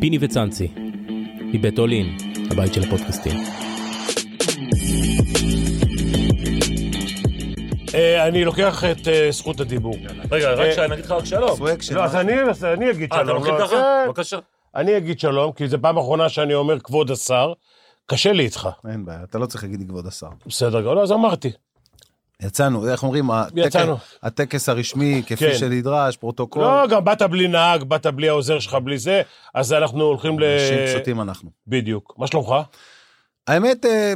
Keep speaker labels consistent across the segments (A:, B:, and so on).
A: פיני וצאנצי, מבית אולין, הבית של הפודקאסטים.
B: אה, אני לוקח את אה, זכות הדיבור.
C: רגע, רק
B: אה,
C: שי, נגיד לך רק שלום.
D: סוואק שלו.
B: לא, אז אני אז אני אגיד
C: אה,
B: שלום.
C: אתה לוקח
B: לא,
C: ככה?
B: כן.
C: בבקשה.
B: אני אגיד שלום, כי זו פעם אחרונה שאני אומר כבוד השר. קשה לי איתך.
D: אין בעיה, אתה לא צריך להגיד לי כבוד השר.
B: בסדר גמור, אז אמרתי.
D: יצאנו, איך אומרים, הטקס-
B: יצאנו.
D: הטקס הרשמי,
B: כן.
D: כפי שנדרש, פרוטוקול.
B: לא, גם באת בלי נהג, באת בלי העוזר שלך, בלי זה, אז אנחנו הולכים ל...
D: אנשים פשוטים אנחנו.
B: בדיוק. מה שלומך?
D: האמת, אה,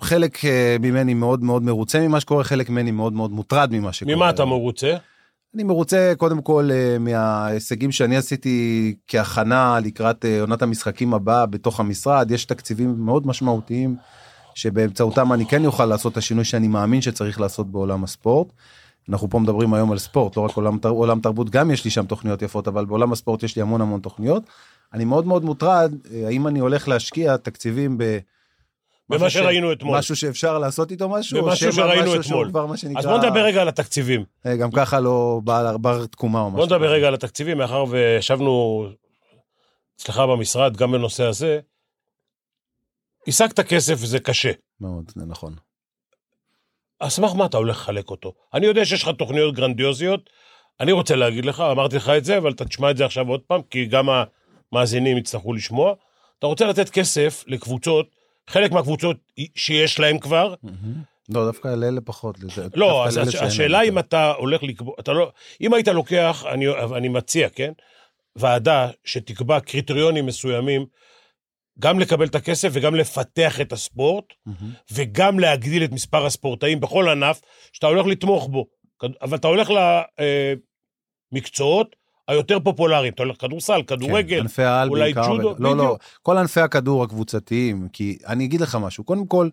D: חלק אה, ממני מאוד מאוד מרוצה ממה שקורה, חלק ממני מאוד מאוד מוטרד ממה שקורה.
B: ממה אתה מרוצה?
D: אני מרוצה קודם כל אה, מההישגים שאני עשיתי כהכנה לקראת אה, עונת המשחקים הבאה בתוך המשרד. יש תקציבים מאוד משמעותיים שבאמצעותם אני כן אוכל לעשות את השינוי שאני מאמין שצריך לעשות בעולם הספורט. אנחנו פה מדברים היום על ספורט, לא רק עולם, תר- עולם תרבות, גם יש לי שם תוכניות יפות, אבל בעולם הספורט יש לי המון המון תוכניות. אני מאוד מאוד מוטרד, אה, האם אני הולך להשקיע תקציבים ב... משהו
B: במה שראינו אתמול.
D: משהו שאפשר לעשות איתו משהו, או
B: במשהו
D: שמא
B: שראינו
D: משהו שהוא
B: אתמול.
D: כבר מה שנקרא...
B: אז בוא נדבר רגע על התקציבים.
D: אה, גם ככה לא בר, בר תקומה או משהו.
B: בוא נדבר
D: כזה.
B: רגע על התקציבים, מאחר וישבנו אצלך במשרד, גם בנושא הזה. השגת כסף, זה קשה.
D: מאוד, זה נכון.
B: על סמך מה אתה הולך לחלק אותו? אני יודע שיש לך תוכניות גרנדיוזיות, אני רוצה להגיד לך, אמרתי לך את זה, אבל אתה תשמע את זה עכשיו עוד פעם, כי גם המאזינים יצטרכו לשמוע. אתה רוצה לתת כסף לקבוצות, חלק מהקבוצות שיש להם כבר,
D: לא, דווקא לאלה פחות. לזה-
B: לא,
D: דווקא
B: אז
D: לאלה
B: הש-
D: שאין להם
B: השאלה אם
D: יותר.
B: אתה הולך לקבוע, אתה לא, אם היית לוקח, אני, אני מציע, כן, ועדה שתקבע קריטריונים מסוימים, גם לקבל את הכסף וגם לפתח את הספורט,
D: מהמם.
B: וגם להגדיל את מספר הספורטאים בכל ענף שאתה הולך לתמוך בו. כד- אבל אתה הולך למקצועות היותר פופולריים, אתה הולך לכדורסל,
D: כן,
B: כדורגל,
D: ענפי העל
B: אולי
D: בעיקר.
B: ג'ודו,
D: לא, לא,
B: בדיוק.
D: כל ענפי הכדור הקבוצתיים, כי אני אגיד לך משהו, קודם כל,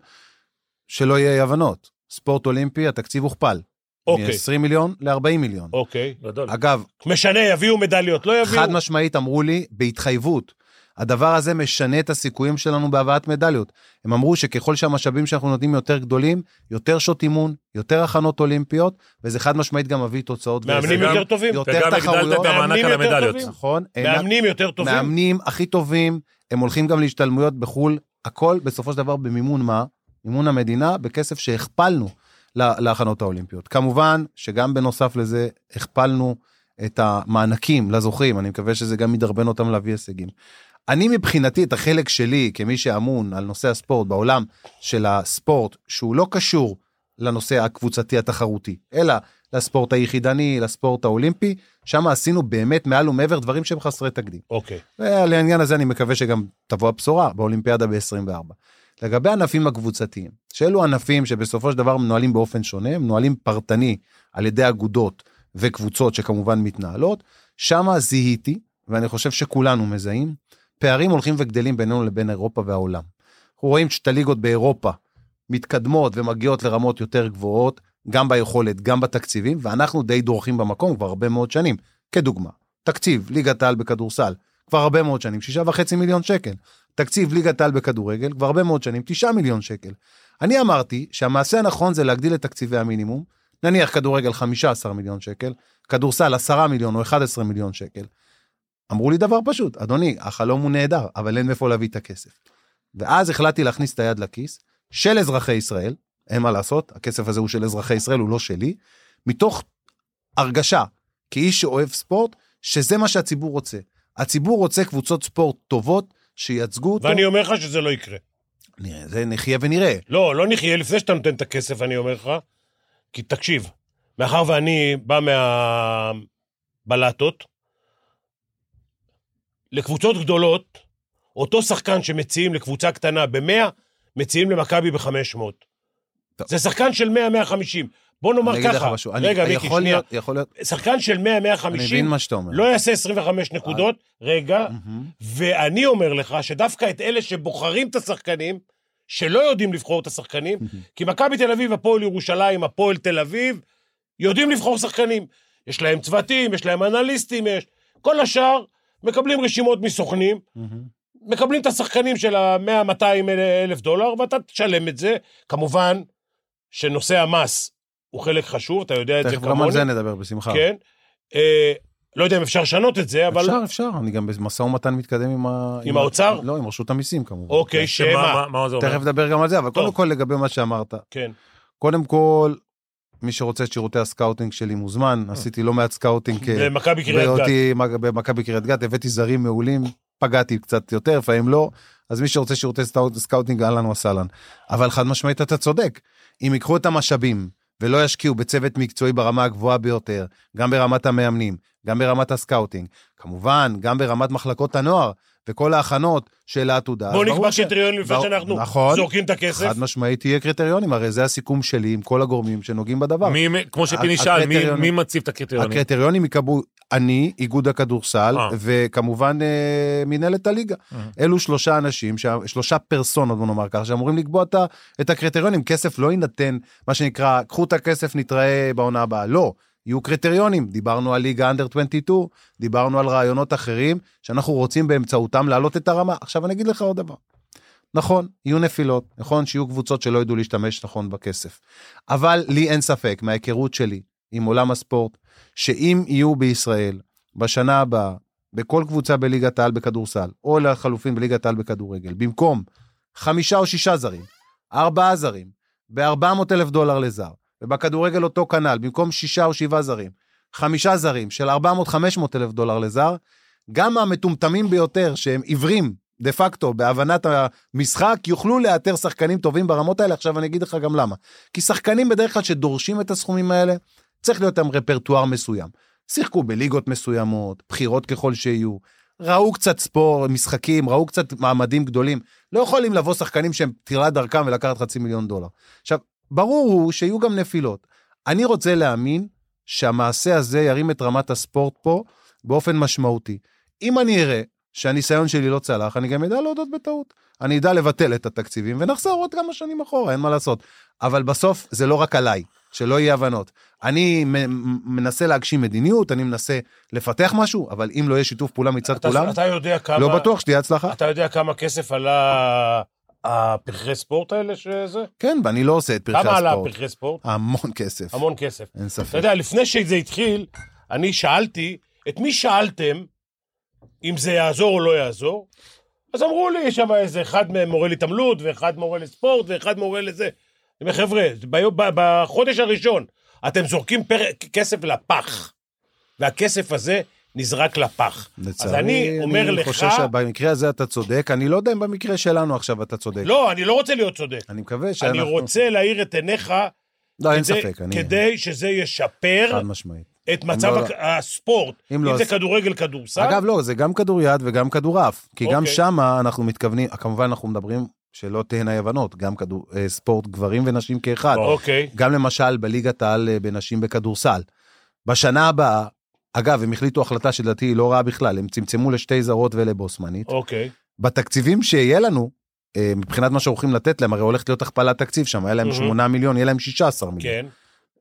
D: שלא יהיה אי הבנות. ספורט אולימפי, התקציב הוכפל.
B: אוקיי,
D: מ-20 מיליון ל-40 מיליון.
B: אוקיי.
C: גדול.
D: אגב,
B: משנה, יביאו מדליות, לא יביאו.
D: חד משמעית אמרו לי, בהתחייבות, הדבר הזה משנה את הסיכויים שלנו בהבאת מדליות. הם אמרו שככל שהמשאבים שאנחנו נותנים יותר גדולים, יותר שעות אימון, יותר הכנות אולימפיות, וזה חד משמעית גם מביא תוצאות.
B: מאמנים
D: וזה גם-
B: יותר טובים.
D: יותר
C: וגם הגדלת
D: תחרויות.
C: את המענק
B: מאמנים
C: על
B: יותר
C: המדליות.
B: טובים.
D: נכון. אינם-
B: מאמנים יותר טובים.
D: מאמנים הכי טובים, הם הולכים גם להשתלמויות בחו"ל, הכל בסופו של דבר במימון מה? מימון המדינה בכסף שהכפלנו לה- להכנות האולימפיות. כמובן שגם בנוסף לזה הכפלנו את המענקים לזוכים, אני מקווה שזה גם ידרבן אותם להביא הישגים. אני מבחינתי את החלק שלי כמי שאמון על נושא הספורט בעולם של הספורט שהוא לא קשור לנושא הקבוצתי התחרותי אלא לספורט היחידני לספורט האולימפי שם עשינו באמת מעל ומעבר דברים שהם חסרי תקדים.
B: אוקיי.
D: ולעניין הזה אני מקווה שגם תבוא הבשורה באולימפיאדה ב-24. לגבי הענפים הקבוצתיים, שאלו ענפים שבסופו של דבר מנוהלים באופן שונה, הם מנוהלים פרטני על ידי אגודות וקבוצות שכמובן מתנהלות, שמה זיהיתי, ואני חושב שכולנו מזהים, פערים הולכים וגדלים בינינו לבין אירופה והעולם. אנחנו רואים שאת הליגות באירופה מתקדמות ומגיעות לרמות יותר גבוהות, גם ביכולת, גם בתקציבים, ואנחנו די דורכים במקום כבר הרבה מאוד שנים. כדוגמה, תקציב ליגת העל בכדורסל, כבר הרבה מאוד שנים, שישה וחצי מיליון שקל. תקציב ליגת העל בכדורגל, כבר הרבה מאוד שנים, תשעה מיליון שקל. אני אמרתי שהמעשה הנכון זה להגדיל את תקציבי המינימום, נניח כדורגל 15 מיליון שקל, כדורסל 10 מיליון או 11 מיליון שקל. אמרו לי דבר פשוט, אדוני, החלום הוא נהדר, אבל אין מאיפה להביא את הכסף. ואז החלטתי להכניס את היד לכיס של אזרחי ישראל, אין מה לעשות, הכסף הזה הוא של אזרחי ישראל, הוא לא שלי, מתוך הרגשה, כאיש שאוהב ספורט, שזה מה שהציבור רוצה. הציבור רוצה קבוצות ספורט טובות, שייצגו אותו.
B: ואני אומר לך שזה לא יקרה.
D: נראה, זה נחיה ונראה.
B: לא, לא נחיה לפני שאתה נותן את הכסף, אני אומר לך. כי תקשיב, מאחר ואני בא מהבלטות, לקבוצות גדולות, אותו שחקן שמציעים לקבוצה קטנה ב-100, מציעים למכבי ב-500.
D: טוב.
B: זה שחקן של 100-150. בוא נאמר
D: אני אגיד לך
B: ככה,
D: משהו, אני-
B: רגע, מיקי,
D: יכול
B: שנייה.
D: להיות, יכול להיות,
B: שחקן של 100-150
D: אני מבין מה אה. שאתה אומר.
B: לא יעשה 25 נקודות, רגע,
D: מהמם.
B: ואני אומר לך שדווקא את אלה שבוחרים את השחקנים, שלא יודעים לבחור את השחקנים, כי מכבי תל אביב, הפועל ירושלים, הפועל תל אביב, יודעים לבחור שחקנים. יש להם צוותים, יש להם אנליסטים, יש... כל השאר מקבלים רשימות מסוכנים,
D: מהמם.
B: מקבלים את השחקנים של ה-100-200 אלף דולר, ואתה תשלם את זה. כמובן שנושא המס הוא חלק חשוב, אתה יודע את זה
D: תכף גם על
B: כמוני.
D: זה נדבר בשמחה.
B: כן. אה, לא יודע אם אפשר לשנות את זה, כן, אבל...
D: אפשר, אפשר, אני גם במשא ומתן מתקדם עם ה...
B: עם האוצר?
D: לא, עם רשות המיסים כמובן. כן.
B: אוקיי,
C: שמה,
B: שמה?
C: כן, מה- מה זה אומר?
D: תכף נדבר גם על זה, אבל
B: טוב.
D: קודם כל לגבי מה שאמרת.
B: כן.
D: קודם כל, מי שרוצה את שירותי הסקאוטינג שלי מוזמן,
B: אה.
D: עשיתי לא מעט סקאוטינג. כ-
B: למכבי קריית גת.
D: בהיותי מג- במכבי קריית גת, הבאתי זרים מעולים, פגעתי קצת יותר, לפעמים לא, אז מי שרוצה שירותי סטאוט- סקאוטינג, אהלן וסהלן. אבל חד משמעית אתה צודק, אם ייקחו את המשאבים ולא ישקיעו בצוות מקצועי ברמה הגבוהה ביותר, גם ברמת המאמנים, גם ברמת הסקאוטינג, כמובן, גם ברמת מחלקות הנוער וכל ההכנות של העתודה.
B: בואו
D: אז ברור
B: נקבע
D: ש-
B: קריטריונים לפני
D: ברור-
B: שאנחנו
D: נכון.
B: זורקים את הכסף.
D: חד משמעית יהיה קריטריונים, הרי זה הסיכום שלי עם כל הגורמים שנוגעים בדבר.
C: מי- מי- כמו שפיני שאל, מי-
D: הקריטריונים.
C: מי מציב את הקריטריונים?
D: הקריטריונים ייקבעו אני, איגוד הכדורסל,
C: אה.
D: וכמובן אה, מינהלת הליגה.
C: אה.
D: אלו שלושה אנשים, שה- שלושה פרסונות, בוא נאמר כך, שאמורים לקבוע את ה- את הקריטריונים. כסף לא יינתן, מה שנקרא, קחו את הכסף, נתראה בעונה הבאה. לא, יהיו קריטריונים. דיברנו על ליגה אנדר 22, דיברנו על רעיונות אחרים, שאנחנו רוצים באמצעותם להעלות את הרמה. עכשיו אני אגיד לך עוד דבר. נכון, יהיו נפילות, נכון שיהיו קבוצות שלא ידעו להשתמש נכון בכסף. אבל לי אין ספק, מההיכרות שלי עם עולם הספורט, שאם יהיו בישראל בשנה הבאה, בכל קבוצה בליגת העל בכדורסל, או לחלופין בליגת העל בכדורגל, במקום חמישה או שישה זרים, ארבעה זרים, ב-400 אלף דולר לזר, ובכדורגל אותו כנ"ל, במקום שישה או שבעה זרים, חמישה זרים של 400-500 אלף דולר לזר, גם המטומטמים ביותר, שהם עיוורים דה פקטו בהבנת המשחק, יוכלו לאתר שחקנים טובים ברמות האלה. עכשיו אני אגיד לך גם למה. כי שחקנים בדרך כלל שדורשים את הסכומים האלה, צריך להיות להם רפרטואר מסוים. שיחקו בליגות מסוימות, בחירות ככל שיהיו, ראו קצת ספורט, משחקים, ראו קצת מעמדים גדולים. לא יכולים לבוא שחקנים שהם תחילת דרכם ולקחת חצי מיליון דולר. עכשיו, ברור הוא שיהיו גם נפילות. אני רוצה להאמין שהמעשה הזה ירים את רמת הספורט פה באופן משמעותי. אם אני אראה שהניסיון שלי לא צלח, אני גם אדע להודות בטעות. אני אדע לבטל את התקציבים ונחזור עוד כמה שנים אחורה, אין מה לעשות. אבל בסוף זה לא רק עליי, שלא יהיו הבנות. אני מ- מנסה להגשים מדיניות, אני מנסה לפתח משהו, אבל אם לא יהיה שיתוף פעולה מצד
B: אתה-
D: כולם...
B: אתה יודע כמה...
D: לא בטוח שתהיה הצלחה.
B: אתה יודע כמה כסף עלה הפרחי ספורט האלה שזה?
D: כן, ואני לא עושה את פרחי
B: כמה עלה
D: הספורט.
B: הפרחי ספורט?
D: המון כסף.
B: המון כסף.
D: אין
B: אתה
D: ספק.
B: יודע, לפני שזה התחיל, אני שאלתי, את מי שאלתם אם זה יעזור או לא יעזור? אז אמרו לי, יש שם איזה אחד מהם מורה להתעמלות, ואחד מורה לספורט, ואחד מורה לזה. אני אומר, חבר'ה, ביום- ב- בחודש הראשון אתם זורקים פר... כסף לפח, והכסף הזה נזרק לפח. אז אני אומר
D: אני
B: לך...
D: חושב שבמקרה הזה אתה צודק, אני לא יודע אם במקרה שלנו עכשיו אתה צודק.
B: לא, אני לא רוצה להיות צודק.
D: אני מקווה שאנחנו...
B: אני רוצה להאיר את עיניך
D: לא, אין
B: כדי-
D: ספק, אני...
B: כדי שזה ישפר
D: חד משמעית.
B: את מצב
D: לא-
B: הכ- הספורט,
D: אם
B: אם
D: לא,
B: זה
D: אז-
B: כדורגל, כדורסל.
D: אגב, לא, זה גם כדוריד וגם כדורעף. כי גם
B: אוקיי.
D: שמה אנחנו מתכוונים, כמובן אנחנו מדברים, שלא תהיינה אי-הבנות, גם כדור- אה, ספורט גברים ונשים כאחד.
B: אוקיי.
D: גם למשל בליגת העל אה, בנשים בכדורסל. בשנה הבאה, אגב, הם החליטו החלטה שלדעתי היא לא רעה בכלל, הם צמצמו לשתי זרות ולבוסמנית.
B: אוקיי.
D: בתקציבים שיהיה לנו, אה, מבחינת מה שהולכים לתת להם, הרי הולכת להיות הכפלת תקציב שם, היה להם
B: מהמם.
D: 8 מיליון, יהיה להם 16 מיליון.
B: כן.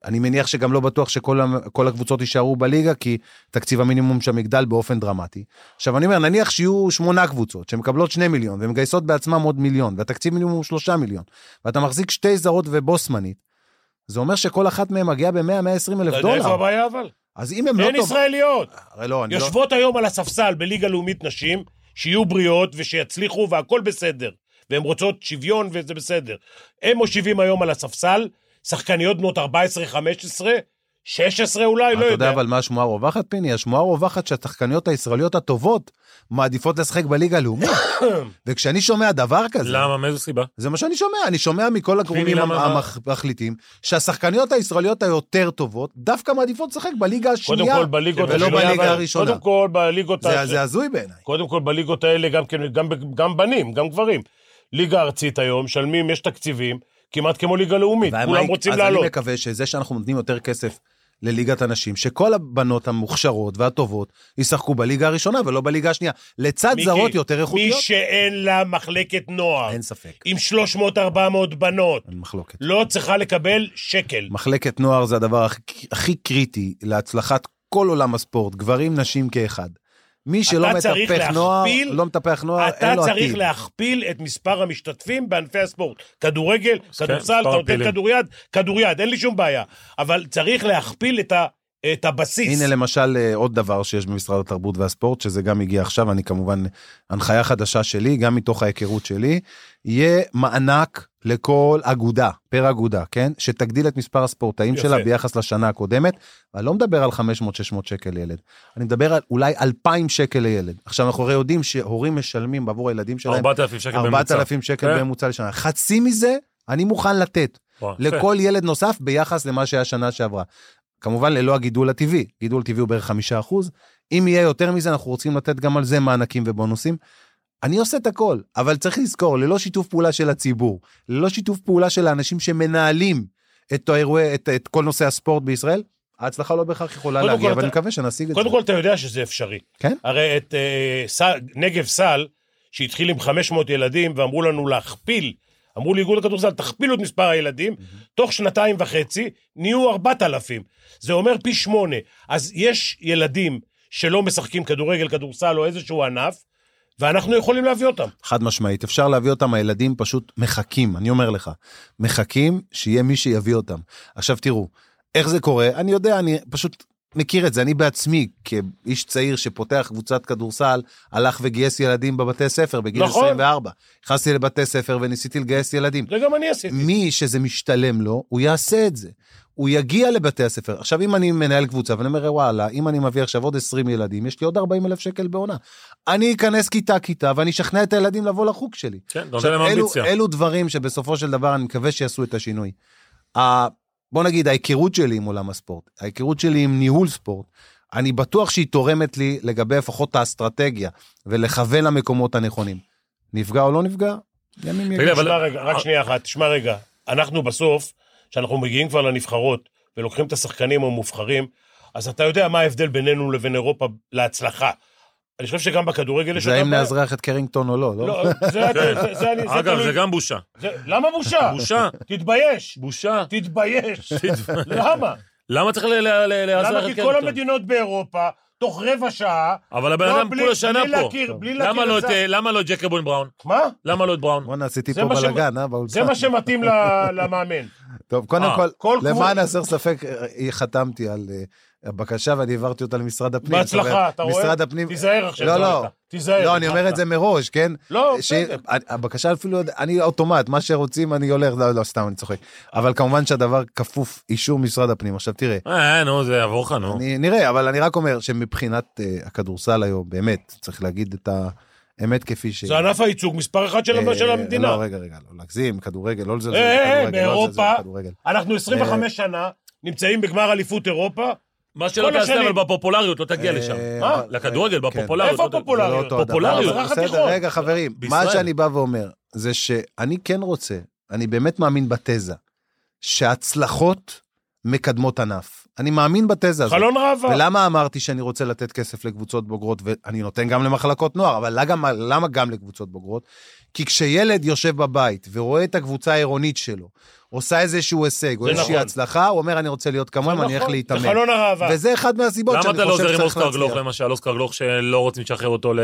D: אני מניח שגם לא בטוח שכל המ- כל הקבוצות יישארו בליגה, כי תקציב המינימום שם יגדל באופן דרמטי. עכשיו, אני אומר, נניח שיהיו שמונה קבוצות שמקבלות 2 מיליון, ומגייסות בעצמם עוד מיליון, והתקציב מינימום הוא 3 מיליון, ואתה מחזיק שתי זרות ובוסמנית, זה אומר שכל אחת מהן מגיעה ב-100-120
B: אתה
D: אלף
B: יודע איפה
D: דולר.
B: הבעיה אבל?
D: אז אם הם לא
B: אין
D: טוב...
B: ישראליות.
D: הרי לא, אני לא...
B: יושבות היום על הספסל בליגה לאומית נשים, שיהיו בריאות ושיצליחו והכל בסדר. והן רוצות שוויון וזה בסדר. הם מושיבים היום על הספסל, שחקניות בנות 14, 15, 16 אולי, לא
D: אתה יודע
B: יודע.
D: אבל מה השמועה הרווחת, פיני? השמועה הרווחת שהשחקניות הישראליות הטובות מעדיפות לשחק בליגה הלאומית. וכשאני שומע דבר כזה,
C: למה? מאיזו סיבה?
D: זה מה שאני שומע, אני שומע מכל הגורמים
C: למה-
D: המחליטים, שהשחקניות הישראליות היותר טובות דווקא מעדיפות לשחק בליגה
B: קודם
D: השנייה,
B: כל בליגות
D: ולא
B: השנייה,
D: בליגה
B: אבל-
D: הראשונה.
B: קודם כל בליגות...
D: זה-
B: ה-
D: זה הזוי בעיניי.
B: קודם כל בליגות האלה גם, כן- גם, ב- גם בנים, גם גברים. ליגה ארצית היום, משלמים, יש תקציבים, כמעט כמו ליגה לאומית,
D: ומה
B: כולם
D: יק-
B: רוצים
D: אז
B: לעלות.
D: אני מקווה שזה שאנחנו נותנים יותר כסף לליגת הנשים, שכל הבנות המוכשרות והטובות ישחקו בליגה הראשונה ולא בליגה השנייה, לצד
B: מיקי,
D: זרות יותר
B: מי
D: איכותיות.
B: שאין לה מחלקת נוער,
D: אין ספק,
B: עם 300-400 בנות,
D: אין מחלוקת.
B: לא צריכה לקבל שקל.
D: מחלקת נוער זה הדבר הכי, הכי קריטי להצלחת כל עולם הספורט, גברים, נשים כאחד. מי שלא
B: אתה
D: מטפח
B: צריך
D: נוער,
B: להכפיל-
D: לא מטפח נוער,
B: אתה
D: אין לו
B: צריך
D: עתיד.
B: להכפיל את מספר המשתתפים בענפי הספורט. כדורגל, כדורסל,
C: מספר
B: אתה נותן
C: הפעילים.
B: כדוריד, כדוריד, אין לי שום בעיה. אבל צריך להכפיל את ה... את הבסיס.
D: הנה למשל אה, עוד דבר שיש במשרד התרבות והספורט, שזה גם הגיע עכשיו, אני כמובן, הנחיה חדשה שלי, גם מתוך ההיכרות שלי, יהיה מענק לכל אגודה, פר אגודה, כן? שתגדיל את מספר הספורטאים
B: יפה.
D: שלה ביחס לשנה הקודמת. אני לא מדבר על 500-600 שקל לילד, אני מדבר על אולי 2,000 שקל לילד. עכשיו, אנחנו הרי יודעים שהורים משלמים בעבור הילדים שלהם
C: 4,000 שקל בממוצע.
D: 4,000 שקל
B: אה.
C: כן.
D: בממוצע לשנה. חצי מזה אני מוכן לתת.
C: וואו, יפה.
D: לכל ילד נוסף ביחס למה שהיה שנה שעברה. כמובן ללא הגידול הטבעי, גידול טבעי הוא בערך חמישה אחוז. אם יהיה יותר מזה, אנחנו רוצים לתת גם על זה מענקים ובונוסים. אני עושה את הכל, אבל צריך לזכור, ללא שיתוף פעולה של הציבור, ללא שיתוף פעולה של האנשים שמנהלים את, האירוע, את, את כל נושא הספורט בישראל, ההצלחה לא בהכרח יכולה
B: קודם
D: להגיע,
B: כל
D: אבל אני
B: אתה-
D: מקווה שנשיג את זה.
B: קודם כל, אתה יודע שזה אפשרי.
D: כן?
B: הרי את אה, סל, נגב סל, שהתחיל עם 500 ילדים, ואמרו לנו להכפיל, אמרו לאיגוד הכדורסל, תכפילו את מספר הילדים, תוך שנתיים וחצי נהיו 4,000. זה אומר פי שמונה. אז יש ילדים שלא משחקים כדורגל, כדורסל או איזשהו ענף, ואנחנו יכולים להביא אותם.
D: חד משמעית, אפשר להביא אותם, הילדים פשוט מחכים, אני אומר לך, מחכים שיהיה מי שיביא אותם. עכשיו תראו, איך זה קורה? אני יודע, אני פשוט מכיר את זה, אני בעצמי, כאיש צעיר שפותח קבוצת כדורסל, הלך וגייס ילדים בבתי ספר בגיל
B: נכון.
D: 24. נכנסתי לבתי ספר וניסיתי לגייס ילדים.
B: זה גם אני עשיתי.
D: מי שזה משתלם לו, הוא יעשה את זה. הוא יגיע לבתי הספר. עכשיו, אם אני מנהל קבוצה ואני אומר, וואלה, אם אני מביא עכשיו עוד 20 ילדים, יש לי עוד 40 אלף שקל בעונה. אני אכנס כיתה-כיתה ואני אשכנע את הילדים לבוא לחוג שלי.
C: כן, אתה נותן להם
D: עכשיו, אלו,
C: אמביציה.
D: אלו דברים שבסופו של דבר אני מקווה שיעשו את השינוי. ה, בוא נגיד, ההיכרות שלי עם עולם הספורט, ההיכרות שלי עם ניהול ספורט, אני בטוח שהיא תורמת לי לגבי לפחות האסטרטגיה, ולכוון למקומות הנכונים. נפגע או לא נפגע? ימים יגידו.
C: תגיד, אבל-
B: תשמע רגע, רק שנייה אחת, תשמע רגע, אנחנו בסוף, כשאנחנו מגיעים כבר לנבחרות, ולוקחים את השחקנים המובחרים, אז אתה יודע מה ההבדל בינינו לבין אירופה להצלחה. אני חושב שגם בכדורגל יש...
D: זה
B: אותה
D: האם
B: בעיה.
D: נאזרח את קרינגטון או לא, לא?
B: לא, זה- זה- זה אני... זה
C: אגב,
B: תלוי-
C: זה גם בושה.
B: זה- למה בושה?
C: בושה,
B: תתבייש.
C: בושה.
B: תתבייש. כן, למה?
C: למה צריך ל- ל- ל-
B: למה?
C: לעזר
B: כי
C: לקרן
B: כל
C: אותו?
B: המדינות באירופה, תוך רבע שעה...
C: אבל הבן
B: לא,
C: אדם
B: בלי-
C: כולה שנה
B: בלי
C: פה.
B: להכיר, בלי
C: למה
B: להכיר
C: לא
B: את
C: את,
B: זה.
C: אה, למה לא את ג'קובון בראון?
B: מה?
C: למה לא את בראון?
D: בואנה, עשיתי
B: זה
D: פה
B: מה ש-
D: בלאגן, אה,
B: זה
D: באולפן.
B: מה שמתאים ל- למאמן.
D: טוב, קודם
C: אה,
D: כל,
B: כל
D: למען
B: קבוצה-
D: הסר ספק, אה, חתמתי על אה, הבקשה ואני העברתי אותה למשרד הפנים. זאת
B: בהצלחה,
D: אומרת,
B: אתה רואה?
D: משרד הפנים...
B: תיזהר עכשיו.
D: לא,
B: אתה
D: לא.
B: רואה, תיזהר.
D: לא, אני אומר את זה מראש, כן?
B: לא,
D: ש-
B: בסדר.
D: הבקשה אפילו, אני אוטומט, מה שרוצים אני הולך, לא, לא, סתם, אני צוחק. אבל כמובן שהדבר כפוף אישור משרד הפנים. עכשיו תראה,
C: אה, נו, זה יעבור לך, נו.
D: אני, נראה, אבל אני רק אומר שמבחינת אה, הכדורסל היום, באמת, צריך להגיד את האמת כפי שהיא.
B: זה ענף הייצוג מספר אחת של
D: אה,
B: של המדינה.
D: לא, רגע, רגע, לא להגזים, כדורגל, לא לזלזל
B: אה, אה,
D: בכדורגל, לא לזלזל
B: באירופה-
D: בכדורגל.
B: אנחנו 25
D: אה,
B: שנה נמצאים בגמר אליפות אירופה.
C: מה שלא
B: כל
C: תעשה,
B: השנים.
C: אבל בפופולריות לא תגיע
D: אה,
C: לשם.
D: מה?
C: לכדורגל,
D: כן.
C: בפופולריות.
B: איפה
C: לא תגיע.
B: הפופולריות?
D: זה לא אותו הדבר,
C: פופולריות.
D: אבל
B: מזרח
D: בסדר,
B: התיכון.
D: רגע, חברים, מה
C: בישראל.
D: שאני בא ואומר, זה שאני כן רוצה, אני באמת מאמין בתזה, שהצלחות מקדמות ענף. אני מאמין בתזה הזאת.
B: חלון
C: לא.
B: ראווה.
D: ולמה אמרתי שאני רוצה לתת כסף לקבוצות בוגרות, ואני נותן גם למחלקות נוער, אבל למה, למה גם לקבוצות בוגרות? כי כשילד יושב בבית ורואה את הקבוצה העירונית שלו, עושה איזשהו הישג או
B: זה
D: איזושהי
B: נכון.
D: הצלחה, הוא אומר, אני רוצה להיות כמוהם, אני אלך
B: נכון,
D: להתאמן.
B: זה חלון הראווה.
D: וזה אחד מהסיבות
C: לא למה אתה
D: שאני
C: לא
D: חושב
C: עוזר עם
D: שצריך
C: אוסקר גלוך,
D: להצליח.
C: למשל, אוסקר גלוך שלא רוצים לשחרר אותו ל-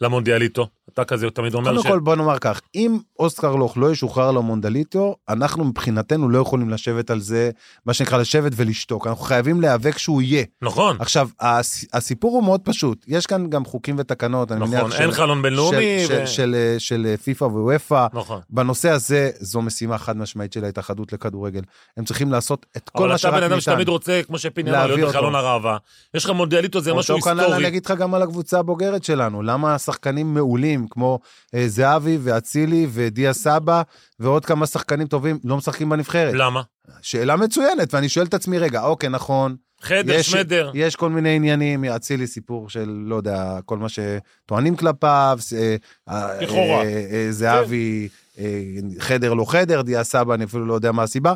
C: למונדיאליטו? אתה כזה תמיד אומר
D: קודם
C: ש...
D: כל בוא נאמר כך, אם אוסקר לוך לא ישוחרר למונדליטו, אנחנו מבחינתנו לא יכולים לשבת על זה, מה שנקרא לשבת ולשתוק, אנחנו חייבים להיאבק שהוא יהיה.
C: נכון,
D: עכשיו, הס- הסיפור הוא מאוד פשוט, יש כאן גם חוקים ותקנות, אני מניח
C: נכון, אין חלון בינלאומי.
D: של- של-
C: ו-
D: של, אה, של אה, פיפ"א וופ"א.
C: נכון.
D: בנושא הזה, זו משימה חד משמעית של ההתאחדות לכדורגל. הם צריכים לעשות את כל
C: אבל
D: מה
C: אתה
D: שרק ניתן.
C: בן אדם שתמיד רוצה, כמו שפיני אמר,
D: להביא
C: להיות
D: אותו.
C: בחלון הראווה. יש לך מונדיאליטו, זה משהו
D: אותו כנ"ל אני
C: היסטורי.
D: אגיד לך גם על הקבוצה הבוגרת שלנו, למה שחקנים מעולים כמו אה, זהבי ואצילי ודיה סבא ועוד כמה שחקנים טובים לא משחקים בנבחרת?
C: למה?
D: שאלה מצוינת, ואני שואל את עצמי, רגע, אוקיי, נכון,
C: חדר,
D: יש,
C: שמדר.
D: יש כל מיני עניינים, אצילי סיפור של, לא יודע, כל מה שטוענים כלפיו, ס- אה, אה,
B: לכאורה.
D: אה, אה, זהבי, אה, חדר לא חדר, דיה סבא, אני אפילו לא יודע מה הסיבה,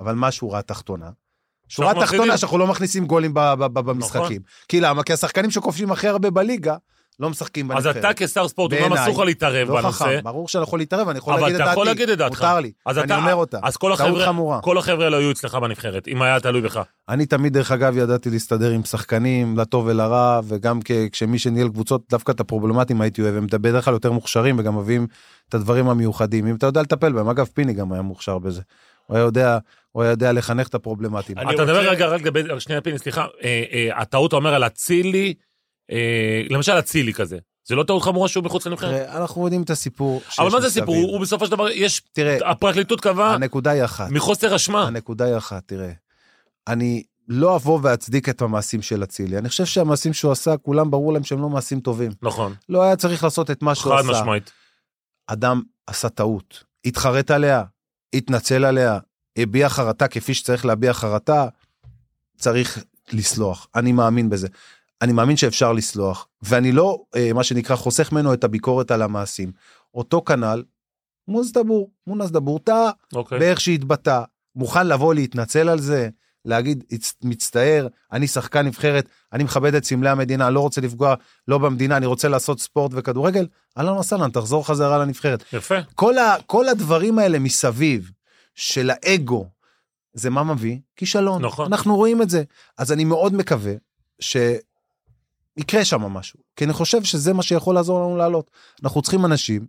D: אבל מה השורה התחתונה? שורה
C: שאנחנו
D: תחתונה
C: מפסידים. נכון.
D: שאנחנו לא מכניסים גולים ב- ב- ב- במשחקים. כי למה? כי השחקנים שכובשים הכי הרבה בליגה, לא משחקים
C: אז
D: בנבחרת.
C: אתה כשר ספורט, אומנם
D: בעיניי,
C: אסור לך להתערב
D: לא
C: בנושא.
D: חכם, ברור שאני יכול להתערב, אני יכול
C: אבל
D: להגיד את
C: אתה
D: דעתי.
C: יכול להגיד את דעתך.
D: מותר לי,
C: אז
D: אני
C: אתה-
D: אומר אותה.
C: אז כל
D: טעות
C: החבר'ה-
D: חמורה.
C: כל החבר'ה לא היו אצלך בנבחרת, אם היה תלוי בך.
D: אני תמיד, דרך אגב, ידעתי להסתדר עם שחקנים, לטוב ולרע, וגם כ- כשמי שניהל קבוצות, דווקא את הפרובלמטים הייתי אוהב, הם בדרך כלל יותר מוכשרים וגם מביאים את הדברים המיוחדים, אם אתה יודע לטפל בהם. אגב, פיני גם היה מוכשר בזה. הוא היה יודע, הוא היה יודע לחנך את הפרובלמטים.
B: אני
C: אתה מדבר
B: רוצה-
C: רגע רק לגבי, שנייה פיני, סליחה, אה, אה, הטעות אתה אומר על אצילי, אה, למשל אצילי כזה, זה לא טעות חמורה שהוא מחוץ לנבחרת?
D: תראה, אנחנו יודעים את הסיפור אה, שיש
C: אבל מה זה
D: מסביב. אה,
C: הסיפור? הוא אה, הוא בסופו של דבר, יש,
D: תראה,
C: הפרקליטות קבעה
D: הנקודה היא אחת.
C: מחוסר אשמה.
D: הנקודה היא אחת, תראה. אני לא אבוא ואצדיק את המעשים של אצילי. אני חושב שהמעשים שהוא עשה, כולם ברור להם שהם לא מעשים טובים.
C: נכון,
D: לא היה צריך לעשות את מה שהוא
C: חד
D: עשה.
C: משמעית.
D: אדם עשה טעות, התחרט עליה, התנצל עליה, הביע חרטה כפי שצריך להביע חרטה, צריך לסלוח. אני מאמין בזה. אני מאמין שאפשר לסלוח, ואני לא, אה, מה שנקרא, חוסך ממנו את הביקורת על המעשים. אותו כנ"ל, מונס דבור, מונס דבור טעה
C: אוקיי.
D: באיך שהתבטא, מוכן לבוא להתנצל על זה, להגיד, "הצ- מצטער, אני שחקן נבחרת, אני מכבד את סמלי המדינה, לא רוצה לפגוע לא במדינה, אני רוצה לעשות ספורט וכדורגל, אהלן וסהלן, תחזור חזרה לנבחרת.
C: יפה.
D: כל, ה, כל הדברים האלה מסביב של האגו, זה מה מביא? כישלון.
C: נכון.
D: אנחנו רואים את זה. אז אני מאוד מקווה שיקרה שם משהו, כי אני חושב שזה מה שיכול לעזור לנו לעלות. אנחנו צריכים אנשים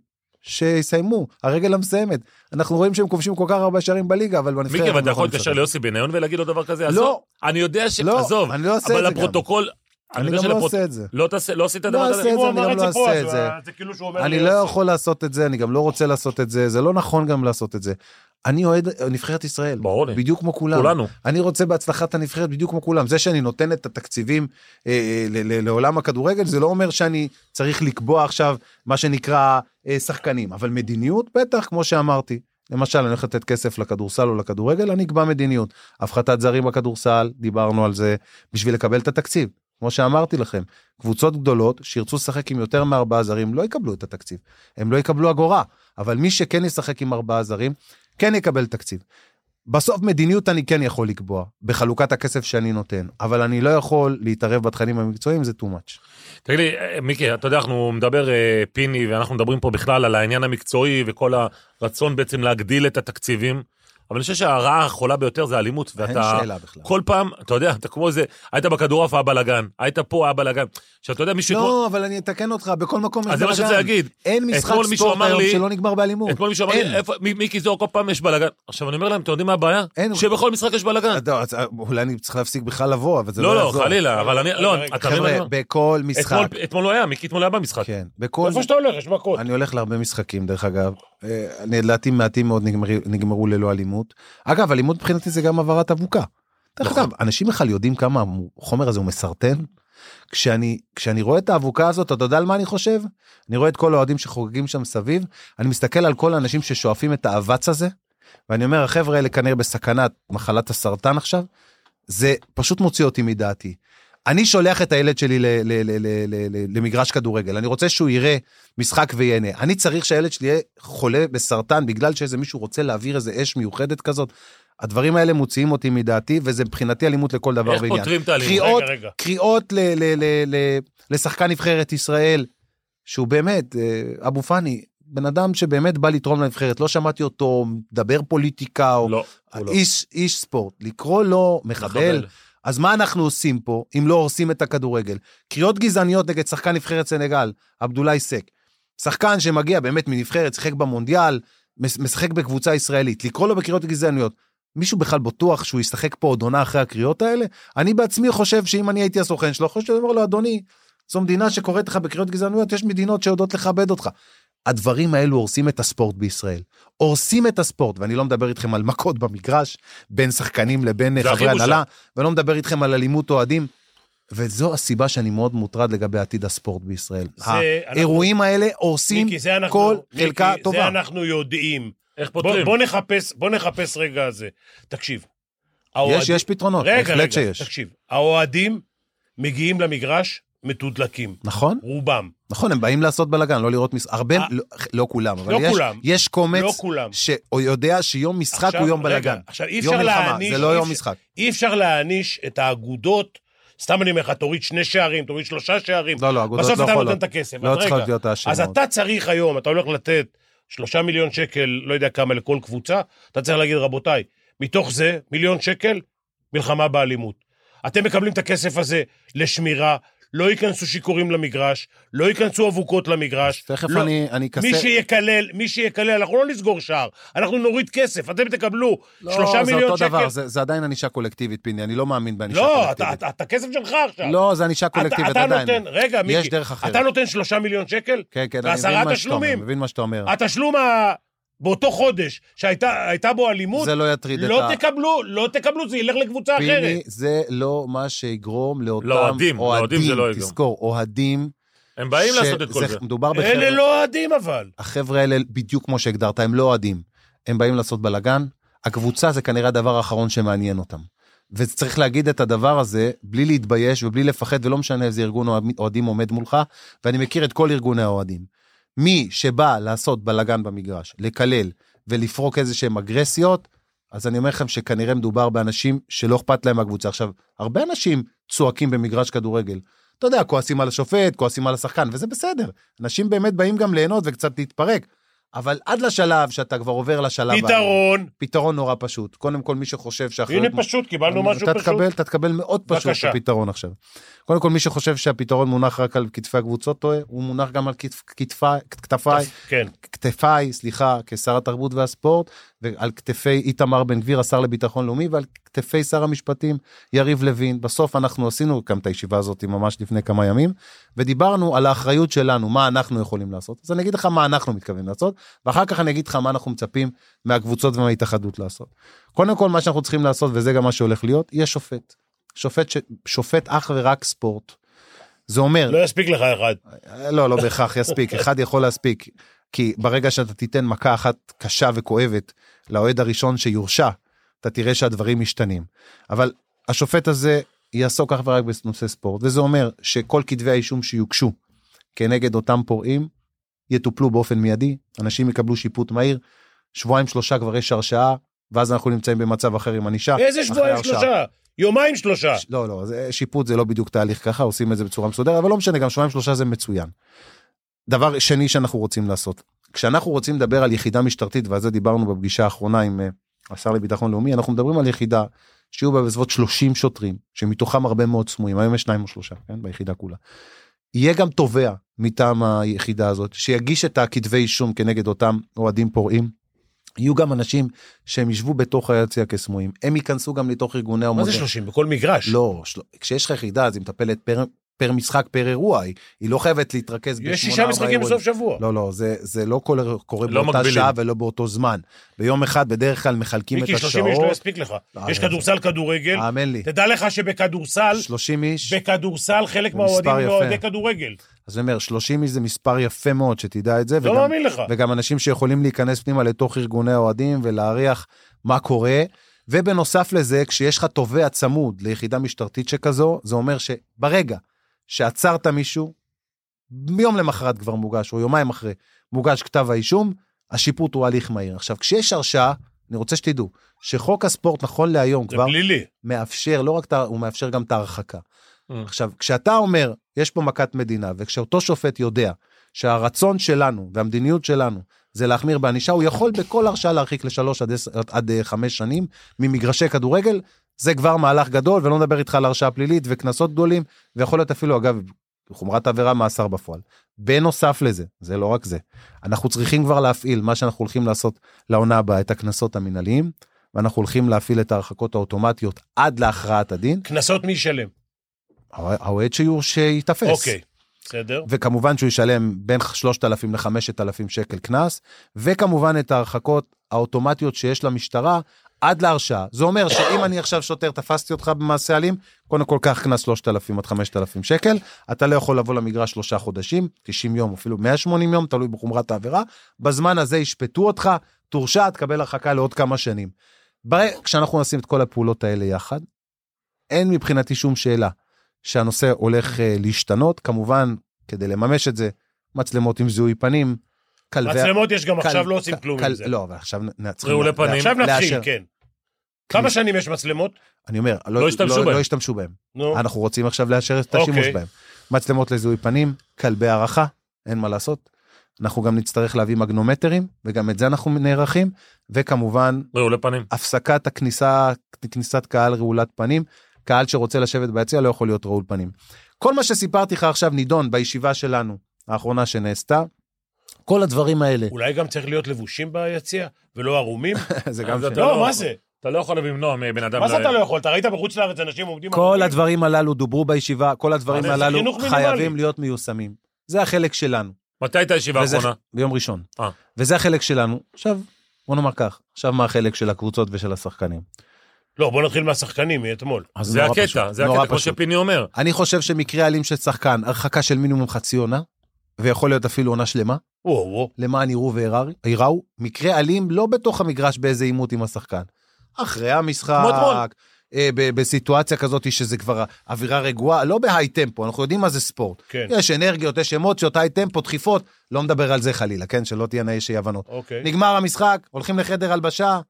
D: שיסיימו, הרגל המסיימת. אנחנו רואים שהם כובשים כל כך הרבה שערים בליגה, אבל בנבחרת...
C: מיקי, אבל
D: הם
C: אתה
D: לא
C: יכול
D: יכולים
C: להתקשר
D: לסדר.
C: ליוסי בניון ולהגיד לו דבר כזה?
D: לא.
C: עזוב, אני יודע ש...
D: לא,
C: עזוב,
D: אני לא אעשה את
C: אבל
D: זה
C: לפרוטוקול...
D: גם.
C: אני
D: אני גם
C: יודע
D: לא
C: שלפרוט-
D: עושה את זה.
C: לא תעשה, לא עשית את
D: לא
C: הדבר הזה?
D: אעשה את
B: הוא
D: זה, אני
B: אמר
D: גם
B: את
D: לא
B: זה פה,
D: אעשה
B: אז
D: את זה.
B: זה כאילו שהוא אומר...
D: אני
B: לי,
D: לא
B: "יוסי".
D: יכול לעשות את זה, אני גם לא רוצה לעשות את זה, זה לא נכון גם לעשות את זה. אני אוהד נבחרת ישראל,
C: ברור לי.
D: בדיוק כמו כולם.
C: כולנו.
D: אני רוצה בהצלחת הנבחרת בדיוק כמו כולם. זה שאני נותן את התקציבים אה, אה, ל- ל- לעולם הכדורגל, זה לא אומר שאני צריך לקבוע עכשיו מה שנקרא אה, שחקנים, אבל מדיניות בטח, כמו שאמרתי. למשל, אני הולך לתת כסף לכדורסל או לכדורגל, אני אקבע מדיניות. הפחתת זרים בכדורסל, דיברנו על זה, בשביל לקבל את התקציב. כמו שאמרתי לכם, קבוצות גדולות שירצו לשחק עם יותר מארבעה זרים לא יקבלו את התקציב. הם לא יקבלו אגורה, אבל מי שכן ישחק עם ארבעה זרים, כן יקבל תקציב. בסוף מדיניות אני כן יכול לקבוע, בחלוקת הכסף שאני נותן, אבל אני לא יכול להתערב בתכנים המקצועיים, זה too much.
C: תגיד לי, אה, מיקי, אתה יודע, אנחנו מדבר אה, פיני, ואנחנו מדברים פה בכלל על העניין המקצועי וכל הרצון בעצם להגדיל את התקציבים, אבל אני חושב שהרעה החולה ביותר זה אלימות,
D: אין
C: ואתה...
D: שאלה בכלל.
C: כל פעם, אתה יודע, אתה כמו איזה, היית בכדורעף, היה בלאגן, היית פה, היה בלאגן. שאתה יודע, מישהו... אתמול-
D: לא, אבל אני אתקן אותך, בכל מקום יש
C: אז זה מה שצריך
D: בלאגן.
C: להגיד.
D: אין משחק
C: אתמול מישהו
D: ספורט
C: אמר
D: היום
C: לי-
D: שלא נגמר באלימות.
C: אתמול מישהו אמר לי,
D: אין.
C: איפה, מ- מיקי זוהר, כל פעם יש בלאגן. עכשיו, אני אומר להם, אתם יודעים מה הבעיה?
D: אין.
C: שבכל משחק יש בלאגן.
D: לא, אז, אה, אולי אני צריך להפסיק בכלל לבוא, אבל זה לא
C: לא, לא,
D: יעזור.
C: חלילה, אבל אני, לא,
B: רגע,
C: אתה מבין מה אני
D: חבר'ה,
C: אומר?
D: בכל משחק,
C: אתמול- לא, אתמול לא היה, מיקי אתמול היה במשחק.
D: כן, בכל...
B: איפה שאתה הולך, יש מכות.
D: אני הולך להרבה משחקים, דרך אגב. אה, אני, לדעתי מעטים מאוד נגמרי- נגמרו ללא אלימות. אגב, אלימות מבחינתי זה גם הבערת אבוקה. דרך אגב, אנשים בכלל יודעים כמה החומר הזה הוא מסרטן? כשאני, כשאני רואה את האבוקה הזאת, אתה יודע על מה אני חושב? אני רואה את כל האוהדים שחוגגים שם סביב, אני מסתכל על כל האנשים ששואפים את האבץ הזה, ואני אומר, החבר'ה האלה כנראה בסכנת מחלת הסרטן עכשיו, זה פשוט מוציא אותי מדעתי. אני שולח את הילד שלי ל- ל- ל- ל- ל- ל- למגרש כדורגל, אני רוצה שהוא יראה משחק וייהנה. אני צריך שהילד שלי יהיה חולה בסרטן בגלל שאיזה מישהו רוצה להעביר איזה אש מיוחדת כזה. הדברים האלה מוציאים אותי מדעתי, וזה מבחינתי אלימות לכל דבר
C: איך
D: ועניין.
C: פותרים את האלימות?
D: לא קריאות,
B: רגע, רגע.
D: קריאות ל, ל, ל, ל, לשחקן נבחרת ישראל, שהוא באמת, אה, אבו פאני, בן אדם שבאמת בא לתרום לנבחרת, לא שמעתי אותו מדבר פוליטיקה, או
C: לא, הוא לא.
D: איש, איש ספורט, לקרוא לו מחבל,
C: מחבל.
D: אז מה אנחנו עושים פה אם לא הורסים את הכדורגל? קריאות גזעניות נגד שחקן נבחרת סנגל, עבדולאי סק. שחקן שמגיע באמת מנבחרת, שיחק במונדיאל, מש- משחק בקבוצה ישראלית, לקרוא לו בקריאות גזעניות. מישהו בכלל בטוח שהוא ישחק פה עוד עונה אחרי הקריאות האלה? אני בעצמי חושב שאם אני הייתי הסוכן שלו, יכול להיות שאני אומר לו, אדוני, זו מדינה שקוראת לך בקריאות גזענויות, יש מדינות שיודעות לכבד אותך. הדברים האלו הורסים את הספורט בישראל. הורסים את הספורט, ואני לא מדבר איתכם על מכות במגרש, בין שחקנים לבין
C: זה הכי
D: חברי
C: בושה.
D: הנהלה, ולא מדבר איתכם על אלימות אוהדים. וזו הסיבה שאני מאוד מוטרד לגבי עתיד הספורט בישראל.
B: זה-
D: האירועים האלה הורסים
B: מיקי, זה אנחנו-
D: כל
B: מיקי,
D: חלקה
B: זה
D: טובה.
B: אנחנו יודעים.
C: איך
B: בוא
C: פותרים?
B: בוא נחפש, בוא נחפש רגע זה. תקשיב.
D: יש,
B: האוהדים-
D: יש פתרונות,
B: רגע,
D: בהחלט
B: רגע,
D: שיש.
B: תקשיב. האוהדים מגיעים למגרש מתודלקים,
D: נכון,
B: רובם.
D: נכון, הם באים לעשות בלאגן, לא לראות משחק, הרבה,
B: אה.
D: לא- לא כולם, אבל
B: לא
D: יש-
B: כולם.
D: יש
B: לא
D: קומץ
B: כולם.
D: שיודע שיום משחק
B: עכשיו,
D: הוא יום
B: רגע,
D: בלאגן.
B: עכשיו, אי
D: יום
B: אפשר
D: מלחמה,
B: להעניש...
D: זה לא
B: אי
D: יום
B: אפשר-
D: משחק.
B: אי אפשר להעניש את האגודות, סתם אני אומר לך, תוריד שני שערים, תוריד שלושה שערים.
D: לא, לא, אגודות
B: בסוף
D: לא
B: אתה נותן
D: יכולות.
B: את הכסף.
D: לא
B: אז
D: צריכות
B: רגע,
D: להיות האשמות.
B: אז אתה צריך היום, אתה הולך לתת שלושה מיליון שקל, לא יודע כמה, לכל קבוצה, אתה צריך להגיד, רבותיי, מתוך זה, מיליון שקל, מלחמה באלימות. אתם מקבלים את הכסף הזה לשמירה, לא ייכנסו שיכורים למגרש, לא ייכנסו אבוקות למגרש.
D: תכף
B: לא.
D: אני, אני אכסה...
B: מי שיקלל, מי שיקלל, אנחנו לא נסגור שער, אנחנו נוריד כסף, אתם תקבלו שלושה
D: לא, זה
B: מיליון
D: אותו
B: שקל.
D: דבר, זה, זה עדיין ענישה קולקטיבית, פיני, אני לא מאמין בענישה
B: לא,
D: קולקטיבית.
B: אתה, אתה, אתה כסף שלך עכשיו.
D: לא, זה ענישה
B: אתה-
D: קולקטיבית,
B: אתה
D: עדיין.
B: נותן, רגע,
D: יש
B: מיקי.
D: דרך אחרת.
B: אתה נותן שלושה מיליון שקל?
D: כן, כן, אני מבין
B: ועשרה
D: מה שאתה אומר,
B: תשלומים.
D: מבין מה שאתה אומר.
B: התשלום ה... באותו חודש שהייתה הייתה בו אלימות,
D: זה לא יטריד את
B: לא
D: ה-
B: תקבלו, לא תקבלו, זה ילך לקבוצה אחרת.
D: פיני, זה לא מה שיגרום לאותם
C: לאוהדים, לאוהדים זה לא
D: אוהדים,
C: יגרום.
D: תזכור, אוהדים...
C: הם באים
D: ש-
C: לעשות את כל זה.
D: מדובר
B: אלה
D: בחבר'ה,
B: לא אוהדים אבל.
D: החבר'ה האלה, בדיוק כמו שהגדרת, הם לא אוהדים. הם באים לעשות בלאגן, הקבוצה זה כנראה הדבר האחרון שמעניין אותם. וצריך להגיד את הדבר הזה בלי להתבייש ובלי לפחד, ולא משנה איזה ארגון אוהד- אוהדים עומד מולך, ואני מכיר את כל ארגוני האוהדים. מי שבא לעשות בלאגן במגרש, לקלל ולפרוק איזה שהם אגרסיות, אז אני אומר לכם שכנראה מדובר באנשים שלא אכפת להם מהקבוצה. עכשיו, הרבה אנשים צועקים במגרש כדורגל. אתה יודע, כועסים על השופט, כועסים על השחקן, וזה בסדר. אנשים באמת באים גם ליהנות וקצת להתפרק. אבל עד לשלב שאתה כבר עובר לשלב...
B: פתרון.
D: פתרון נורא פשוט. קודם כל, מי שחושב שאחריות...
B: הנה פשוט, קיבלנו משהו
D: אתה
B: פשוט.
D: תקבל, אתה תקבל מאוד פשוט את
B: בבקשה.
D: הפתרון עכשיו. קודם כל, מי שחושב שהפתרון מונח רק על כתפי הקבוצות טועה, הוא מונח גם על כתפ- כתפיי, כתפיי,
B: כן.
D: כתפיי, סליחה, כשר התרבות והספורט, ועל כתפי איתמר בן גביר, השר לביטחון לאומי, ועל כתפי שר המשפטים יריב לוין. בסוף אנחנו עשינו גם את הישיבה הזאת ממש לפני כמה ימים, ודיברנו על האחריות שלנו, מה אנחנו יכולים לעשות. אז אני אגיד לך מה אנחנו מתכוונים לעשות, ואחר כך אני אגיד לך מה אנחנו מצפים מהקבוצות ומההתאחדות לעשות. קודם כל, מה שאנחנו צריכים לעשות, וזה גם מה שהולך להיות, יהיה שופט. שופט, ש... שופט אך ורק ספורט. זה אומר,
B: לא יספיק לך אחד.
D: לא, לא בהכרח יספיק, אחד יכול להספיק. כי ברגע שאתה תיתן מכה אחת קשה וכואבת לאוהד הראשון שיורשע, אתה תראה שהדברים משתנים. אבל השופט הזה יעסוק אך ורק בנושא ספורט, וזה אומר שכל כתבי האישום שיוגשו כנגד אותם פורעים, יטופלו באופן מיידי, אנשים יקבלו שיפוט מהיר, שבועיים שלושה כבר יש הרשעה, ואז אנחנו נמצאים במצב אחר עם ענישה.
B: איזה
D: אחרי
B: שבועיים
D: הרשעה.
B: שלושה? יומיים שלושה.
D: לא, לא, זה, שיפוט זה לא בדיוק תהליך ככה, עושים את זה בצורה מסודרת, אבל לא משנה, גם שבועיים שלושה זה מצוין. דבר שני שאנחנו רוצים לעשות, כשאנחנו רוצים לדבר על יחידה משטרתית, ועל זה דיברנו בפגישה האחרונה עם אה, השר לביטחון לאומי, אנחנו מדברים על יחידה שיהיו בה בסביבות 30 שוטרים, שמתוכם הרבה מאוד סמויים, היום יש שניים או שלושה, כן, ביחידה כולה. יהיה גם תובע מטעם היחידה הזאת, שיגיש את הכתבי אישום כנגד אותם אוהדים פורעים. יהיו גם אנשים שהם ישבו בתוך היציע כסמויים, הם ייכנסו גם לתוך ארגוני
B: מה
D: המודיעין.
B: זה שלושים? בכל מגרש.
D: לא, של... כשיש לך יחידה אז היא מטפלת פר, פר משחק פר אירוע, היא, היא לא חייבת
B: יש
D: להתרכז בשמונה,
B: שישה
D: ארבעה
B: משחקים
D: אירועים.
B: בסוף שבוע.
D: לא, לא, זה, זה לא כל, קורה
C: לא
D: באותה
C: מגבילים.
D: שעה ולא באותו זמן. ביום אחד בדרך כלל מחלקים את
B: מיקי, 30 איש לא
D: השעות,
B: יספיק לך.
D: לא, אה.
B: יש
D: אני-
B: כדורסל, כדורגל.
D: האמן לי,
B: תדע לך שבכדורסל,
D: 30 איש,
B: בכדורסל חלק
D: זה
B: מהאוהדים
D: מספר
B: הם לא
D: יפה.
B: אוהדי כדורגל.
D: אז אני אומר, 30 איש זה מספר יפה מאוד, שתדע את זה,
B: לא
D: וגם,
B: מאמין לך.
D: וגם אנשים שיכולים להיכנס פנימה לתוך ארגוני האוהדים ולהריח מה קורה. ובנוסף לזה, כשיש לך תובע צמוד ליחידה משטרתית שכזו, זה אומר שברגע שעצרת מישהו, יום למחרת כבר מוגש, או יומיים אחרי, מוגש כתב האישום, השיפוט הוא הליך מהיר. עכשיו, כשיש הרשעה, אני רוצה שתדעו, שחוק הספורט נכון להיום
B: זה
D: כבר...
B: פלילי.
D: מאפשר, לא רק, את ה- הוא מאפשר גם את ההרחקה.
C: Mm.
D: עכשיו, כשאתה אומר, יש פה מכת מדינה, וכשאותו שופט יודע שהרצון שלנו והמדיניות שלנו זה להחמיר בענישה, הוא יכול בכל הרשעה להרחיק לשלוש עד, עשר- עד אה, חמש שנים ממגרשי כדורגל, זה כבר מהלך גדול, ולא נדבר איתך על הרשעה פלילית וקנסות גדולים, ויכול להיות אפילו, אגב, חומרת עבירה, מאסר בפועל. בנוסף לזה, זה לא רק זה, אנחנו צריכים כבר להפעיל מה שאנחנו הולכים לעשות לעונה הבאה, את הקנסות המנהליים, ואנחנו הולכים להפעיל את ההרחקות האוטומטיות עד להכרעת הדין,
B: קנסות מי ישלם?
D: האוהד שיור שייתפס.
B: אוקיי, בסדר.
D: וכמובן שהוא ישלם בין 3,000 ל-5,000 שקל קנס, וכמובן את ההרחקות האוטומטיות שיש למשטרה עד להרשעה. זה אומר שאם אני עכשיו שוטר, תפסתי אותך במעשה אלים, קודם כל קח קנס 3,000 עד 5,000 שקל, אתה לא יכול לבוא למגרש שלושה חודשים, 90 יום, אפילו 180 יום, תלוי בחומרת העבירה, בזמן הזה ישפטו אותך, תורשע, תקבל הרחקה לעוד כמה שנים. בר- כשאנחנו נשים את כל הפעולות האלה יחד, אין מבחינתי שום שאלה שהנושא הולך אה, להשתנות. כמובן, כדי לממש את זה, מצלמות עם זיהוי פנים, כלבי...
B: מצלמות יש גם עכשיו,
D: כל-
B: לא עושים
D: כל-
B: כלום
D: כל-
B: עם זה.
D: לא, אבל עכשיו נ- צריכים...
C: רעולי
D: לה-
C: פנים.
B: עכשיו נתחיל,
D: לאשר.
B: כן. כמה שנים יש מצלמות?
D: אני אומר, לא,
C: לא השתמשו
D: לא,
C: בהם.
D: לא השתמשו בהם.
B: נו,
D: אנחנו רוצים עכשיו לאשר את
B: אוקיי.
D: השימוש בהם. מצלמות לזיהוי פנים, כלבי הערכה, אין מה לעשות. אנחנו גם נצטרך להביא מגנומטרים, וגם את זה אנחנו נערכים, וכמובן,
C: רעולי פנים.
D: הפסקת הכניסה, כניסת קהל רעולת פנים, קהל שרוצה לשבת ביציע לא יכול להיות רעול פנים. כל מה שסיפרתי לך עכשיו נידון בישיבה שלנו, האחרונה שנעשתה. כל הדברים האלה.
B: אולי גם צריך להיות לבושים ביציע, ולא ערומים?
D: אה, זה גם
C: אז
D: ש-
C: אתה
B: לא,
C: לא-
B: מה זה?
C: אתה לא יכול למנוע מבן אדם...
B: מה זה
C: לא-
B: אתה לא יכול? אתה ראית בחוץ לארץ אנשים עומדים...
D: כל
B: ערומים?
D: הדברים הללו דוברו בישיבה, כל הדברים
B: אבל זה
D: הללו
B: חינוך מינימלי.
D: חייבים להיות מיושמים. זה החלק שלנו.
C: מתי הייתה הישיבה
D: וזה-
C: האחרונה?
D: ביום ראשון.
C: אה.
D: וזה החלק שלנו. עכשיו, בוא נאמר כך, עכשיו מה החלק של הקבוצות ושל השחקנים.
B: לא, בוא נתחיל מהשחקנים, מאתמול.
D: אז
C: זה
D: נורא
C: הקטע,
D: פשוט,
C: זה
D: לא נורא
C: הקטע, כמו
D: פשוט.
C: שפיני אומר.
D: אני חושב שמקרה אלים של שחקן, הרחקה של מינימום חצי עונה, ויכול להיות אפילו עונה שלמה,
B: וואו, וואו.
D: למען יראו וייראו, מקרה אלים לא בתוך המגרש באיזה עימות עם השחקן. אחרי
C: כמו אתמול.
D: המשחק, אה, ב- בסיטואציה כזאת שזה כבר אווירה רגועה, לא בהיי טמפו, אנחנו יודעים מה זה ספורט.
B: כן,
D: יש אנרגיות, יש אמוציות, היי טמפו, דחיפות, לא מדבר על זה חלילה, כן? שלא תהיינה יש אי הבנות.
B: אוקיי.
D: נגמר המשחק, הולכים לחדר הלבשה,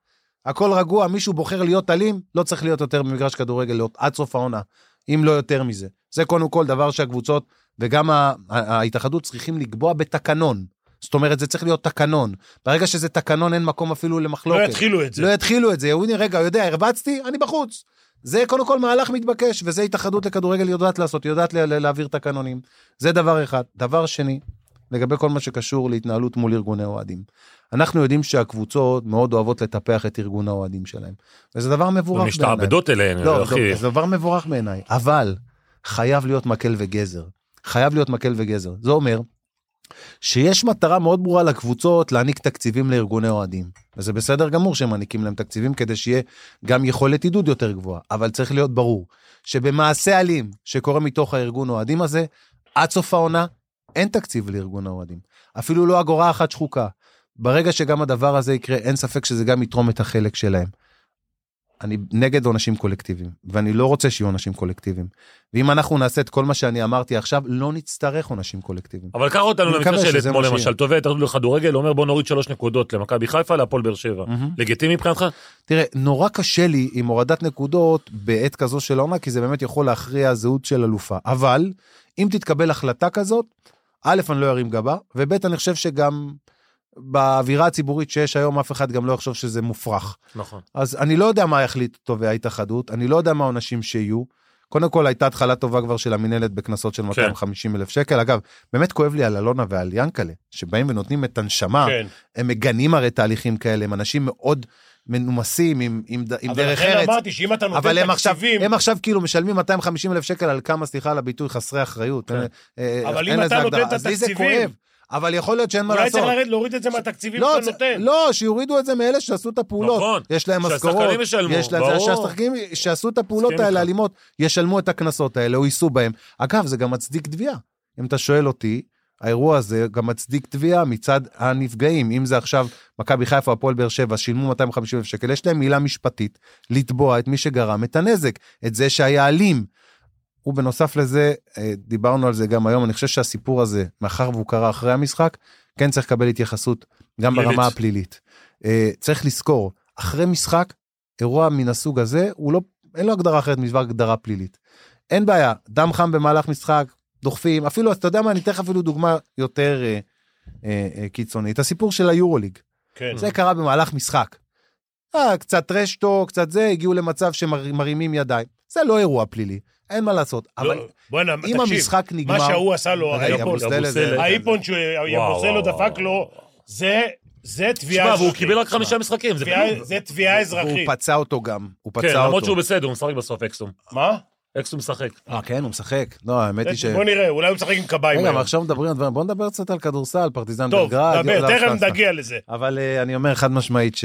D: הכל רגוע, מישהו בוחר להיות אלים, לא צריך להיות יותר במגרש כדורגל להיות עד סוף העונה, אם לא יותר מזה. זה קודם כל דבר שהקבוצות וגם ה- ה- ההתאחדות צריכים לקבוע בתקנון. זאת אומרת, זה צריך להיות תקנון. ברגע שזה תקנון, אין מקום אפילו למחלוקת.
B: לא יתחילו את זה.
D: לא יתחילו את זה. הוא הנה, רגע, יודע, הרבצתי, אני בחוץ. זה קודם כל מהלך מתבקש, וזה התאחדות לכדורגל יודעת לעשות, היא יודעת לה- לה- להעביר תקנונים. זה דבר אחד. דבר שני, לגבי כל מה שקשור להתנהלות מול ארגוני אוהדים. אנחנו יודעים שהקבוצות מאוד אוהבות לטפח את ארגון האוהדים שלהם, וזה דבר מבורך בעיניי.
C: משתעבדות אליהן,
D: לא,
C: כן, אחי.
D: זה דבר מבורך בעיניי, אבל חייב להיות מקל וגזר. חייב להיות מקל וגזר. זה אומר שיש מטרה מאוד ברורה לקבוצות להעניק תקציבים לארגוני אוהדים. וזה בסדר גמור שהם מעניקים להם תקציבים כדי שיהיה גם יכולת עידוד יותר גבוהה, אבל צריך להיות ברור שבמעשה אלים שקורה מתוך הארגון אוהדים הזה, עד סוף העונה אין תקציב לארגון האוהדים. אפילו לא אגורה אחת שחוקה. ברגע שגם הדבר הזה יקרה, אין ספק שזה גם יתרום את החלק שלהם. אני נגד עונשים קולקטיביים, ואני לא רוצה שיהיו עונשים קולקטיביים. ואם אנחנו נעשה את כל מה שאני אמרתי עכשיו, לא נצטרך עונשים קולקטיביים.
C: אבל קח אותנו
D: אני
C: למקרה
D: מקווה
C: של
D: שזה
C: אתמול
D: מה שיהיה.
C: למשל, תובע התאחדות לכדורגל, אומר בוא נוריד שלוש נקודות למכבי חיפה, להפועל באר שבע. לגיטימי מבחינתך?
D: תראה, נורא קשה לי עם הורדת נקודות בעת כזו של העונה, כי זה באמת יכול להכריע זהות של אלופה. אבל, אם תתקבל החלטה כזאת, א', אני לא ארים גבה, וב', אני חושב שגם באווירה הציבורית שיש היום, אף אחד גם לא יחשוב שזה מופרך.
C: נכון.
D: אז אני לא יודע מה יחליט תובע ההתאחדות, אני לא יודע מה העונשים שיהיו. קודם כל הייתה התחלה טובה כבר של המינהלת בקנסות
B: כן.
D: של 250 אלף שקל. אגב, באמת כואב לי על אלונה ועל ינקלה, שבאים ונותנים את הנשמה,
B: כן.
D: הם מגנים הרי תהליכים כאלה, הם אנשים מאוד מנומסים עם, עם, ד- עם
B: אבל
D: דרך
B: לכן
D: ארץ.
B: אמרתי שאם אתה
D: אבל הם
B: נותן
D: עכשיו,
B: תקציבים,
D: הם עכשיו כאילו משלמים 250 אלף שקל על כמה, סליחה על הביטוי, חסרי אחריות.
C: כן.
D: אין- אה,
B: אבל אם
D: אין
B: אתה
D: לזה
B: נותן
D: הגדרה.
B: את
D: אז לי זה
B: התקציבים-
D: כואב, אבל יכול להיות שאין מה
B: אולי
D: לעשות.
B: צריך לרד- להוריד את זה מהתקציבים
D: לא,
B: שאתה
D: זה-
B: נותן.
D: לא, שיורידו את זה מאלה שעשו את הפעולות.
C: נכון.
D: יש להם
C: שהשחקנים
D: משכורות.
C: ישלמו,
D: יש להם,
C: ברור.
D: שהשחקנים שעשו את הפעולות
C: מסכים
D: האלה,
C: איתך.
D: האלימות, ישלמו את הקנסות האלה או ייסעו בהם. אגב, זה גם מצדיק תביעה. אם אתה שואל אותי, האירוע הזה גם מצדיק תביעה מצד הנפגעים. אם זה עכשיו מכבי חיפה, הפועל באר שבע, שילמו 250 אלף שקל, יש להם עילה משפטית לתבוע את מי שגרם את הנזק, את זה שהיה אלים. ובנוסף לזה, אה, דיברנו על זה גם היום, אני חושב שהסיפור הזה, מאחר והוא קרה אחרי המשחק, כן צריך לקבל התייחסות גם
C: פלילית.
D: ברמה הפלילית. אה, צריך לזכור, אחרי משחק, אירוע מן הסוג הזה, הוא לא, אין לו הגדרה אחרת מלבד הגדרה פלילית. אין בעיה, דם חם במהלך משחק, דוחפים, אפילו, אז אתה יודע מה, אני אתן לך אפילו דוגמה יותר אה, אה, אה, קיצונית, הסיפור של היורוליג.
B: כן.
D: זה קרה במהלך משחק. אה, קצת רשטו, קצת זה, הגיעו למצב שמרימים ידיים. זה לא אירוע פלילי, אין מה לעשות. אבל
B: לא, בוא'נה,
D: אם
B: תקשיב,
D: המשחק
B: מה
D: נגמר...
B: שההוא עשה לו,
D: רגע,
B: היפון-
D: אבוסטלה
C: אבוסטלה.
D: זה-
B: האיפון שיבוסלו
C: וואו,
B: דפק לו, זה זה תביעה
C: תשמע, והוא
B: אזרחית.
C: קיבל רק חמישה משחקים, זה
B: תביעה-
C: כלום.
B: זה תביעה
D: הוא
B: אזרחית.
D: פצע אותו גם, הוא
C: כן,
D: פצע
C: למרות שהוא
D: אותו.
C: בסדר, הוא משחק בסוף אקסום.
B: מה?
C: אקסום משחק.
D: אה, כן, הוא משחק. לא, האמת היא ש...
B: בוא נראה, אולי הוא משחק עם קביים
D: רגע,
B: היום.
D: אבל עכשיו מדברים על דברים, בוא נדבר קצת על כדורסל, פרטיזן
B: טוב,
D: בלגרד.
B: דבר,
D: יאללה,
B: תכף
D: סטסטה.
B: נגיע לזה.
D: אבל אה, אני אומר חד משמעית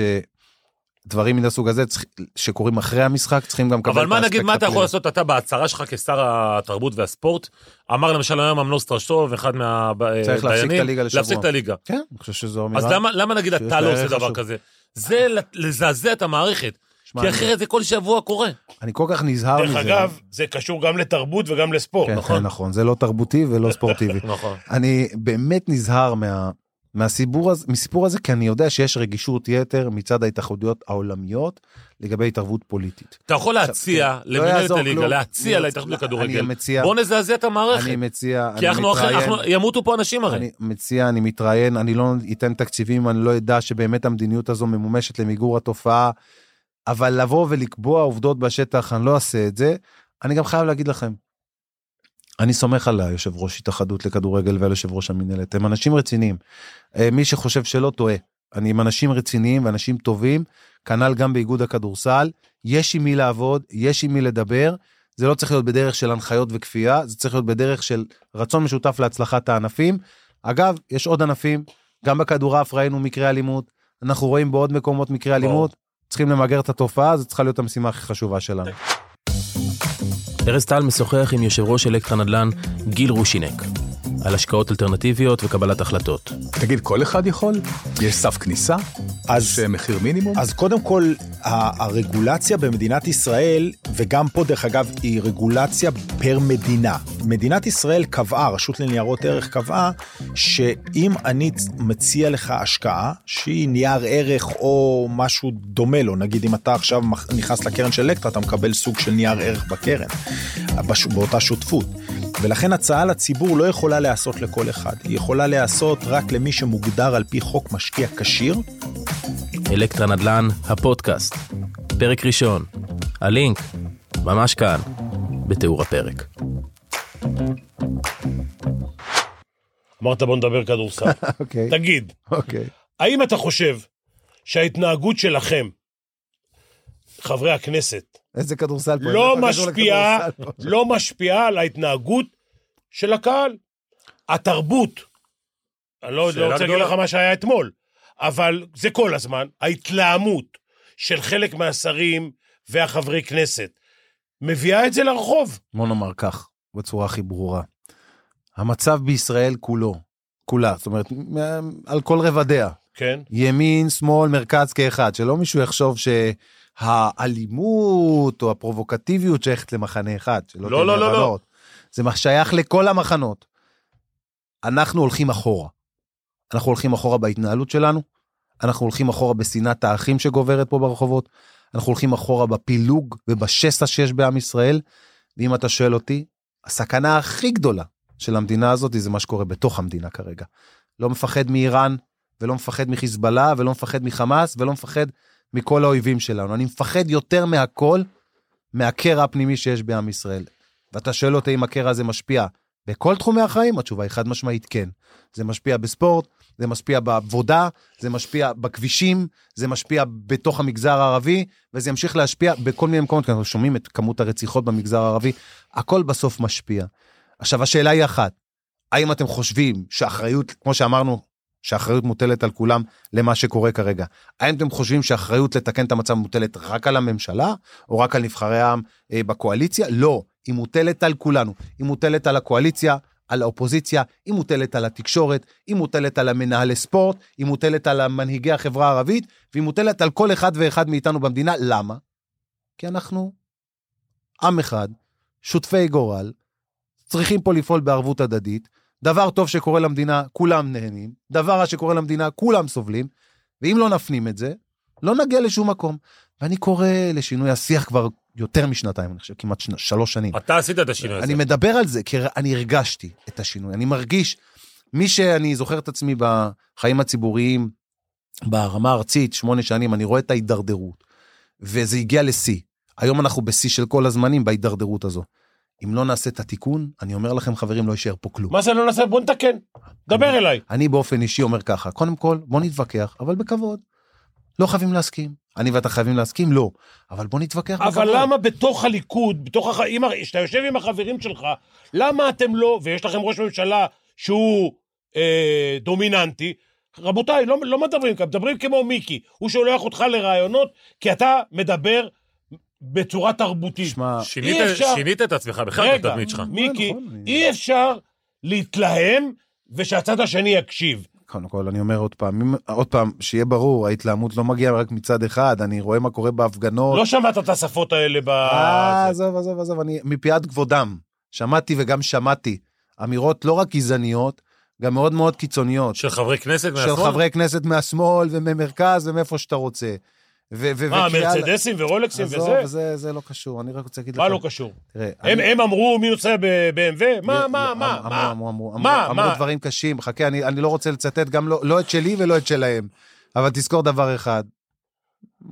D: שדברים מן הסוג הזה צריך- שקורים אחרי המשחק צריכים גם לקבל את
C: אבל מה
D: האספקט
C: נגיד, מה אתה יכול
D: הפלילי.
C: לעשות אתה בהצהרה שלך כשר התרבות והספורט? אמר למשל היום אמנון סטרשוב, אחד מהדיינים,
D: צריך להפסיק את הליגה לשבוע.
C: להפסיק את הליגה.
D: כן, אני חושב שזו אמירה.
C: אז למה- למה נגיד
D: שיש
C: אתה
D: לה
C: לא עושה
D: ערך
C: דבר
D: חשוב.
C: כזה? זה לזעזע את המערכת,
D: שמע,
C: כי
D: אני-
C: אחרת זה כל שבוע קורה.
D: אני כל כך נזהר מזה.
B: דרך אגב, זה קשור גם לתרבות וגם לספורט,
D: כן,
B: נכון?
D: כן, נכון, זה לא תרבותי ולא ספורטיבי.
C: נכון.
D: אני באמת נזהר מה, מהסיפור, הזה, מסיפור הזה, כי אני יודע שיש רגישות יתר מצד ההתאחדויות העולמיות לגבי התערבות פוליטית.
C: אתה יכול להציע
D: כן, לא
C: למנהלת
D: יעזור
C: הליגה,
D: כלום.
C: להציע
D: אני-
C: להתאחדות
D: אני
C: לכדורגל.
D: מציע-
C: בוא נזעזע את המערכת.
D: אני מציע,
C: אוקיי. כי
D: אני
C: אנחנו אחרי,
D: מתראיין,
C: אנחנו- ימותו פה אנשים הרי.
D: אני מציע, אני מתראיין, אני לא אתן תקציבים, אני לא אדע שבאמת המדיניות הזו ממומשת למיגור התופעה, אבל לבוא ולקבוע עובדות בשטח, אני לא אעשה את זה. אני גם חייב להגיד לכם, אני סומך על היושב ראש התאחדות לכדורגל ועל יושב ראש המינהלת, הם אנשים רציניים. אה, מי שחושב שלא טועה, אני עם אנשים רציניים ואנשים טובים, כנ"ל גם באיגוד הכדורסל, יש עם מי לעבוד, יש עם מי לדבר, זה לא צריך להיות בדרך של הנחיות וכפייה, זה צריך להיות בדרך של רצון משותף להצלחת הענפים. אגב, יש עוד ענפים, גם בכדורעף ראינו מקרי אלימות, אנחנו רואים בעוד מקומות מקרי אלימות, צריכים למגר את התופעה, זו צריכה להיות המשימה הכי חשובה שלנו.
A: ארז טל משוחח עם יושב ראש אלקטרה נדל"ן גיל רושינק על השקעות אלטרנטיביות וקבלת החלטות.
E: תגיד, כל אחד יכול? יש סף כניסה?
F: אז,
E: יש אה, מחיר מינימום?
F: אז קודם כל, ה- הרגולציה במדינת ישראל, וגם פה דרך אגב, היא רגולציה פר מדינה. מדינת ישראל קבעה, הרשות לניירות ערך קבעה, שאם אני מציע לך השקעה, שהיא נייר ערך או משהו דומה לו, נגיד אם אתה עכשיו מח- נכנס לקרן של אלקטרה, אתה מקבל סוג של נייר ערך בקרן, בש- באותה שותפות. ולכן הצעה לציבור לא יכולה להיעשות לכל אחד, היא יכולה להיעשות רק למי שמוגדר על פי חוק משקיע כשיר,
A: אלקטרה נדל"ן, הפודקאסט. פרק ראשון. הלינק, ממש כאן, בתיאור הפרק.
B: אמרת בוא נדבר כדורסל.
D: אוקיי,
B: תגיד,
D: אוקיי.
B: האם אתה חושב שההתנהגות שלכם, חברי הכנסת,
D: איזה כדורסל פה?
B: לא
D: איזה כדור
B: משפיעה,
D: לכדורסל פה?
B: לא משפיעה על ההתנהגות של הקהל? התרבות, אני לא,
C: שאלה
B: לא רוצה להגיד
C: גדולה.
B: לך מה שהיה אתמול, אבל זה כל הזמן, ההתלהמות של חלק מהשרים והחברי כנסת מביאה את זה לרחוב.
D: בוא נאמר כך, בצורה הכי ברורה. המצב בישראל כולו, כולה, זאת אומרת, מ- על כל רבדיה,
B: כן.
D: ימין, שמאל, מרכז כאחד, שלא מישהו יחשוב שהאלימות או הפרובוקטיביות שייכת למחנה אחד, שלא
C: לא,
D: תהיינה
C: לא, לא, לא.
D: הבנות. זה מה שייך לכל המחנות. אנחנו הולכים אחורה. אנחנו הולכים אחורה בהתנהלות שלנו, אנחנו הולכים אחורה בשנאת האחים שגוברת פה ברחובות, אנחנו הולכים אחורה בפילוג ובשסע שיש בעם ישראל, ואם אתה שואל אותי, הסכנה הכי גדולה של המדינה הזאת זה מה שקורה בתוך המדינה כרגע. לא מפחד מאיראן, ולא מפחד מחיזבאללה, ולא מפחד מחמאס, ולא מפחד מכל האויבים שלנו. אני מפחד יותר מהכל, מהקרע הפנימי שיש בעם ישראל. ואתה שואל אותי אם הקרע הזה משפיע בכל תחומי החיים? התשובה היא חד משמעית כן. זה משפיע בספורט, זה משפיע בעבודה, זה משפיע בכבישים, זה משפיע בתוך המגזר הערבי, וזה ימשיך להשפיע בכל מיני מקומות, כי אנחנו שומעים את כמות הרציחות במגזר הערבי, הכל בסוף משפיע. עכשיו, השאלה היא אחת, האם אתם חושבים שאחריות, כמו שאמרנו, שהאחריות מוטלת על כולם למה שקורה כרגע. האם אתם חושבים שהאחריות לתקן את המצב מוטלת רק על הממשלה, או רק על נבחרי העם אה, בקואליציה? לא, היא מוטלת על כולנו. היא מוטלת על הקואליציה, על האופוזיציה, היא מוטלת על התקשורת, היא מוטלת על המנהלי ספורט, היא מוטלת על מנהיגי החברה הערבית, והיא מוטלת על כל אחד ואחד מאיתנו במדינה. למה? כי אנחנו עם אחד, שותפי גורל, צריכים פה לפעול בערבות הדדית. דבר טוב שקורה למדינה, כולם נהנים, דבר רע שקורה למדינה, כולם סובלים, ואם לא נפנים את זה, לא נגיע לשום מקום. ואני קורא לשינוי השיח כבר יותר משנתיים, אני חושב, כמעט שנ... שלוש שנים.
C: אתה עשית את השינוי הזה.
D: אני מדבר על זה, כי אני הרגשתי את השינוי. אני מרגיש, מי שאני זוכר את עצמי בחיים הציבוריים, ברמה הארצית, שמונה שנים, אני רואה את ההידרדרות. וזה הגיע לשיא. היום אנחנו בשיא של כל הזמנים בהידרדרות הזו. אם לא נעשה את התיקון, אני אומר לכם, חברים, לא יישאר פה כלום.
B: מה זה לא נעשה? בוא נתקן. דבר אליי.
D: אני באופן אישי אומר ככה, קודם כל, בוא נתווכח, אבל בכבוד. לא חייבים להסכים. אני ואתה חייבים להסכים? לא. אבל בוא נתווכח בכבוד.
B: אבל למה בתוך הליכוד, בתוך הח... אם... כשאתה יושב עם החברים שלך, למה אתם לא, ויש לכם ראש ממשלה שהוא אה, דומיננטי, רבותיי, לא, לא מדברים ככה, מדברים כמו מיקי, הוא שולח אותך לרעיונות, כי אתה מדבר בצורה תרבותית.
D: שמע,
C: שינית-
B: אי אפשר-
C: שינית את עצמך בכלל את
B: רגע,
C: התדמית שלך.
B: מיקי,
D: נכון, אני-
B: אי אפשר להתלהם ושהצד השני יקשיב.
D: קודם כל, אני אומר עוד פעם, אם- עוד פעם, שיהיה ברור, ההתלהמות לא מגיעה רק מצד אחד, אני רואה מה קורה בהפגנות.
B: לא שמעת את השפות האלה ב...
D: אה, עזוב, עזוב, עזוב, אני מפאת כבודם. שמעתי וגם שמעתי אמירות לא רק גזעניות, גם מאוד מאוד קיצוניות.
C: של חברי כנסת
D: של
C: מהשמאל?
D: חברי כנסת מהשמאל וממרכז ומאיפה שאתה רוצה. ו- ו-
B: מה,
D: וקריאה-
B: מרצדסים ורולקסים
D: עזוב,
B: וזה?
D: זה- זה לא קשור, אני רק רוצה להגיד לך...
B: מה לא קשור?
D: תראה,
B: הם,
D: אני-
B: הם אמרו מי נוסע ב-BMW? מה,
D: לא,
B: מה,
D: אמ-
B: מה,
D: אמרו,
B: מה?
D: אמרו, אמרו,
B: מה,
D: אמרו,
B: מה?
D: אמרו דברים קשים, חכה, אני, אני לא רוצה לצטט גם לא, לא את שלי ולא את שלהם. אבל תזכור דבר אחד,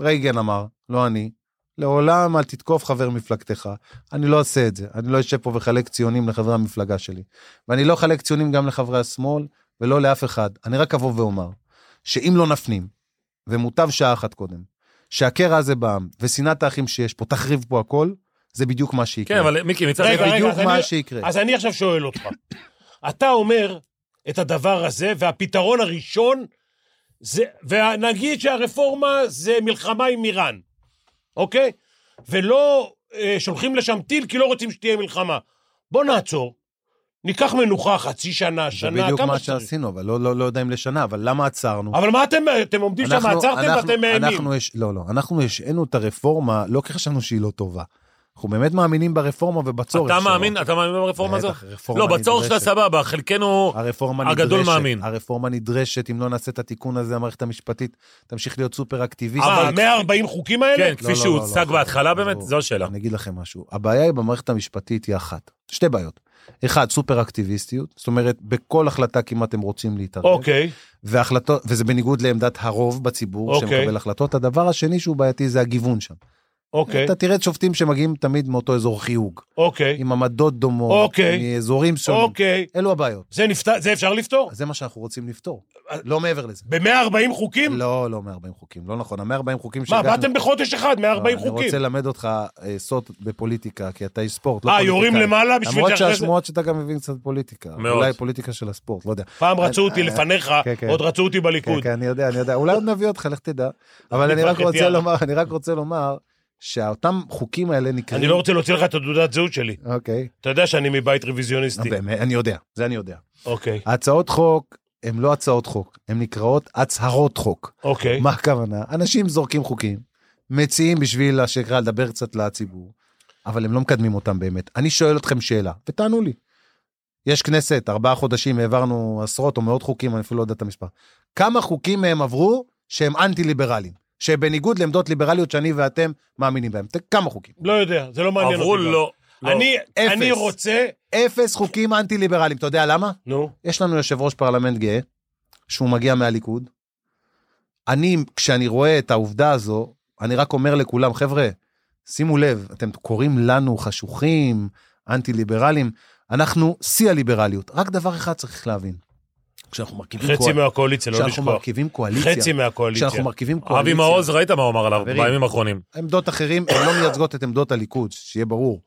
D: רייגן אמר, לא אני, לעולם אל תתקוף חבר מפלגתך. אני לא אעשה את זה, אני לא אשב פה ואחלק ציונים לחברי המפלגה שלי. ואני לא אחלק ציונים גם לחברי השמאל ולא לאף אחד. אני רק אבוא ואומר, שאם לא נפנים, ומוטב שעה אחת קודם, שהקרע הזה בעם ושנאת האחים שיש פה תחריב פה הכל, זה בדיוק מה שיקרה.
C: כן, אבל מיקי, מצד
B: רגע,
C: שני...
D: זה
B: רגע,
D: בדיוק
B: אז
D: מה
B: אני-
D: שיקרה.
B: אז אני עכשיו שואל אותך. אתה אומר את הדבר הזה, והפתרון הראשון, זה, ונגיד שהרפורמה זה מלחמה עם איראן, אוקיי? ולא אה, שולחים לשם טיל כי לא רוצים שתהיה מלחמה. בוא נעצור, ניקח מנוחה חצי שנה,
D: זה
B: שנה,
D: בדיוק
B: כמה
D: מה
B: שצריך.
D: שעשינו, אבל לא- לא לא יודע אם לשנה, אבל למה עצרנו?
B: אבל מה אתם, אתם עומדים שם,
D: אנחנו-
B: עצרתם
D: אנחנו-
B: ואתם מאיימים.
D: אנחנו יש- לא, לא, אנחנו השעינו את הרפורמה, לא כי חשבנו שהיא לא טובה. אנחנו באמת מאמינים ברפורמה ובצורך
C: אתה
D: שלה.
C: מאמין? אתה מאמין ברפורמה הזאת?
D: אוקיי, בטח, רפורמה
C: לא, בצורך שלה
D: נדרשת.
C: סבבה, חלקנו...
D: הרפורמה
C: הגדול
D: נדרשת,
C: מאמין.
D: הרפורמה נדרשת, אם לא נעשה את התיקון הזה, המערכת המשפטית תמשיך להיות סופר אקטיביסטית.
B: מה, 140 אה, חוקים האלה?
C: כן,
D: לא,
C: כפי
D: לא,
C: שהוצג
D: לא, לא.
C: בהתחלה באמת,
D: לא.
C: זו השאלה.
D: אני אגיד לכם משהו, הבעיה היא במערכת המשפטית היא אחת, שתי בעיות. אחד, סופר אקטיביסטיות, זאת אומרת, בכל החלטה כמעט הם רוצים להתערב.
B: אוקיי,
D: והחלטות, וזה בניגוד לעמדת הרוב בציבור okay.
B: אוקיי.
D: שמקבל החלטות. הדבר השני שהוא בעייתי זה הגיוון שם. Okay.
B: אוקיי,
D: אתה תראה את שופטים שמגיעים תמיד מאותו אזור חיוג,
B: אוקיי,
D: עם עמדות דומות,
B: אוקיי.
D: מאזורים שונים.
B: אוקיי.
D: אלו הבעיות.
B: זה נפתר- זה אפשר לפתור?
D: אז זה מה שאנחנו רוצים לפתור, לא מעבר לזה.
B: ב-140 חוקים?
D: לא, לא 140 חוקים, לא נכון, ה-140 חוקים
B: מה,
D: שהגענו-
B: באתם בחודש אחד,
D: לא,
B: 140
D: אני
B: חוקים.
D: רוצה ללמד אותך אה, סוד בפוליטיקה, כי אתה איש ספורט, לא
B: אה,
D: פוליטיקאי.
B: יורים למעלה בשביל
D: למרות
B: שאחרי זה-
D: שהשמועות שאתה גם מבין קצת פוליטיקה.
C: מאוד.
D: אולי פוליטיקה של הספורט, לא יודע.
B: פעם רצו אותי
D: אה,
B: לפניך,
D: כן, כן.
B: עוד רצו אותי
D: כן,
B: בליכוד.
D: כן, אני יודע, אני יודע. אולי עוד נביא אותך, לך תדע. אבל אני
B: כבר
D: רק רוצה
B: חטיאר.
D: לומר, אני רק רוצה לומר, שאותם חוקים האלה נקראים...
B: אני לא רוצה להוציא לך את התעודת זהות שלי.
D: אוקיי.
B: אתה יודע שאני מבית
D: נו,
B: רוויזיוניסטי.
D: באמת, אני יודע, זה אני יודע.
B: אוקיי,
D: ההצעות חוק הן לא הצעות חוק, הן נקראות הצהרות חוק.
B: אוקיי.
D: מה הכוונה? אנשים זורקים חוקים, מציעים בשביל השקרה לדבר קצת לציבור, אבל הם לא מקדמים אותם באמת. אני שואל אתכם שאלה, ותענו לי. יש כנסת, ארבעה חודשים העברנו עשרות או מאות חוקים, אני אפילו לא יודע את המספר. כמה חוקים מהם עברו שהם אנטי-ליברליים? שבניגוד לעמדות ליברליות שאני ואתם מאמינים בהם. ת- כמה חוקים?
B: לא יודע, זה לא מעניין
C: עברו
B: אותי. גם.
C: לא. לא.
B: אני-
D: אפס.
B: אני רוצה...
D: אפס חוקים אנטי-ליברליים. אתה יודע למה?
B: נו,
D: יש לנו יושב ראש פרלמנט גאה, שהוא מגיע מהליכוד. אני, כשאני רואה את העובדה הזו, אני רק אומר לכולם, חבר'ה, שימו לב, אתם קוראים לנו חשוכים, אנטי-ליברלים, אנחנו שיא הליברליות. רק דבר אחד צריך להבין, כשאנחנו מרכיבים,
B: חצי מהקואליציה, לא
D: כשאנחנו
B: לשכוח.
D: מרכיבים קואליציה,
B: חצי מהקואליציה.
D: כשאנחנו מרכיבים קואליציה,
C: אבי מעוז, ראית מה הוא אמר עליו
D: חברים.
C: בימים האחרונים.
D: עמדות אחרים, הן לא מייצגות את עמדות הליכוד, שיהיה ברור.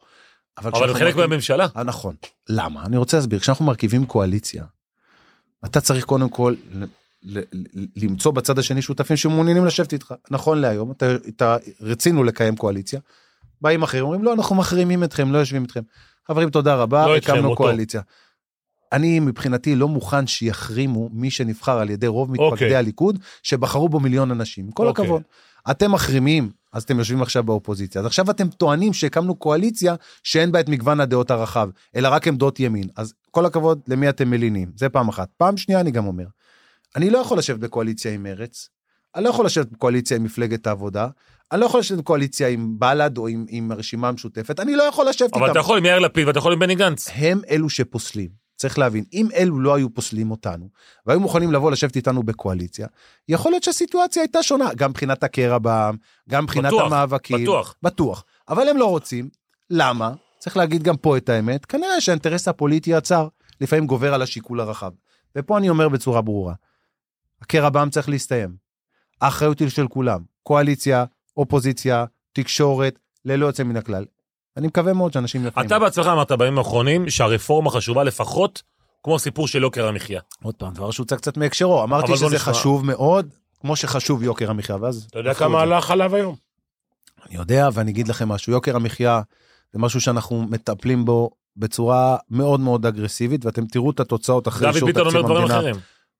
C: אבל הם
D: כשאנחנו
C: חלק
D: מרכיבים-
C: מהממשלה.
D: אה, נכון. למה? אני רוצה להסביר. כשאנחנו מרכיבים קואליציה, אתה צריך קודם כל ל- ל- ל- למצוא בצד השני שותפים שמעוניינים לשבת איתך. נכון להיום, אתה, אתה רצינו לקיים קואליציה, באים אחרים, אומרים לא, אנחנו מחרימים אתכם, לא יושבים איתכם. חברים, תודה רבה,
B: לא איתכם,
D: הקמנו
B: אותו.
D: קואליציה. אני מבחינתי לא מוכן שיחרימו מי שנבחר על ידי רוב מתפקדי
B: אוקיי.
D: הליכוד, שבחרו בו מיליון אנשים. עם כל
B: אוקיי.
D: הכבוד. אתם מחרימים, אז אתם יושבים עכשיו באופוזיציה. אז עכשיו אתם טוענים שהקמנו קואליציה שאין בה את מגוון הדעות הרחב, אלא רק עמדות ימין. אז כל הכבוד למי אתם מלינים, זה פעם אחת. פעם שנייה אני גם אומר, אני לא יכול לשבת בקואליציה עם מרץ, אני לא יכול לשבת בקואליציה עם מפלגת העבודה, אני לא יכול לשבת בקואליציה עם בל"ד או עם, עם הרשימה המשותפת, אני לא יכול לשבת
C: אבל
D: איתם.
C: אתה יכול עם יאיר לפיד ואתה יכול עם בני גנץ.
D: הם אלו שפוסלים. צריך להבין, אם אלו לא היו פוסלים אותנו, והיו מוכנים לבוא לשבת איתנו בקואליציה, יכול להיות שהסיטואציה הייתה שונה, גם מבחינת הקרע בעם, גם מבחינת
C: בטוח,
D: המאבקים.
C: בטוח.
D: בטוח. אבל הם לא רוצים. למה? צריך להגיד גם פה את האמת, כנראה שהאינטרס הפוליטי הצר לפעמים גובר על השיקול הרחב. ופה אני אומר בצורה ברורה, הקרע בעם צריך להסתיים. האחריות היא של כולם, קואליציה, אופוזיציה, תקשורת, ללא יוצא מן הכלל. אני מקווה מאוד שאנשים יפנים.
C: אתה בעצמך אמרת בימים האחרונים שהרפורמה חשובה לפחות כמו הסיפור של יוקר המחיה.
D: עוד פעם, דבר שהוצא קצת מהקשרו.
C: אבל
D: אמרתי
C: בוא
D: שזה
C: נשמע.
D: חשוב מאוד, כמו שחשוב יוקר המחיה, ואז...
B: אתה יודע
D: הפכו את
B: כמה
D: זה.
B: הלך עליו היום?
D: אני יודע, ואני אגיד לכם משהו. יוקר המחיה זה משהו שאנחנו מטפלים בו בצורה מאוד מאוד אגרסיבית, ואתם תראו את התוצאות אחרי
C: דוד
D: אישור
C: ביטן
D: תקציב
C: אומר דברים
D: המדינה.
C: אחרים.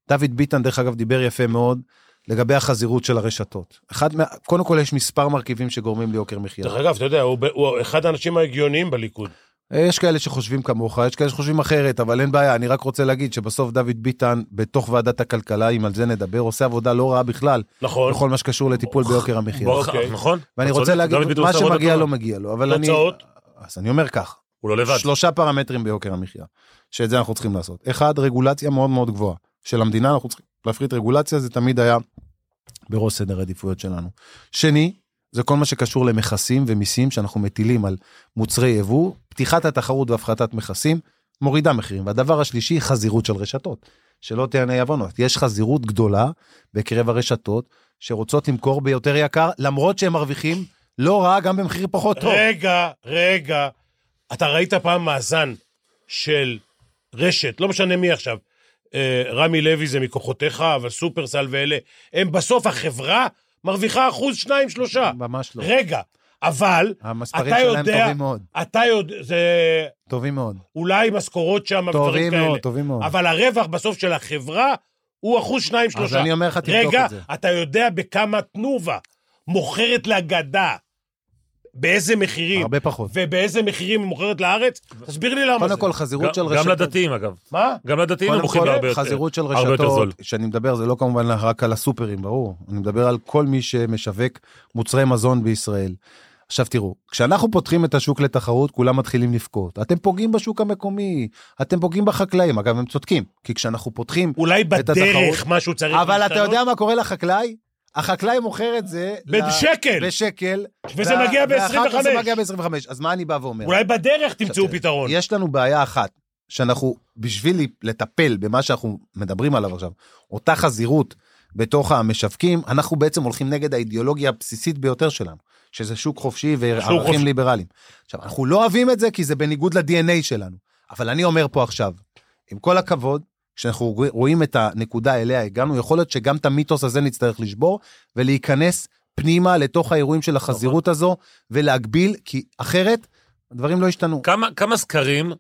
D: דוד ביטן, דרך אגב, דיבר יפה מאוד לגבי החזירות של הרשתות. אחד מה... קודם כל, יש מספר מרכיבים שגורמים ליוקר מחיה.
B: דרך אגב, אתה יודע, הוא ב- הוא אחד האנשים ההגיוניים בליכוד.
D: אה, יש כאלה שחושבים כמוך, יש כאלה שחושבים אחרת, אבל אין בעיה, אני רק רוצה להגיד שבסוף דוד ביטן, בתוך ועדת הכלכלה, אם על זה נדבר, עושה עבודה לא רעה בכלל,
B: נכון.
D: בכל מה שקשור לטיפול ביוקר המחיה.
C: ברור,
B: אוקיי.
C: נכון?
D: כאילו. ואני
C: אתה
D: רוצה
C: צודק,
D: להגיד,
C: דוד ביטן
D: מה
C: עושה עבודה
D: שמגיע
C: טובה.
D: לו מגיע לו, אבל אני...
B: תוצאות?
D: אז אני אומר כך,
C: הוא לא לבד.
D: שלושה פרמטרים ביוקר המחיה, שאת זה אנחנו צריכים לעשות. אחד, רגולציה מאוד מאוד גבוהה של המדינה, אנחנו צריכים להפחית רגולציה, זה תמיד היה בראש סדר העדיפויות שלנו. שני, זה כל מה שקשור למכסים ומיסים שאנחנו מטילים על מוצרי יבוא, פתיחת התחרות והפחתת מכסים מורידה מחירים. והדבר השלישי, חזירות של רשתות. שלא תענה עוונות, יש חזירות גדולה בקרב הרשתות שרוצות למכור ביותר יקר, למרות שהם מרוויחים לא רע גם במחיר פחות טוב.
B: רגע, רגע. אתה ראית פעם מאזן של רשת, לא משנה מי עכשיו, אה, רמי לוי זה מכוחותיך, אבל שופרסל ואלה, הם בסוף החברה מרוויחה אחוז, שניים, שלושה.
D: ממש לא.
B: רגע, אבל
D: המספרים
B: אתה
D: שלהם
B: יודע,
D: טובים מאוד,
B: אתה יודע, זה
D: טובים מאוד.
B: אולי משכורות שם, ודברים
D: טובים
B: כאלה.
D: מאוד, טובים מאוד.
B: אבל הרווח בסוף של החברה הוא אחוז, שניים, שלושה.
D: אז אני אומר לך, תבדוק
B: רגע,
D: את זה.
B: אתה יודע בכמה תנובה מוכרת לגדה, באיזה מחירים,
D: הרבה פחות.
B: ובאיזה מחירים היא מוכרת לארץ? תסביר לי למה זה.
D: קודם כל, חזירות של
C: גם-
D: רשתות.
C: גם לדתיים, אגב.
B: מה?
C: גם לדתיים הם
D: קודם
C: מוכרים
D: כל,
C: הרבה יותר.
D: חזירות של
C: הרבה יותר זול.
D: רשתות, שאני מדבר, זה לא כמובן רק על הסופרים, ברור. אני מדבר על כל מי שמשווק מוצרי מזון בישראל. עכשיו תראו, כשאנחנו פותחים את השוק לתחרות, כולם מתחילים לבכות. אתם פוגעים בשוק המקומי, אתם פוגעים בחקלאים. אגב, הם צודקים, כי כשאנחנו פותחים...
B: אולי בדרך
D: התחרות.
B: משהו צריך
D: אבל אתה
B: להשתנות,
D: יודע מה קורה לחקלאי? החקלאי מוכר את זה... ל-
B: בשקל.
D: בשקל.
B: וזה
D: וה-
B: מגיע
D: ואחר כך זה
B: ב-
D: מגיע ב-25. אז מה אני בא ואומר?
B: אולי בדרך
D: עכשיו,
B: תמצאו
D: תראה,
B: פתרון.
D: יש לנו בעיה אחת, שאנחנו, בשביל לטפל במה שאנחנו מדברים עליו עכשיו, אותה חזירות בתוך המשווקים, אנחנו בעצם הולכים נגד האידיאולוגיה הבסיסית ביותר שלנו, שזה שוק חופשי וערכים
B: חופשי.
D: ליברליים. עכשיו, אנחנו לא אוהבים את זה כי זה בניגוד ל-DNA שלנו, אבל אני אומר פה עכשיו, עם כל הכבוד, כשאנחנו רואים את הנקודה אליה הגענו, יכול להיות שגם את המיתוס הזה נצטרך לשבור ולהיכנס פנימה לתוך האירועים של
B: נכון.
D: החזירות הזו ולהגביל, כי אחרת הדברים לא ישתנו.
C: כמה, כמה סקרים,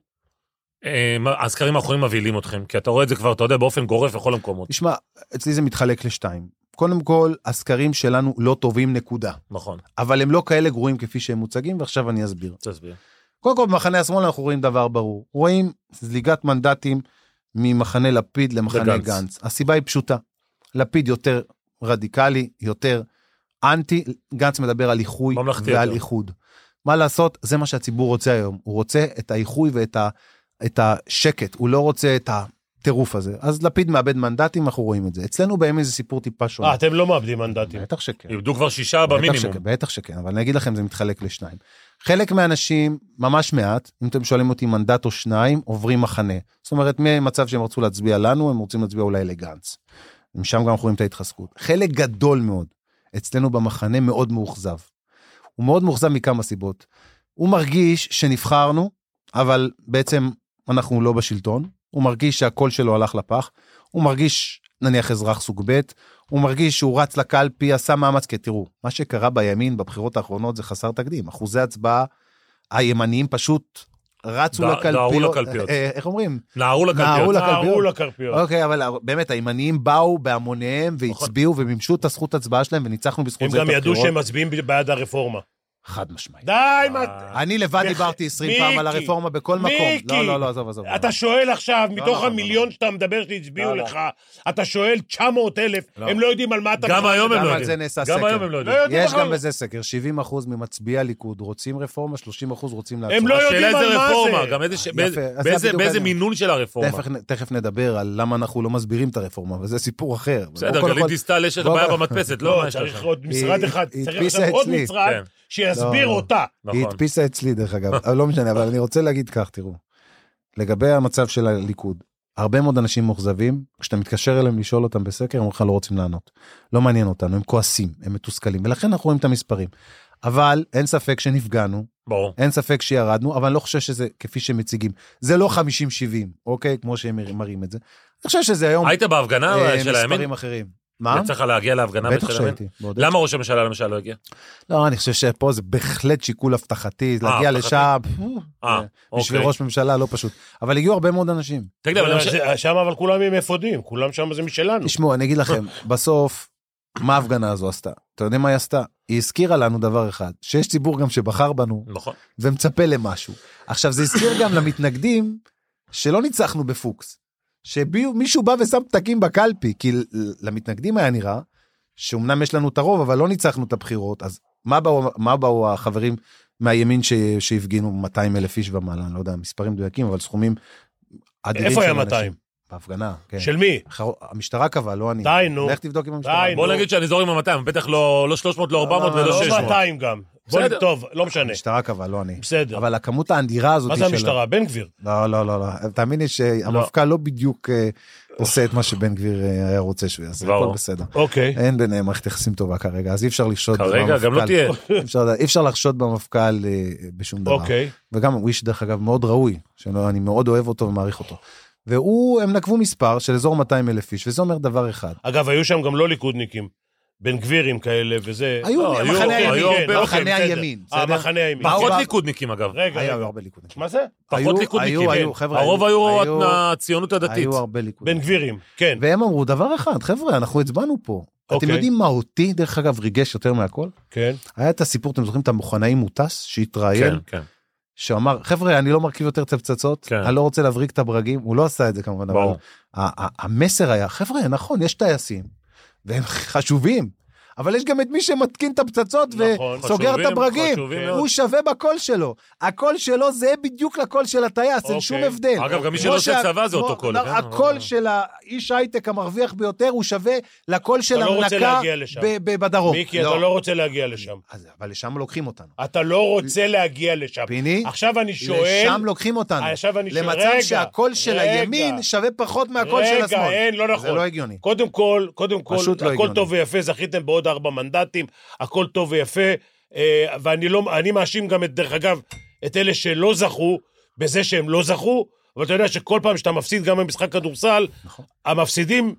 C: אה, מה- הסקרים האחרונים מבהילים אתכם? כי אתה רואה את זה כבר, אתה יודע, באופן גורף בכל המקומות.
D: תשמע, אצלי זה מתחלק לשתיים. קודם כל, הסקרים שלנו לא טובים, נקודה.
C: נכון,
D: אבל הם לא כאלה גרועים כפי שהם מוצגים, ועכשיו אני אסביר.
C: תסביר.
D: קודם כל, במחנה השמאל אנחנו רואים דבר ברור. רואים זליגת מנדטים ממחנה לפיד למחנה
C: לגנץ.
D: גנץ. גנץ. הסיבה היא פשוטה. לפיד יותר רדיקלי, יותר אנטי, גנץ מדבר על איחוי
C: ממלכתי
D: ועל
C: יותר.
D: איחוד. מה לעשות, זה מה שהציבור רוצה היום. הוא רוצה את האיחוי ואת ה, את השקט, הוא לא רוצה את הטירוף הזה. אז לפיד מאבד מנדטים, אנחנו רואים את זה. אצלנו בימין זה סיפור טיפה שונה.
B: אה, אתם לא מאבדים מנדטים.
D: בטח שכן.
C: איבדו כבר שישה
D: בטח
C: במינימום.
D: שכן, בטח שכן, אבל אני אגיד לכם, זה מתחלק לשניים. חלק מהאנשים, ממש מעט, אם אתם שואלים אותי מנדט או שניים, עוברים מחנה. זאת אומרת, ממצב שהם רצו להצביע לנו, הם רוצים להצביע אולי לגנץ. משם גם אנחנו רואים את ההתחזקות. חלק גדול מאוד אצלנו במחנה מאוד מאוכזב. הוא מאוד מאוכזב מכמה סיבות. הוא מרגיש שנבחרנו, אבל בעצם אנחנו לא בשלטון. הוא מרגיש שהקול שלו הלך לפח. הוא מרגיש, נניח, אזרח סוג ב', הוא מרגיש שהוא רץ לקלפי, עשה מאמץ, כי תראו, מה שקרה בימין בבחירות האחרונות זה חסר תקדים. אחוזי הצבעה הימניים פשוט רצו
C: ד-
D: לקלפיות.
C: דהרו לקלפיות.
D: אה, אה, איך אומרים?
C: נערו
D: נערו
C: לקלפיות. אה,
D: לקלפיות.
B: תערו לקרפיות.
D: אוקיי, אבל באמת, הימניים באו בהמוניהם והצביעו ומימשו את הזכות הצבעה שלהם וניצחנו
B: נכון. הם
D: בזכות זה את
B: גם ידעו
D: הבחירות. אה,
B: שהם מצביעים בעד הרפורמה.
D: חד משמעית.
B: די, מה...
D: אני לבד
B: מח-
D: דיברתי 20
B: מיקי,
D: פעם על הרפורמה בכל מקום.
B: מיקי,
D: לא, לא, לא, עזוב, עזוב.
B: אתה שואל עכשיו, מתוך
D: נכון,
B: המיליון
D: לא.
B: שאתה מדבר שהצביעו
D: לא, לא.
B: לך, אתה שואל 900 אלף, הם לא יודעים על מה אתה...
C: גם
B: מדבר.
C: היום הם
D: גם
C: לא
D: על
C: יודעים.
D: זה נעשה
C: גם
D: סקר.
C: היום הם לא
B: לא
C: יודעים.
B: יודעים
D: יש
B: בכלל.
D: גם בזה סקר, 70 אחוז ממצביעי הליכוד רוצים רפורמה, 30 אחוז רוצים לעצור.
B: הם לא
C: השאלה
B: יודעים על
C: איזה
B: מה
C: רפורמה,
B: זה.
C: גם איזה ש-
D: יפה,
C: באיזה-
D: אז זה
C: באיזה-
D: בדיוק
C: באיזה
D: העניין.
C: מינון של הרפורמה.
D: תכף, תכף נדבר על למה אנחנו לא מסבירים את הרפורמה, אבל זה סיפור אחר. אבל
C: בסדר,
D: בוא, קודם
C: גלית
D: כל-
C: דיסטל יש את
D: בוא,
C: הבעיה
D: בוא.
C: במדפסת, לא
B: לא,
C: מה יש
B: צריך
C: לך.
B: עוד משרד
D: היא-
B: אחד,
D: היא
B: צריך
D: הדפיסה
B: עכשיו עוד
D: אצלי.
B: משרד
C: כן.
B: שיסביר
D: לא.
B: אותה.
D: היא
C: נכון.
D: הדפיסה אצלי דרך אגב, אבל לא משנה, אבל אני רוצה להגיד כך, תראו. לגבי המצב של הליכוד, הרבה מאוד אנשים מאוכזבים, כשאתה מתקשר אליהם לשאול אותם בסקר, הם אומרים לך לא רוצים לענות. לא מעניין אותנו, הם כועסים, הם מתוסכלים, ולכן אנחנו רואים את המספרים. אבל אין ספק שנפגענו,
C: ברור.
D: אין ספק שירדנו, אבל אני לא חושב שזה כפי שמציגים. זה לא 50-70, אוקיי? כמו שהם מר- מראים את זה. אני חושב שזה היום
C: היית בהפגנה
D: אה,
C: של הימין?
D: מספרים אחרים. מה?
C: יצא לך להגיע להפגנה
D: בטח
C: של הימין?
D: שהייתי. בעודף.
C: למה ראש הממשלה למשל לא הגיע?
D: לא, אני חושב שפה זה בהחלט שיקול הבטחתי,
C: אה,
D: להגיע
C: הבטחתי.
D: לשם,
C: אה,
D: אה, בשביל
C: אוקיי.
D: ראש אה, ממשלה לא פשוט. אבל הגיעו הרבה מאוד אנשים.
C: תגיד, אבל למשל-
B: זה- שם אבל כולם עם אפודים, כולם שם זה משלנו.
D: תשמעו, אני אגיד לכם, בסוף, מה ההפגנה הזו עשתה? אתה יודע מה היא עשתה? היא הזכירה לנו דבר אחד, שיש ציבור גם שבחר בנו
C: נכון.
D: ומצפה למשהו. עכשיו, זה הזכיר גם למתנגדים שלא ניצחנו בפוקס. שמישהו בא ושם פתקים בקלפי, כי ל- למתנגדים היה נראה שאומנם יש לנו את הרוב, אבל לא ניצחנו את הבחירות, אז מה באו, מה באו החברים מהימין ש, שהפגינו 200 אלף איש ומעלה, אני לא יודע, מספרים מדויקים, אבל סכומים אדירים.
B: איפה היה
D: של אנשים.
B: 200?
D: בהפגנה, כן.
B: של מי?
D: אחר- המשטרה קבעה, לא אני.
B: די, נו.
D: לך תבדוק עם המשטרה.
B: די,
C: בוא
B: נו.
C: נגיד שאני זורם עם ה-200, בטח לא לא 300, לא 400
D: לא,
C: ולא
B: לא
C: 600.
B: 200 גם. בוא
C: בסדר.
B: נ- טוב,
D: אה,
B: לא משנה.
D: המשטרה קבעה, לא אני.
B: בסדר.
D: אבל לא הכמות האדירה הזאת
B: מה זה
D: של-
B: המשטרה? בן גביר.
D: לא, לא, לא, לא. תאמין לי שהמפכ"ל לא בדיוק אה, עושה את מה שבן גביר אה, היה רוצה שהוא יעשה,
C: ברור.
D: הכל בסדר.
B: אוקיי.
D: אין ביניהם מערכת יחסים טובה כרגע, אז אי אפשר לחשוד
C: כרגע גם לא
D: במפכ"ל.
C: תהיה.
D: אי אפשר- אי אפשר לחשוד במפכ"ל אה, בשום דבר.
B: אוקיי.
D: וגם הוא איש דרך אגב מאוד ראוי, שאני מאוד אוהב אותו ומעריך אותו. והוא, הם נקבו מספר של אזור 200 אלף איש, וזה אומר דבר אחד.
B: אגב, היו שם גם לא ליכודניקים. בן גבירים כאלה וזה.
D: היו,
C: לא, היו,
D: מחנה
C: היו,
D: הימין,
C: היו,
D: מחנה
B: אוקיי, בסדר.
D: הימין,
B: אה,
D: בסדר?
B: מחנה הימין.
D: באו-
C: פחות
D: אבל-
C: ליכודניקים אגב.
B: רגע,
D: לא. היו
B: רגע.
D: הרבה ליכודניקים.
B: מה זה?
C: פחות
D: היו-
C: ליכודניקים.
D: היו,
C: כן.
D: היו, חבר'ה,
C: הרוב היו
D: היו-
C: הציונות הדתית.
D: היו הרבה ליכודניקים.
B: בן גבירים, כן.
D: והם אמרו דבר אחד, חבר'ה, אנחנו הצבענו פה. אתם
B: אוקיי.
D: יודעים מה אותי, דרך אגב, ריגש יותר מהכל?
B: כן.
D: היה את הסיפור, אתם זוכרים את המכונאי מוטס שהתראיין,
C: כן, כן.
D: שאמר, חבר'ה, אני לא מרכיב יותר את הפצצות,
C: כן.
D: אני לא רוצה להבריג את הברגים, הוא לא עשה את זה כמובן, אבל
C: ברור.
D: ה- ה- המסר היה, חבר'ה, נכון, יש טייסים, והם חשובים, אבל יש גם את מי שמתקין את הפצצות
B: נכון,
D: וסוגר את
C: חשובים,
D: הברגים,
C: חשובים מאוד.
D: הוא שווה בקול שלו, הקול שלו זהה בדיוק לקול של הטייס, אין
B: אוקיי.
D: שום הבדל.
C: אגב, גם
D: כמו
C: מי שלא עושה
D: שה-
C: צבא זה
D: כמו-
C: אותו קול. כן?
D: הקול של האיש הייטק המרוויח ביותר הוא שווה לקול של
B: אתה לא רוצה
D: המנקה
B: להגיע לשם.
D: ב- ב- בדרום.
B: מיקי, אתה לא רוצה להגיע לשם.
D: אז- אבל לשם לוקחים אותנו.
B: אתה לא רוצה להגיע לשם.
D: פיני, לא
B: עכשיו אני שואל... אה,
D: לשם לוקחים אותנו.
B: עכשיו אני שואל...
D: למצב
B: רגע,
D: שהקול של
B: רגע,
D: הימין שווה פחות מהקול של
B: רגע,
D: השמאל.
B: אין, לא נכון.
D: זה לא הגיוני.
B: קודם כל, קודם כל,
D: פשוט לא
B: הכל
D: הגיוני.
B: טוב ויפה, זכיתם בעוד ארבע מנדטים, הכל טוב ויפה, אה, ואני לא, אני מאשים גם את, דרך אגב, את אלה שלא זכו, בזה שהם לא זכו, אבל אתה יודע שכל פעם שאתה מפסיד גם במשחק כדורסל,
D: נכון.
B: המפסידים,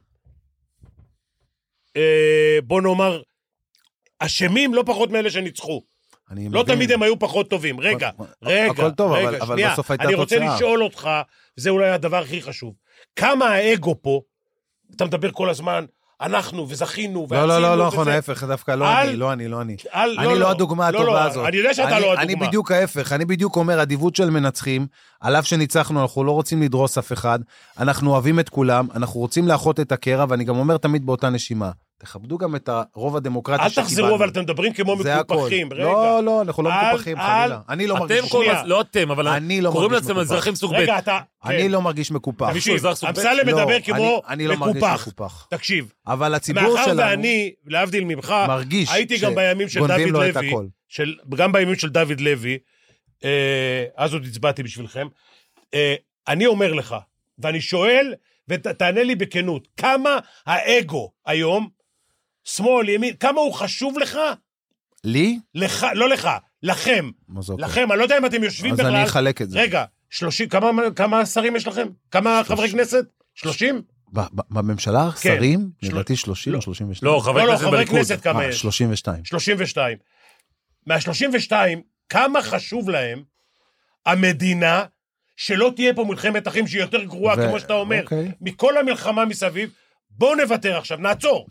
B: אה, בוא נאמר, אשמים לא פחות מאלה שניצחו.
D: אני
B: לא
D: מבין.
B: תמיד הם היו פחות טובים. רגע,
D: הכל-
B: רגע,
D: הכל טוב,
B: רגע,
D: אבל- אבל
B: שנייה.
D: בסוף הייתה
B: אני רוצה
D: תוצאה.
B: לשאול אותך, זה אולי הדבר הכי חשוב. כמה האגו פה, אתה מדבר כל הזמן, אנחנו, וזכינו,
D: לא, לא, לא,
B: ועשינו
D: לא
B: וזה.
D: נכון, ההפך, דווקא לא
B: אל-
D: אני, לא אני, לא אני.
B: אל-
D: אני לא הדוגמה
B: לא, לא,
D: הטובה הזאת.
B: אני יודע שאתה
D: אני-
B: לא
D: אני
B: הדוגמה.
D: בדיוק ההפך, אני בדיוק אומר, אדיבות של מנצחים, על אף שניצחנו, אנחנו לא רוצים לדרוס אף אחד, אנחנו אוהבים את כולם, אנחנו רוצים לאחות את הקרע, ואני גם אומר תמיד באותה נשימה, תכבדו גם את הרוב הדמוקרטי
B: אל
D: שקיבלנו.
B: תחזרו, אבל אתם מדברים כמו
D: זה הכל.
B: מקופחים. רגע.
D: לא, לא, אנחנו לא
B: אל-
D: מקופחים,
B: אל-
D: חלילה. אני לא מרגיש
C: אתם כל
D: מקופח.
B: שנייה.
C: הזמן, לא אתם, אבל
D: אני לא
C: קוראים
D: מרגיש
C: לעצמם
D: מקופח.
C: אזרחים סוג ב'.
B: רגע, אתה... כן.
D: אני לא מרגיש מקופח.
C: מישהו
B: תקשיב,
C: אזרח סוג ב'?
B: אמסלם
D: לא,
B: מדבר
D: אני-
B: כמו
D: אני לא מרגיש
B: מקופח.
D: מקופח.
B: תקשיב,
D: אבל הציבור
B: מאחר
D: שלנו
B: ואני, להבדיל ממך,
D: מרגיש
B: הייתי גם בימים של
D: שגונבים
B: דוד
D: לו את
B: לוי,
D: הכל.
B: של, גם בימים של דוד לוי, אה, אז עוד הצבעתי בשבילכם, אה, אני אומר לך, ואני שואל, ותענה לי בכנות, כמה האגו היום, שמאל, ימין, כמה הוא חשוב לך?
D: לי?
B: לך, לא לך, לכם.
D: אז אוקיי.
B: לכם, אני לא יודע אם אתם יושבים
D: אז
B: בכלל.
D: אני אחלק את זה.
B: רגע, שלושים, כמה, כמה שרים יש לכם? כמה חברי כנסת? שלושים?
D: ב- ב- בממשלה,
B: כן.
D: שרים?
B: של-
D: לדעתי 30 או 32.
C: לא, חברי
B: לא, לא,
C: כנסת
B: חברי
C: בליכוד.
B: כנסת כמה
D: אה,
B: יש?
D: 32.
B: 32. מה-32, כמה חשוב להם המדינה שלא תהיה פה מלחמת אחים שהיא יותר גרועה,
D: ו-
B: כמו שאתה אומר,
D: אוקיי.
B: מכל המלחמה מסביב. בואו נוותר עכשיו, נעצור.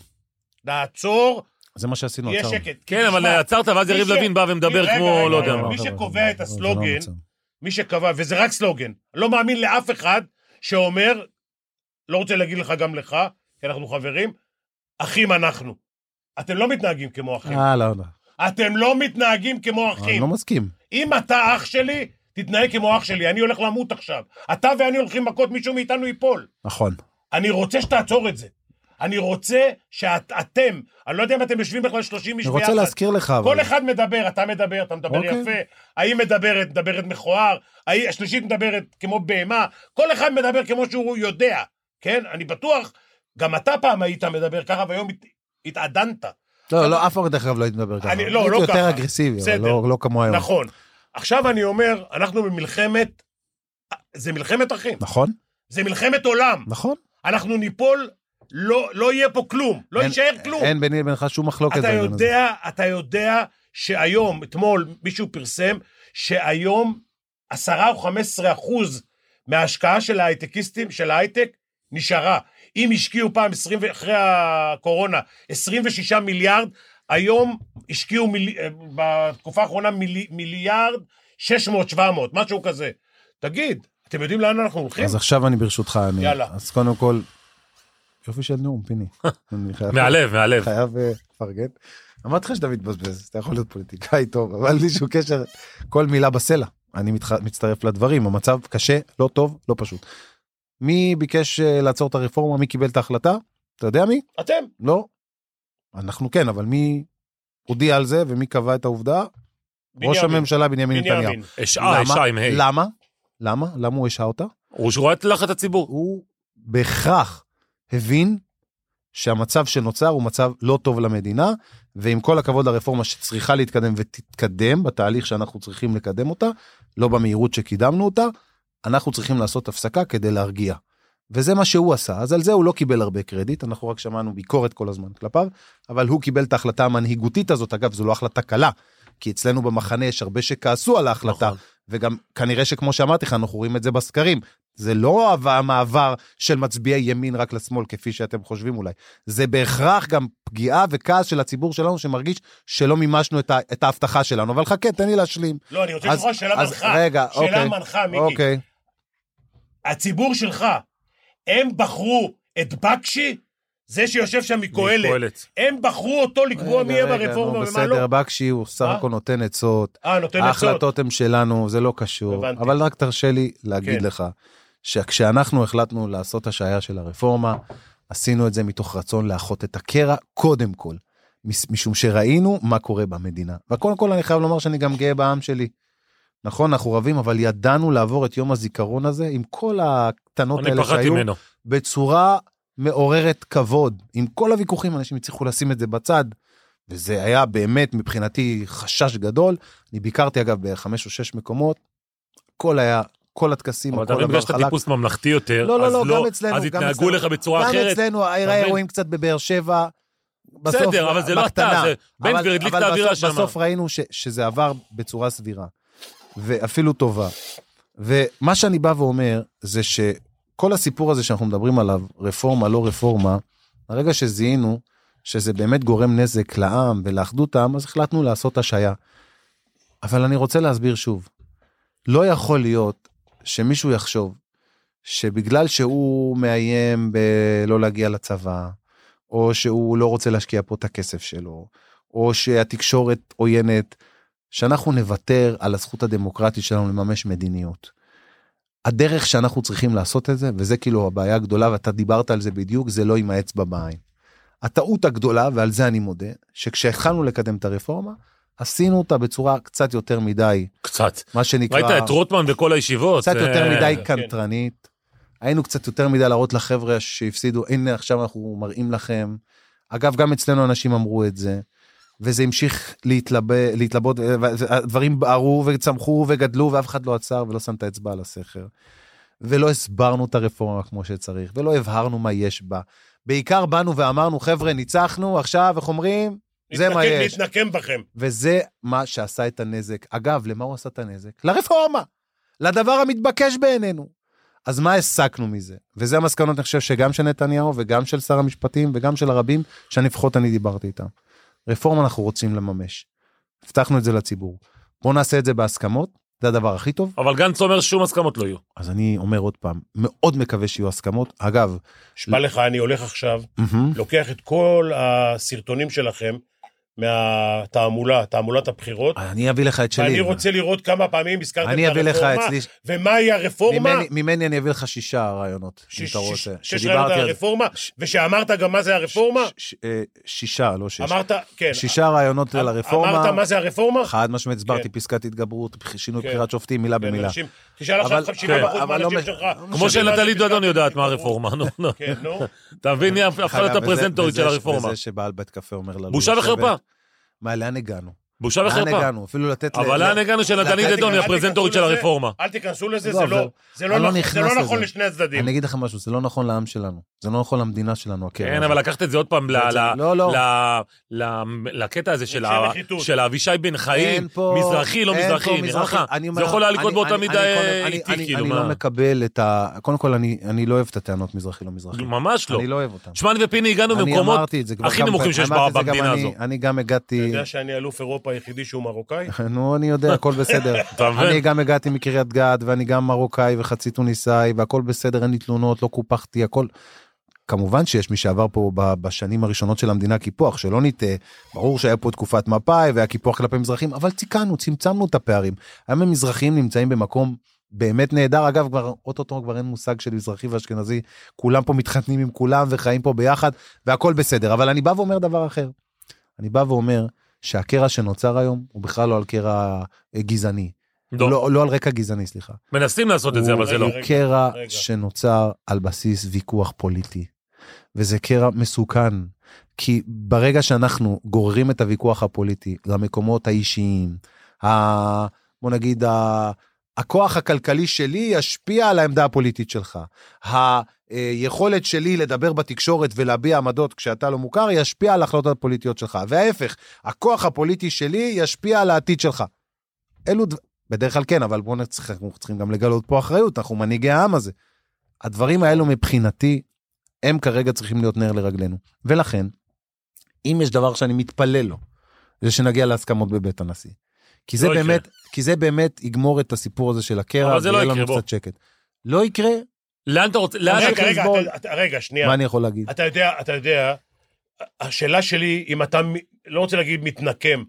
B: נעצור,
D: זה מה שעשינו,
B: יהיה
D: עצרנו.
B: שקט.
C: כן, אבל
B: תשמע,
C: עצרת, ואז
B: מי
C: יריב
B: ש-
C: לוין בא ומדבר
B: רגע,
C: כמו,
B: רגע,
C: לא יודע
B: רגע,
C: מה.
B: מי
D: אבל-
B: שקובע
D: אבל-
B: את
D: אבל זה לא
B: הסלוגן-
D: המצב.
B: מי שקבע, וזה רק סלוגן, לא מאמין לאף אחד שאומר, לא רוצה להגיד לך גם לך, כי אנחנו חברים, אחים אנחנו. אתם לא מתנהגים כמו אחים.
D: אה, לא, לא.
B: אתם לא מתנהגים כמו
D: אני
B: אחים.
D: לא מסכים.
B: אם אתה אח שלי, תתנהג כמו אח שלי, אני הולך למות עכשיו. אתה ואני הולכים מכות, מישהו מאיתנו ייפול.
D: נכון.
B: אני רוצה שתעצור את זה. אני רוצה שאתם, אני לא יודע אם אתם יושבים בכלל 30 איש
D: אני
B: ביחד.
D: רוצה להזכיר לך, אבל...
B: כל אחד מדבר, אתה מדבר, אתה מדבר
D: אוקיי.
B: יפה, ההיא מדברת, מדברת מכוער, ההיא- השלישית מדברת כמו בהמה, כל אחד מדבר כמו שהוא יודע, כן? אני בטוח, גם אתה פעם היית מדבר ככה, והיום הת- התעדנת.
D: לא, לא, אף אחד דרך אגב לא הייתי מדבר ככה.
B: אני- לא, לא
D: הייתי
B: ככה.
D: יותר אגרסיבי, אבל
B: בסדר.
D: לא- לא כמו היום.
B: נכון. עכשיו אני אומר, אנחנו במלחמת, זה מלחמת אחים,
D: נכון?
B: זה מלחמת עולם.
D: נכון.
B: אנחנו ניפול, לא לא יהיה פה כלום, לא
D: אין-
B: יישאר כלום.
D: אין ביני לבינך שום מחלוקת
B: אתה
D: בעניין הזה.
B: יודע, אתה יודע שהיום, אתמול מישהו פרסם, שהיום 10 או 15 אחוז מההשקעה של ההייטקיסטים, של ההייטק, נשארה. אם השקיעו פעם, 20, ו- אחרי הקורונה, 26 מיליארד, היום השקיעו מיל, אה, בתקופה האחרונה מיל, מיליארד 600-700, משהו כזה. תגיד, אתם יודעים לאן אנחנו הולכים?
D: אז עכשיו אני ברשותך, אני...
B: כן. יאללה.
D: אז קודם כל, יופי של נאום, פיני. אני חייב-
C: מהלב, מהלב.
D: חייב אה, לפרגן. אמרתי לך שאתה מתבזבז, אתה יכול להיות פוליטיקאי טוב, אבל בלי שום קשר, כל מילה בסלע. אני מתח- מצטרף לדברים, המצב קשה, לא טוב, לא פשוט. מי ביקש אה, לעצור את הרפורמה? מי קיבל את ההחלטה? אתה יודע מי?
B: אתם.
D: לא. אנחנו כן, אבל מי הודיע על זה ומי קבע את העובדה?
B: בנימין.
D: ראש הממשלה בנימין נתניהו.
B: בנימין.
C: השעה, השעה אה, עם ה'.
D: למה? למה? למה הוא השעה אותה?
C: הוא שרואה את לחץ הציבור.
D: הוא בהכרח הבין שהמצב שנוצר הוא מצב לא טוב למדינה, ועם כל הכבוד לרפורמה שצריכה להתקדם ותתקדם בתהליך שאנחנו צריכים לקדם אותה, לא במהירות שקידמנו אותה, אנחנו צריכים לעשות הפסקה כדי להרגיע. וזה מה שהוא עשה, אז על זה הוא לא קיבל הרבה קרדיט, אנחנו רק שמענו ביקורת כל הזמן כלפיו, אבל הוא קיבל את ההחלטה המנהיגותית הזאת, אגב, זו לא החלטה קלה, כי אצלנו במחנה יש הרבה שכעסו על ההחלטה,
C: נכון.
D: וגם כנראה שכמו שאמרתי לך, אנחנו רואים את זה בסקרים. זה לא הב- המעבר של מצביעי ימין רק לשמאל, כפי שאתם חושבים אולי. זה בהכרח גם פגיעה וכעס של הציבור שלנו שמרגיש שלא מימשנו את, ה- את ההבטחה שלנו. אבל חכה, תן לי להשלים.
B: לא, אני רוצה
D: אז-
B: לשאול שאלה
D: אז
B: מנחה.
D: רגע,
B: שאלה
D: אוקיי.
B: מנחה, מיקי.
D: אוקיי.
B: הציבור שלך, הם בחרו את בקשי, זה שיושב שם מקהלת,
C: מקהלת.
B: הם בחרו אותו לקבוע מי יהיה
D: רגע, רגע, נו,
B: ברפורמה ומה לא.
D: בסדר, בקשי הוא סך
B: מה?
D: הכל נותן עצות.
B: אה, נותן עצות.
D: ההחלטות הן שלנו, זה לא קשור.
B: הבנתי.
D: אבל רק תרשה לי
B: כן.
D: להגיד לך, שכשאנחנו החלטנו לעשות השעיה של הרפורמה, עשינו את זה מתוך רצון לאחות את הקרע, קודם כל. מס- משום שראינו מה קורה במדינה. וקודם כל אני חייב לומר שאני גם גאה בעם שלי. נכון, אנחנו רבים, אבל ידענו לעבור את יום הזיכרון הזה עם כל הקטנות
C: אני
D: האלה
C: פחדתי
D: שהיו.
C: ממנו.
D: בצורה מעוררת כבוד. עם כל הוויכוחים, אנשים הצליחו לשים את זה בצד, וזה היה באמת מבחינתי חשש גדול. אני ביקרתי אגב בחמש או שש מקומות, הכל היה, כל הטקסים,
C: אבל אתה
D: הכל
C: מבין, בגלל
D: עבר
C: שאתה
D: חלק.
C: טיפוס ממלכתי יותר,
D: לא, לא,
C: אז
D: לא, גם אצלנו,
C: אז
D: גם
C: התנהגו
D: אצלנו.
C: לך בצורה
D: גם
C: אחרת.
D: אצלנו,
C: אתה
D: היה
C: מבין?
D: אירועים קצת בבאר שבע. בסוף,
C: בסדר, אבל זה לא אתה,
D: בקטנה.
C: זה- בן
D: אבל-
C: גביר הדליק את
D: אבל
C: האווירה
D: בסוף-
C: שם.
D: בסוף ראינו ש, שזה עבר בצורה סבירה, ואפילו טובה. ומה שאני בא ואומר, זה שכל הסיפור הזה שאנחנו מדברים עליו, רפורמה, לא רפורמה, הרגע שזיהינו שזה באמת גורם נזק לעם ולאחדות העם, אז החלטנו לעשות השעיה. אבל אני רוצה להסביר שוב, לא יכול להיות שמישהו יחשוב שבגלל שהוא מאיים בלא להגיע לצבא, או שהוא לא רוצה להשקיע פה את הכסף שלו, או שהתקשורת עוינת, שאנחנו נוותר על הזכות הדמוקרטית שלנו לממש מדיניות. הדרך שאנחנו צריכים לעשות את זה, וזה כאילו הבעיה הגדולה, ואתה דיברת על זה בדיוק, זה לא עם האצבע בעין. הטעות הגדולה, ועל זה אני מודה, שכשהתחלנו לקדם את הרפורמה, עשינו אותה בצורה קצת יותר מדי,
C: קצת.
D: מה שנקרא...
C: ראית את רוטמן בכל הישיבות?
D: קצת
C: אה,
D: יותר מדי קנטרנית. היינו קצת יותר מדי להראות לחבר'ה שהפסידו, הנה עכשיו אנחנו מראים לכם. אגב, גם אצלנו אנשים אמרו את זה, וזה המשיך להתלבא, להתלבות, אה, והדברים בערו וצמחו וגדלו, ואף אחד לא עצר ולא שם את האצבע על הסכר. ולא הסברנו את הרפורמה כמו שצריך, ולא הבהרנו מה יש בה. בעיקר באנו ואמרנו, חבר'ה, ניצחנו, עכשיו, איך אומרים? זה מה
B: נתנקם-
D: יש.
B: נתנקם בכם.
D: וזה מה שעשה את הנזק. אגב, למה הוא עשה את הנזק? לרפורמה, לדבר המתבקש בעינינו. אז מה הסקנו מזה? וזה המסקנות, אני חושב, שגם של נתניהו וגם של שר המשפטים וגם של הרבים, שאני לפחות אני דיברתי איתם. רפורמה אנחנו רוצים לממש. הבטחנו את זה לציבור. בואו נעשה את זה בהסכמות, זה הדבר הכי טוב.
C: אבל גנץ אומר שום הסכמות לא יהיו.
D: אז אני אומר עוד פעם, מאוד מקווה שיהיו הסכמות. אגב,
B: נשבע לך, אני הולך עכשיו,
D: מהמם,
B: לוקח את כל הסרטונים שלכם מהתעמולה, תעמולת הבחירות,
D: אני אביא לך את שלי.
B: ואני רוצה לראות כמה פעמים הזכרתם את
D: אני אביא לך
B: הרפורמה,
D: אצלי,
B: ומהי הרפורמה.
D: ממני- ממני אני אביא לך שישה רעיונות, אם
B: ש-
D: אתה
B: ש-
D: רוצה.
B: שש
D: שדיברתי
B: רעיונות על
D: על זה.
B: הרפורמה, ושאמרת גם מה זה הרפורמה,
D: ש- ש- אה, שישה, לא שש.
B: אמרת, כן.
D: שישה רעיונות
C: אמ-
D: על הרפורמה.
B: אמרת מה זה הרפורמה?
D: חד משמעית הסברתי
B: כן.
D: פסקת התגברות, בח- שינוי
B: כן.
D: בחירת שופטים, מילה
B: כן,
D: במילה.
B: אנשים- תשאל עכשיו
D: אבל-
B: 50
D: כן,
B: אחוז
D: אבל לא
B: מהאנשים
D: מש-
B: שלך.
D: לא
C: כמו
D: משנה.
C: שנטלי דדון יודעת מה הרפורמה, נו, נו.
B: כן, נו.
C: אתה מבין, היא הפכה להיות
D: וזה-
C: הפרזנטורית
D: וזה-
C: לא של הרפורמה.
D: וזה שבעל בית קפה אומר לנו...
C: בושה
D: לשבת-
C: וחרפה.
D: מה, לאן הגענו?
C: בושה
D: לאן
C: וחרפה.
D: הגענו? אפילו לתת... ל-
C: אבל
D: ל-
C: לאן הגענו
D: לתת-
C: שנתנית דדון היא
B: אל תיכנסו
C: הפרזנטורית של
B: לזה,
C: הרפורמה.
B: אל תיכנסו לזה,
D: לא,
B: זה
D: אבל-
B: לא- זה לא
D: אני
B: נכון- זה
D: נכנס
B: לא נכון
D: לזה.
B: לשני הצדדים.
D: אני אגיד לך משהו, זה לא נכון לעם שלנו. זה לא נכון למדינה שלנו, הקרע.
C: כן,
D: הזה.
C: אבל לקחת את זה עוד פעם ל- ל-
D: לא, לא.
C: ל- ל- לקטע הזה של
B: רגשי
C: ה-
B: נחיתות.
C: של אבישי בן חיים,
D: אין פה-
C: מזרחי, לא
D: אין פה
C: מזרחי, נראה לך?
D: אני אומר
C: זה יכול היה
D: לך,
C: לקרות
D: אני-
C: באותה
D: אני-
C: מידה
D: אני קודם-
C: אה,
D: אני-
C: איתי,
D: אני-
C: כאילו,
D: אני לא
C: מה?
D: מקבל את ה... קודם כל, אני אני לא אוהב את הטענות מזרחי, לא מזרחי.
C: ממש לא.
D: אני לא אוהב אותן.
C: שמע, אני ופיני הגענו
D: אני
C: במקומות
D: אמרתי את זה כבר
C: הכי
D: כמה פעמים.
C: נמוכים שיש
D: אמרתי את זה גם
C: במדינה
D: אני-
C: הזו.
D: אני גם
B: אתה
D: הגעתי,
B: יודע שאני אלוף אירופה היחידי שהוא מרוקאי?
D: נו, אני יודע, הכל בסדר.
C: אתה מבין?
D: אני גם הגעתי מקריית גת, ואני גם מרוקאי וחצי טוניסאי, והכל בסדר, אין לי תלונות, לא קופחתי, הכל... כמובן שיש מי שעבר פה ב- בשנים הראשונות של המדינה קיפוח, שלא נטעה, ברור שהיה פה תקופת מפא"י והיה קיפוח כלפי מזרחים, אבל תיקנו, צמצמנו את הפערים. היום המזרחים נמצאים במקום באמת נהדר. אגב, כבר אוטוטו כבר אין מושג של מזרחי ואשכנזי, כולם פה מתחתנים עם כולם וחיים פה ביחד, והכל בסדר. אבל אני בא ואומר דבר אחר. אני בא ואומר שהקרע שנוצר היום הוא בכלל לא על קרע אה, גזעני.
C: לא.
D: לא, לא על רקע גזעני, סליחה.
C: מנסים לעשות את זה, אבל זה לא.
D: הוא קרע
B: רגע.
D: שנוצר על בסיס ויכוח פוליטי, וזה קרע מסוכן. כי ברגע שאנחנו גוררים את הוויכוח הפוליטי למקומות האישיים, ה... בוא נגיד, ה... הכוח הכלכלי שלי ישפיע על העמדה הפוליטית שלך. היכולת שלי לדבר בתקשורת ולהביע עמדות כשאתה לא מוכר ישפיע על ההחלטות הפוליטיות שלך. וההפך, הכוח הפוליטי שלי ישפיע על העתיד שלך. אלו, דב- בדרך כלל כן, אבל בואו נצטרך, אנחנו צריכים גם לגלות פה אחריות, אנחנו מנהיגי העם הזה. הדברים האלו מבחינתי, הם כרגע צריכים להיות נר לרגלינו. ולכן, אם יש דבר שאני מתפלל לו, זה שנגיע להסכמות בבית הנשיא. כי זה
C: לא יקרה.
D: באמת, כי זה באמת יגמור את הסיפור הזה של הקרע,
C: אבל זה לא
D: ויהיה
C: יקרה,
D: לנו
C: בוא.
D: קצת שקט. לא יקרה,
C: לאן אתה רוצה, לאן
B: רגע,
C: אתה
B: רגע,
C: לסבול?
B: אתה- אתה- רגע,
C: כן.
B: שנייה.
D: מה אני יכול להגיד?
B: אתה יודע, אתה יודע, השאלה שלי, אם אתה, מ- לא רוצה להגיד מתנקם,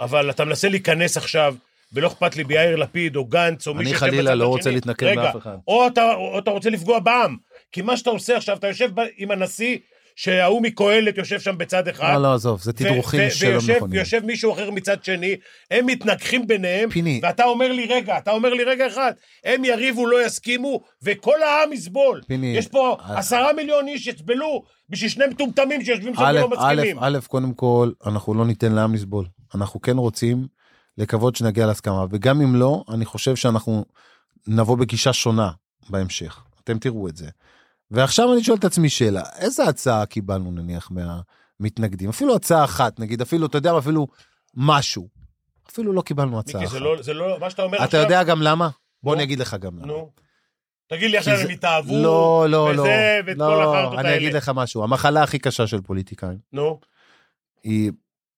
B: אבל אתה מנסה להיכנס עכשיו, ולא אכפת לי ביאיר לפיד, או גנץ, או מי
D: אני
B: שיושב
D: חלילה
B: בצד
D: לא
B: השני.
D: רוצה להתנקם
B: רגע,
D: באף אחד.
B: או אתה, או אתה רוצה לפגוע בעם. כי מה שאתה עושה עכשיו, אתה יושב ב- עם הנשיא, שההוא מקהלת יושב שם בצד אחד.
D: לא, לא, עזוב, זה
B: ו-
D: תדרוכים
B: ו-
D: שלא
B: ויושב-
D: נכונים.
B: ויושב מישהו אחר מצד שני, הם מתנגחים ביניהם,
D: פיני.
B: ואתה אומר לי, רגע, אתה אומר לי, רגע אחד, הם יריבו, לא יסכימו, וכל העם יסבול.
D: פיני,
B: יש פה
D: אה.
B: עשרה מיליון איש יסבלו בשביל שני מטומטמים שיושבים שם
D: א',
B: ולא
D: א',
B: לא מסכימים.
D: א', קודם כל, אנחנו לא ניתן לעם לסבול. אנחנו כן רוצים לקוות שנגיע להסכמה, וגם אם לא, אני חושב שאנחנו נבוא בגישה שונה בהמשך. אתם תראו את זה. ועכשיו אני שואל את עצמי שאלה, איזה הצעה קיבלנו נניח מהמתנגדים? אפילו הצעה אחת, נגיד, אפילו, אתה יודע, מה, אפילו משהו. אפילו לא קיבלנו הצעה
B: מיקי,
D: אחת.
B: זה לא, זה לא, מה שאתה אומר
D: אתה
B: עכשיו...
D: יודע גם למה? בוא
B: נו.
D: אני אגיד לך גם למה.
B: נו. תגיד לי עכשיו
D: כי
B: הם
D: זה-
B: התאהבו,
D: לא, לא, לא.
B: וזה, ואת כל החרטות
D: לא, אני
B: האלה.
D: אגיד לך משהו. המחלה הכי קשה של פוליטיקאים.
B: נו,
D: היא,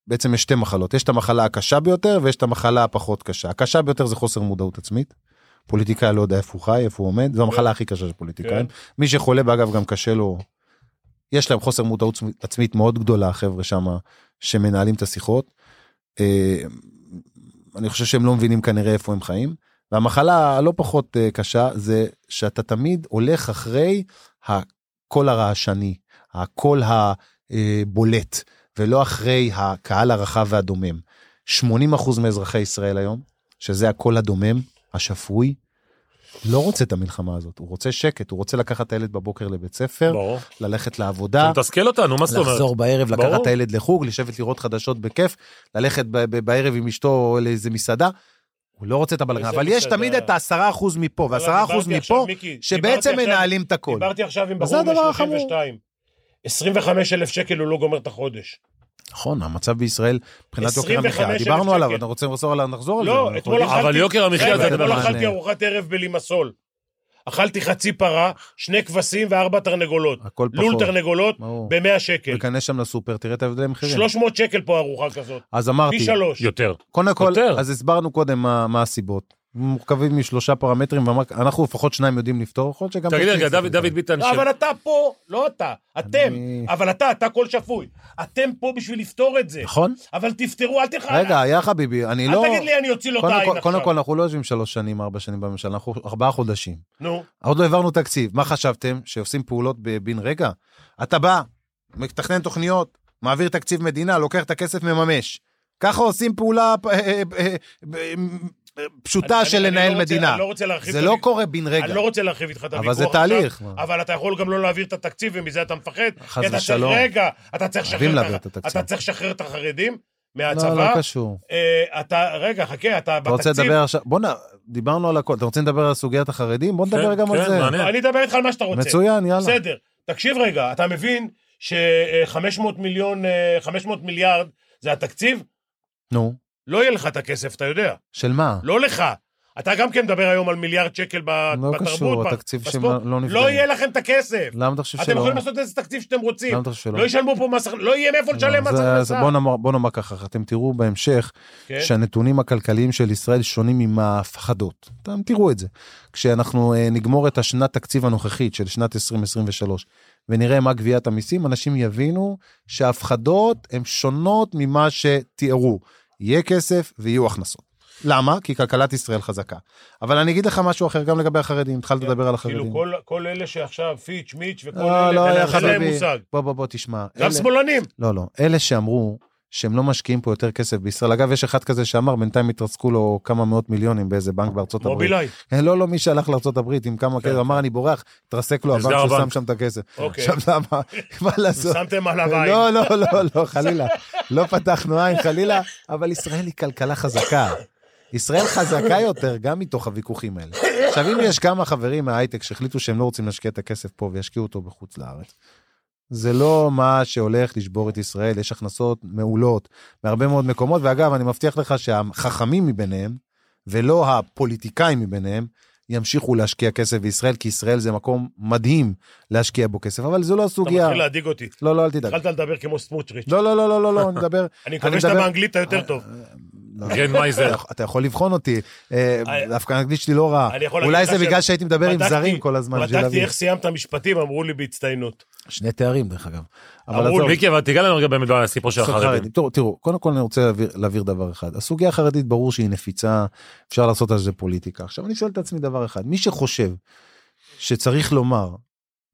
D: בעצם יש שתי מחלות, יש את המחלה הקשה ביותר ויש את המחלה הפחות קשה. הקשה ביותר זה חוסר מודעות עצמית. פוליטיקאי לא יודע איפה הוא חי, איפה הוא עומד, זו המחלה הכי קשה של פוליטיקאים. מי שחולה באגב גם קשה לו, יש להם חוסר מודעות עצמית מאוד גדולה, החבר'ה שם שמנהלים את השיחות. אה, אני חושב שהם לא מבינים כנראה איפה הם חיים. והמחלה הלא פחות אה, קשה זה שאתה תמיד הולך אחרי הקול הרעשני, הקול הבולט, ולא אחרי הקהל הרחב והדומם. 80% מאזרחי ישראל היום, שזה הקול הדומם, השפוי, לא רוצה את המלחמה הזאת, הוא רוצה שקט, הוא רוצה לקחת את הילד בבוקר לבית ספר,
B: לא.
C: ברור.
D: ללכת
C: זה
D: לעבודה,
C: מתסכל אותנו, מה זאת אומרת?
D: לחזור בערב, לקחת
C: ברור.
D: את הילד לחוג, לשבת לראות חדשות בכיף, ללכת ב- ב- בערב עם אשתו לאיזה מסעדה. הוא לא רוצה את הבלגן,
B: איזה
D: אבל יש
B: מסעדה?
D: תמיד את העשרה אחוז מפה ועשרה
B: לא, דיברתי
D: אחוז
B: עכשיו,
D: מפה,
B: מיקי,
D: שבעצם
B: דיברתי עכשיו-
D: מנהלים את הכל.
B: דיברתי עכשיו עם
D: וזה
B: בחור
D: הדבר החמור.
B: מ-32. 25 אלף שקל הוא לא גומר את החודש.
D: נכון, המצב בישראל, מבחינת יוקר
B: 25,000
D: המחיה, דיברנו עליו,
B: שקל.
D: אנחנו רוצים לחזור עליו, נחזור על זה. נכון.
B: לא,
D: אנחנו
B: אתמול
D: יודעים.
B: אכלתי...
C: אבל יוקר המחיה
B: רגע,
C: זה
B: אתמול
C: דבר
B: אכלתי
D: מעניין.
B: ארוחת ערב בלימסול. אכלתי חצי פרה, שני כבשים וארבע תרנגולות.
D: הכל
B: לול
D: פחות.
B: תרנגולות
D: ברור. אוקיי,
B: ב-100 שקל.
D: וכנס שם לסופר, תראה את ההבדלי מחירים.
B: 300 שקל פה ארוחה כזאת.
D: אז אמרתי,
B: פי שלוש.
C: יותר.
D: קודם כל,
C: יותר.
D: אז הסברנו קודם מה מה הסיבות. מורכבים משלושה פרמטרים, ואנחנו לפחות שניים יודעים לפתור, יכול להיות שגם...
C: תגיד
D: תשתית
C: רגע,
D: צריך
C: דוד
D: לפתור.
C: דוד ביטן,
B: לא,
C: ש-
B: אבל אתה פה, לא אתה, אתם,
D: אני-
B: אבל אתה, אתה כל שפוי. אתם פה בשביל לפתור את זה.
D: נכון?
B: אבל תפתרו, אל תלך...
D: רגע, יא חביבי, אני
B: אל
D: לא...
B: תגיד לי, אני אוציא לו את
D: קודם
B: העין
D: כל- קודם כל,
B: עכשיו.
D: אנחנו לא יושבים שלוש שנים, ארבע שנים בממשלה, אנחנו ארבעה חודשים.
B: נו,
D: עוד לא העברנו תקציב. מה חשבתם? שעושים פעולות בבן רגע? אתה בא, מתכנן תוכניות, מעביר תקציב מדינה, לוקח את הכסף, מממש. ככה עושים פעולה אה, אה, אה, אה, אה,
B: אני-
D: פשוטה
B: אני-
D: של
B: אני
D: לנהל
B: לא רוצה-
D: מדינה.
B: אני לא רוצה להרחיב
D: זה
B: את
D: לא
B: הוויכוח.
D: קורה בן רגע.
B: אני לא רוצה להרחיב איתך את
D: אבל
B: הוויכוח
D: זה
B: עכשיו,
D: תהליך, מה?
B: אבל אתה יכול גם לא להעביר את התקציב, ומזה אתה מפחד.
D: חס
B: כי אתה צריך-
D: ושלום.
B: רגע, אתה צריך
D: חייבים
B: לשחרר
D: להעביר
B: את הח-
D: את התקציב.
B: אתה צריך לשחרר את החרדים
D: לא, לא
B: מהצבא.
D: קשור.
B: אה, אתה, רגע, חכה, אתה
D: אתה רוצה
B: בתקציב.
D: לדבר עכשיו, בוא'נה, דיברנו על הכל, אתם רוצים לדבר על סוגיית החרדים? בוא נדבר
C: כן,
D: גם על
C: כן,
D: זה.
C: מעניין.
B: אני אדבר איתך על מה שאתה רוצה.
D: מצוין, יאללה.
B: בסדר. תקשיב רגע, אתה מבין ש-500 מיליון, אה, 500 מיליארד זה התקציב?
D: נו,
B: לא יהיה לך את הכסף, אתה יודע.
D: של מה?
B: לא לך. אתה גם כן מדבר היום על מיליארד שקל ב-
D: לא
B: בתרבות.
D: קשור,
B: ב-
D: התקציב
B: בספורט.
D: שלא נפגע.
B: לא יהיה לכם את הכסף.
D: למה אתה חושב שלא?
B: אתם יכולים לעשות איזה תקציב שאתם רוצים.
D: למה אתה חושב שלא? אה,
B: לא ישלמו פה מס הכנסה, לא יהיה מאיפה לשלם מס
D: זה- זה-
B: הכנסה.
D: בוא נאמר- בוא נאמר ככה, אתם תראו בהמשך
B: כן.
D: שהנתונים הכלכליים של ישראל שונים עם ההפחדות. אתם תראו את זה. כשאנחנו אה, נגמור את השנת תקציב הנוכחית של שנת 2023, ונראה מה גביית המיסים, אנשים יבינו שההפחדות הן שונות ממה שתיארו. יהיה כסף ויהיו הכנסות. למה? כי כלכלת ישראל חזקה. אבל אני אגיד לך משהו אחר גם לגבי החרדים, התחלת לדבר על החרדים.
B: כאילו כל, כל אלה שעכשיו, פיץ', מיץ' וכל
D: לא,
B: אלה,
D: לא,
B: אין
D: היה
B: להם- אין להם
D: חביבי.
B: מושג.
D: בוא, בוא, בוא, תשמע.
B: גם
D: אלה-
B: שמאלנים.
D: לא, לא. אלה שאמרו שהם לא משקיעים פה יותר כסף בישראל. אגב, יש אחד כזה שאמר, בינתיים התרסקו לו כמה מאות מיליונים באיזה בנק בארצות הברית.
B: מובילאי.
D: אה, לא, לא, מי שהלך לארה"ב עם כמה כסף, אמר אני בורח, התרסק לו
C: נסגר
D: הבנק שהוא שם
C: הבנק.
D: שם את הכסף.
B: אוקיי.
D: עכשיו למה? מה לעשות?
B: שמתם עליו עין.
D: לא, לא, לא, לא, חלילה. לא פתחנו עין, חלילה, אבל ישראל היא כלכלה חזקה. ישראל חזקה יותר גם מתוך הוויכוחים האלה. עכשיו, אם יש כמה חברים מההייטק שהחליטו שהם לא רוצים להשקיע את הכסף פה וישקיעו אותו בחוץ לארץ, זה לא מה שהולך לשבור את ישראל, יש הכנסות מעולות מהרבה מאוד מקומות, ואגב, אני מבטיח לך שהחכמים מביניהם, ולא הפוליטיקאים מביניהם, ימשיכו להשקיע כסף בישראל, כי ישראל זה מקום מדהים להשקיע בו כסף, אבל זו לא
B: אתה
D: הסוגיה.
B: מתחיל להדאיג אותי.
D: לא, לא, אל תדאג.
B: התחלת לדבר כמו סמוטריץ'.
D: לא, לא, לא, לא, לא, לא, אני מדבר...
B: אני מקווה שאתה
D: מדבר-
B: באנגלית היותר טוב.
D: לא,
C: גרן מייזר.
D: אתה יכול- אתה יכול לבחון אותי, אה,
B: אני-
D: דווקא האנגלית שלי לא רעה.
B: אני יכול
D: אולי
B: להגיד לך
D: זה בגלל
B: ש-
D: שהייתי מדבר עם
B: בדקתי-
D: זרים כל הזמן. בשביל
B: בדקתי
D: להבין.
B: איך סיימת משפטים, אמרו לי בהצטיינות.
D: שני תארים, דרך אגב. אבל
B: אמרו
D: עזוב,
B: לי,
C: מיקי, אבל תיגע לנו רגע באמת לסיפור של
D: בסוף
C: החרדים.
D: חרדים. תראו, תראו, קודם כל אני רוצה להבהיר- להבהיר דבר אחד. הסוגיה החרדית ברור שהיא נפיצה, אפשר לעשות על זה פוליטיקה. עכשיו אני שואל את עצמי דבר אחד, מי שחושב שצריך לומר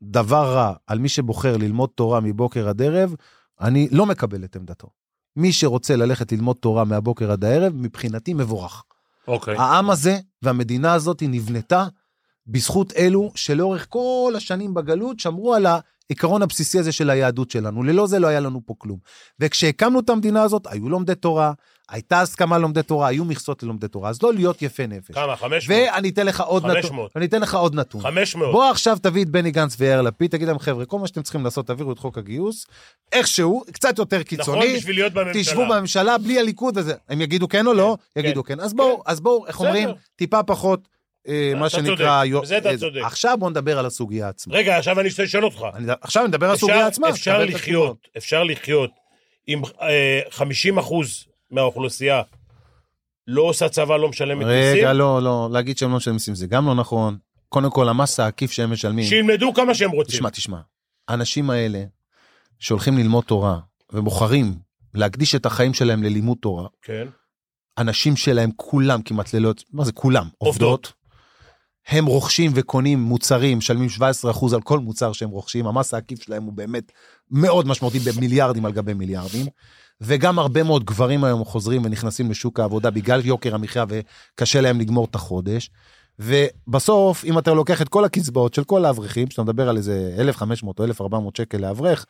D: דבר רע על מי שבוחר ללמוד תורה מבוקר עד ערב, אני לא מקבל את עמדתו. מי שרוצה ללכת ללמוד תורה מהבוקר עד הערב, מבחינתי מבורך.
C: אוקיי.
D: העם הזה והמדינה הזאת היא נבנתה בזכות אלו שלאורך כל השנים בגלות שמרו על העיקרון הבסיסי הזה של היהדות שלנו. ללא זה לא היה לנו פה כלום. וכשהקמנו את המדינה הזאת, היו לומדי תורה, הייתה הסכמה ללומדי תורה, היו מכסות ללומדי תורה, אז לא להיות יפה נפש.
B: כמה? 500?
D: ואני אתן לך עוד נתון.
B: 500.
D: אני אתן לך עוד נתון.
B: 500.
D: בוא עכשיו תביא את בני גנץ ויאיר לפיד, תגיד להם, חבר'ה, כל מה שאתם צריכים לעשות, תעבירו את חוק הגיוס, איכשהו, קצת יותר קיצוני.
B: נכון, בשביל להיות בממשלה.
D: תשבו בממשלה בלי הליכוד וזה. הם יגידו כן או לא?
B: כן,
D: יגידו כן. אז בואו, אז בואו, איך
B: בסדר.
D: אומרים? טיפה פחות, אה,
B: אתה
D: מה שנקרא...
B: צודק,
D: יו-
B: בזה אתה
D: אה,
B: צודק.
D: עכשיו בואו נדבר על הסוגיה עצמה.
B: רגע, עכשיו אני רוצה לשאול אותך.
D: אני- עכשיו אני מדבר על
B: אפשר-
D: הסוגיה עצמה.
B: אפשר
D: תקבל את התשובות.
B: לחיות, אפשר לחיות עם אה, 50 אחוז מהאוכלוסייה לא עושה צבא, לא משלמת מיסים,
D: רגע, לא, לא, להגיד שהם לא משלמים מיסים זה גם לא נכון. קודם כל, המס העקיף שהם משלמים...
B: שילמדו כמה שהם רוצים.
D: תשמע, תשמע, האנשים האלה שהולכים ללמוד תורה ובוחרים להקדיש את החיים שלהם ללימוד תורה,
B: כן.
D: הנשים שלהם כולם כמעט ללא, יוצא- מה זה כולם?
B: עובדות.
D: עובדות. הם רוכשים וקונים מוצרים, משלמים 17% על כל מוצר שהם רוכשים, המס העקיף שלהם הוא באמת מאוד משמעותי במיליארדים על גבי מיליארדים. וגם הרבה מאוד גברים היום חוזרים ונכנסים לשוק העבודה בגלל יוקר המחיה וקשה להם לגמור את החודש. ובסוף, אם אתה לוקח את כל הקצבאות של כל האברכים, כשאתה מדבר על איזה 1,500 או 1,400 שקל לאברך,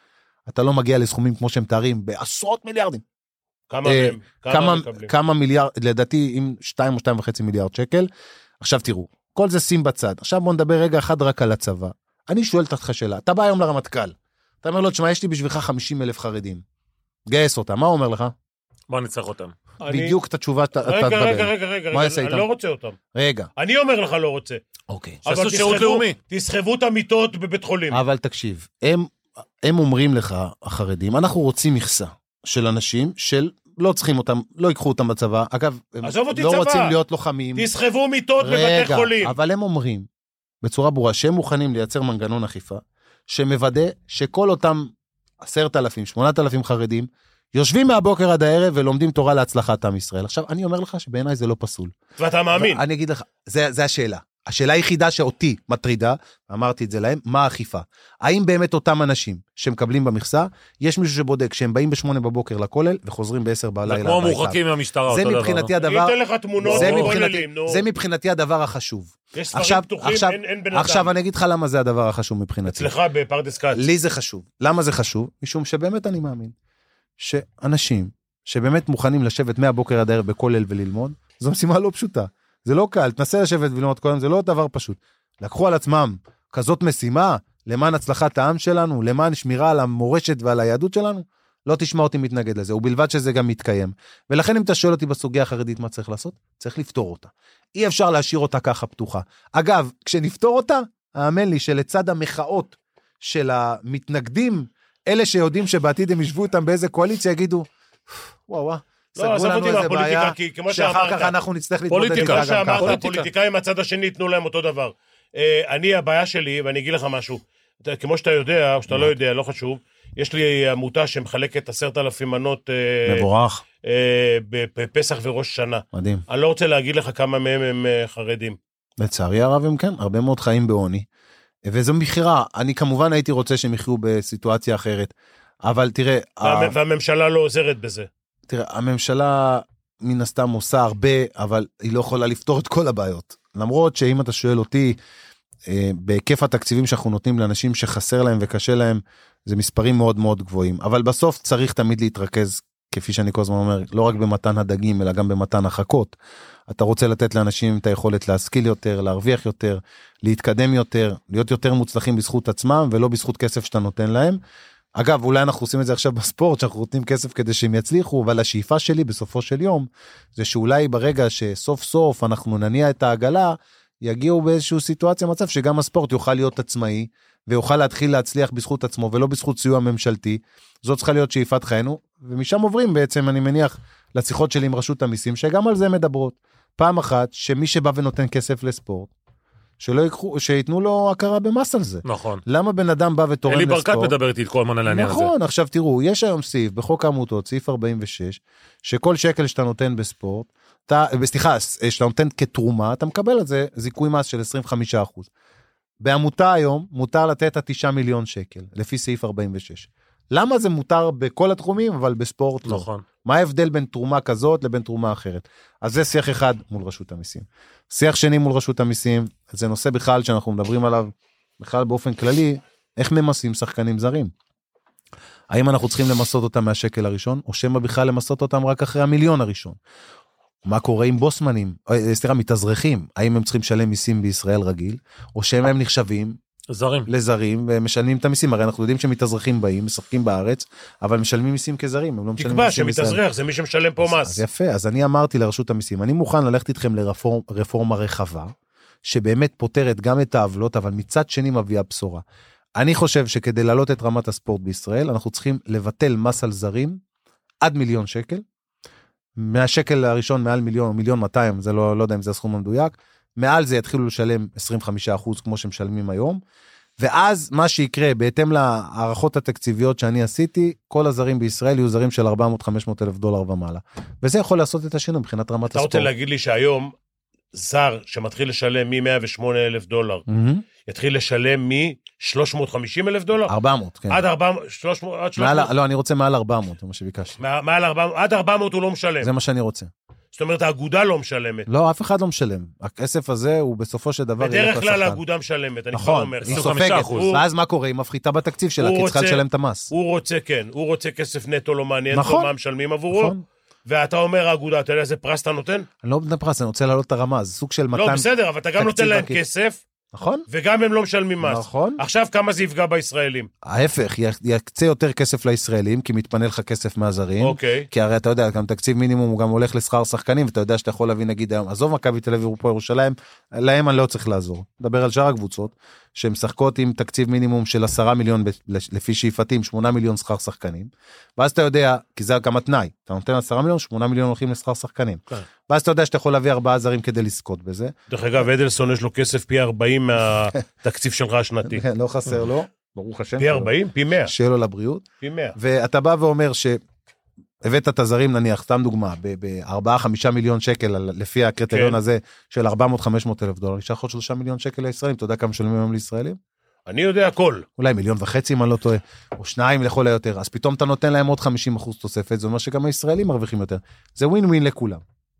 D: אתה לא מגיע לסכומים כמו שהם מתארים בעשרות מיליארדים.
B: כמה
D: אה,
B: מהם? כמה
D: כמה,
B: מקבלים?
D: כמה מיליארד, לדעתי עם 2 או 2.5 מיליארד שקל. עכשיו תראו, כל זה שים בצד. עכשיו בוא נדבר רגע אחד רק על הצבא. אני שואל אותך שאלה, אתה בא היום לרמטכ"ל, אתה אומר לו, תשמע, יש לי בשבילך 50 אלף חרדים. גייס אותם, מה הוא אומר לך?
C: בוא נצטרך אותם.
B: אני-
D: בדיוק את התשובה שאתה אתה
B: רגע, רגע,
D: תדבר.
B: רגע, רגע,
D: מה
B: רגע,
D: יעשה
B: אני
D: איתם?
B: לא רוצה אותם.
D: רגע,
B: אני אומר לך לא רוצה.
D: אוקיי.
B: אבל
C: שיעשו שירות
B: תסחבו-
C: לאומי.
B: תסחבו את המיטות בבית חולים.
D: אבל תקשיב, הם, הם אומרים לך, החרדים, אנחנו רוצים מכסה של אנשים של לא צריכים אותם, לא ייקחו אותם בצבא. אגב, הם
B: עזוב אותי
D: לא
B: צבא.
D: רוצים להיות לוחמים.
B: תסחבו מיטות בבתי חולים.
D: אבל הם אומרים בצורה ברורה שהם מוכנים לייצר מנגנון אכיפה שמוודא שכל אותם 10,000, 8,000 חרדים יושבים מהבוקר עד הערב ולומדים תורה להצלחת עם ישראל. עכשיו, אני אומר לך שבעיניי זה לא פסול.
B: ואתה מאמין.
D: לא, אני אגיד לך, זה, זה השאלה. השאלה היחידה שאותי מטרידה, אמרתי את זה להם, מה האכיפה? האם באמת אותם אנשים שמקבלים במכסה, יש מישהו שבודק שהם באים ב-8 בבוקר לכולל וחוזרים ב-10
C: זה
D: בלילה
C: כמו המורחקים מהמשטרה, אותו
D: זה
C: דבר. לא.
D: מבחינתי
B: אני
D: הדבר...
B: אתן לך תמונות
D: זה מבחינתי,
B: בכוללים, נו.
D: זה מבחינתי הדבר החשוב.
B: יש ספרים
D: עכשיו,
B: פתוחים,
D: עכשיו,
B: אין- אין בן אדם.
D: עכשיו אני אגיד לך למה זה הדבר החשוב מבחינתי.
B: אצלך בפרדס כץ.
D: לי זה חשוב. למה זה חשוב? משום שבאמת אני מאמין שאנשים שבאמת מוכנים לשבת מהבוקר עד הערב בכולל וללמוד, זו משימה לא פשוטה. זה לא קל, תנסה לשבת וללמוד כל היום, זה לא דבר פשוט. לקחו על עצמם כזאת משימה למען הצלחת העם שלנו, למען שמירה על המורשת ועל היהדות שלנו, לא תשמע אותי מתנגד לזה, ובלבד שזה גם מתקיים. ולכן אם אתה שואל אותי בסוגיה החרדית מה צריך לעשות, צריך לפתור אותה. אי אפשר להשאיר אותה ככה פתוחה. אגב, כשנפתור אותה, האמן לי שלצד המחאות של המתנגדים, אלה שיודעים שבעתיד הם ישבו איתם באיזה קואליציה, יגידו, וואו וואו, סגרו
B: לא, עזוב
D: לנו
B: אותי
D: איזה
B: מהפוליטיקה,
D: בעיה,
B: כי כמו
D: שאחר
B: שאמרת,
D: כך אנחנו נצטרך להתמודד
C: פוליטיקה,
D: איתה
B: כמו
C: אתה
D: גם
B: שאמרת,
D: ככה.
C: פוליטיקה.
B: הפוליטיקאים מהצד השני ייתנו להם אותו דבר. אה, אני, הבעיה שלי, ואני אגיד לך משהו, אתה- כמו שאתה יודע, או שאתה לא יודע, לא חשוב, יש לי עמותה שמחלקת עשרת אלפים מנות אה,
D: מבורך,
B: אה, בפסח וראש השנה.
D: מדהים.
B: אני לא רוצה להגיד לך כמה מהם הם אה, חרדים.
D: לצערי הרב הם כן, הרבה מאוד חיים בעוני. וזו מכירה, אני כמובן הייתי רוצה שהם יחיו בסיטואציה אחרת. אבל תראה, ה-
B: והמ- והממשלה לא עוזרת בזה.
D: תראה, הממשלה מן הסתם עושה הרבה, אבל היא לא יכולה לפתור את כל הבעיות. למרות שאם אתה שואל אותי, אה, בהיקף התקציבים שאנחנו נותנים לאנשים שחסר להם וקשה להם, זה מספרים מאוד מאוד גבוהים. אבל בסוף צריך תמיד להתרכז, כפי שאני כל הזמן אומר, לא רק במתן הדגים, אלא גם במתן החכות. אתה רוצה לתת לאנשים את היכולת להשכיל יותר, להרוויח יותר, להתקדם יותר, להיות יותר מוצלחים בזכות עצמם ולא בזכות כסף שאתה נותן להם. אגב, אולי אנחנו עושים את זה עכשיו בספורט, שאנחנו נותנים כסף כדי שהם יצליחו, אבל השאיפה שלי בסופו של יום, זה שאולי ברגע שסוף סוף אנחנו נניע את העגלה, יגיעו באיזושהי סיטואציה, מצב שגם הספורט יוכל להיות עצמאי, ויוכל להתחיל להצליח בזכות עצמו ולא בזכות סיוע ממשלתי. זו צריכה להיות שאיפת חיינו, ומשם עוברים בעצם, אני מניח, לשיחות שלי עם רשות המיסים, שגם על זה מדברות. פעם אחת, שמי שבא ונותן כסף לספורט, שלא יקחו, שייתנו לו הכרה במס על זה.
C: נכון.
D: למה בן אדם בא ותורם
C: אלי
D: לספורט?
C: ברקת מדבר איתי כל הזמן על העניין הזה.
D: נכון, עכשיו תראו, יש היום סעיף בחוק העמותות, סעיף 46, שכל שקל שאתה נותן בספורט, אתה, סליחה, אה, שאתה נותן כתרומה, אתה מקבל על זה זיכוי מס של 25%. בעמותה היום מותר לתת עד 9 מיליון שקל, לפי סעיף 46. למה זה מותר בכל התחומים, אבל בספורט לא?
C: נכון.
D: מה ההבדל בין תרומה כזאת לבין תרומה אחרת? אז זה שיח אחד מול רשות המיסים. שיח שני מול רשות המיסים, זה נושא בכלל שאנחנו מדברים עליו, בכלל באופן כללי, איך ממסים שחקנים זרים. האם אנחנו צריכים למסות אותם מהשקל הראשון, או שמא בכלל למסות אותם רק אחרי המיליון הראשון? מה קורה עם בוסמנים, אה, סליחה, מתאזרחים, האם הם צריכים לשלם מיסים בישראל רגיל, או שמא הם נחשבים
C: זרים.
D: לזרים ומשלמים את המיסים, הרי אנחנו יודעים שמתאזרחים באים, משחקים בארץ, אבל משלמים מיסים כזרים, הם לא משלמים
B: תקבע
D: מיסים בישראל.
B: שמתאזרח זה מי שמשלם פה
D: אז
B: מס.
D: יפה, אז אני אמרתי לרשות המיסים, אני מוכן ללכת איתכם לרפורמה רחבה, שבאמת פותרת גם את העוולות, אבל מצד שני מביאה בשורה. אני חושב שכדי להעלות את רמת הספורט בישראל, אנחנו צריכים לבטל מס על זרים עד מיליון שקל. מהשקל הראשון מעל מיליון, או מיליון 200, זה לא, לא יודע אם זה הסכום המדויק, מעל זה יתחילו לשלם 25% כמו שמשלמים היום. ואז מה שיקרה, בהתאם להערכות התקציביות שאני עשיתי, כל הזרים בישראל יהיו זרים של 400-500 אלף דולר ומעלה. וזה יכול לעשות את השינוי מבחינת רמת
B: אתה
D: הספורט.
B: רוצה להגיד לי שהיום זר שמתחיל לשלם מ-108 אלף דולר,
D: מהמם.
B: יתחיל לשלם מ-350 אלף דולר?
D: 400, כן.
B: לא. עד 400, 300, עד
D: מעל,
B: 300,
D: לא, אני רוצה מעל 400, זה מה שביקשתי.
B: מע- מעל 400, עד 400 הוא לא משלם.
D: זה מה שאני רוצה.
B: זאת אומרת, האגודה לא משלמת.
D: לא, אף אחד לא משלם. הכסף הזה הוא בסופו של דבר... ילך
B: בדרך כלל
D: לשחקן.
B: האגודה משלמת, אני כבר
D: נכון,
B: אומר.
D: היא
C: 25%.
D: סופגת.
B: הוא-
D: ואז מה קורה? היא מפחיתה בתקציב שלה,
B: הוא
D: כי היא צריכה
B: רוצה-
D: לשלם את המס.
B: הוא רוצה, כן, הוא רוצה כסף נטו, לא מעניין אותו
D: נכון.
B: מה משלמים עבורו.
D: נכון?
B: ואתה אומר, האגודה, אתה יודע איזה פרס אתה נותן?
D: אני לא נותן פרס, אני רוצה להעלות את הרמה, זה סוג של מתן...
B: לא, בסדר, אבל אתה גם נותן
D: תקציב
B: להם
D: עקיף.
B: כסף,
D: נכון?
B: וגם הם לא משלמים מס.
D: נכון.
B: עכשיו, כמה זה יפגע בישראלים?
D: ההפך, י- יקצה יותר כסף לישראלים, כי מתפנה לך כסף מהזרים.
B: אוקיי.
D: כי הרי אתה יודע, גם תקציב מינימום הוא גם הולך לשכר שחקנים, ואתה יודע שאתה יכול להביא נגיד היום, עזוב מכבי תל אביב ופה ירושלים, להם אני לא צריך לעזור. נדבר על שאר הקבוצות, שמשחקות עם תקציב מינימום של 10 מיליון, ב- לפי שאיפתי, עם 8 מיליון שכר שחקנים. ואז אתה יודע, כי זה גם התנאי, אתה נותן 10 מיליון, 8 מיליון הולכים לשכר שחקנים.
B: כן.
D: ואז אתה יודע שאתה יכול להביא 4 זרים כדי לזכות בזה.
B: דרך אגב, אדלסון יש לו כסף פי 40 מהתקציב שלך השנתי.
D: לא חסר לו, ברוך השם.
B: פי 40? פי 100.
D: שיהיה לו לבריאות.
B: פי 100.
D: ואתה בא ואומר שהבאת את הזרים נניח, סתם דוגמה, ב-4-5 מיליון שקל על- לפי הקריטריון
B: כן.
D: הזה של 400-500 אלף דולר, נשאר לך עוד 3 מיליון שקל לישראלים, אתה יודע כמה משלמים היום לישראלים?
B: אני יודע הכל.
D: אולי מיליון וחצי אם אני לא טועה, או שניים לכל היותר, אז פתאום אתה נותן להם עוד 50 אחוז תוספת, זה אומר שגם הישראלים מרוויחים יותר. זה ווין ווין לכולם.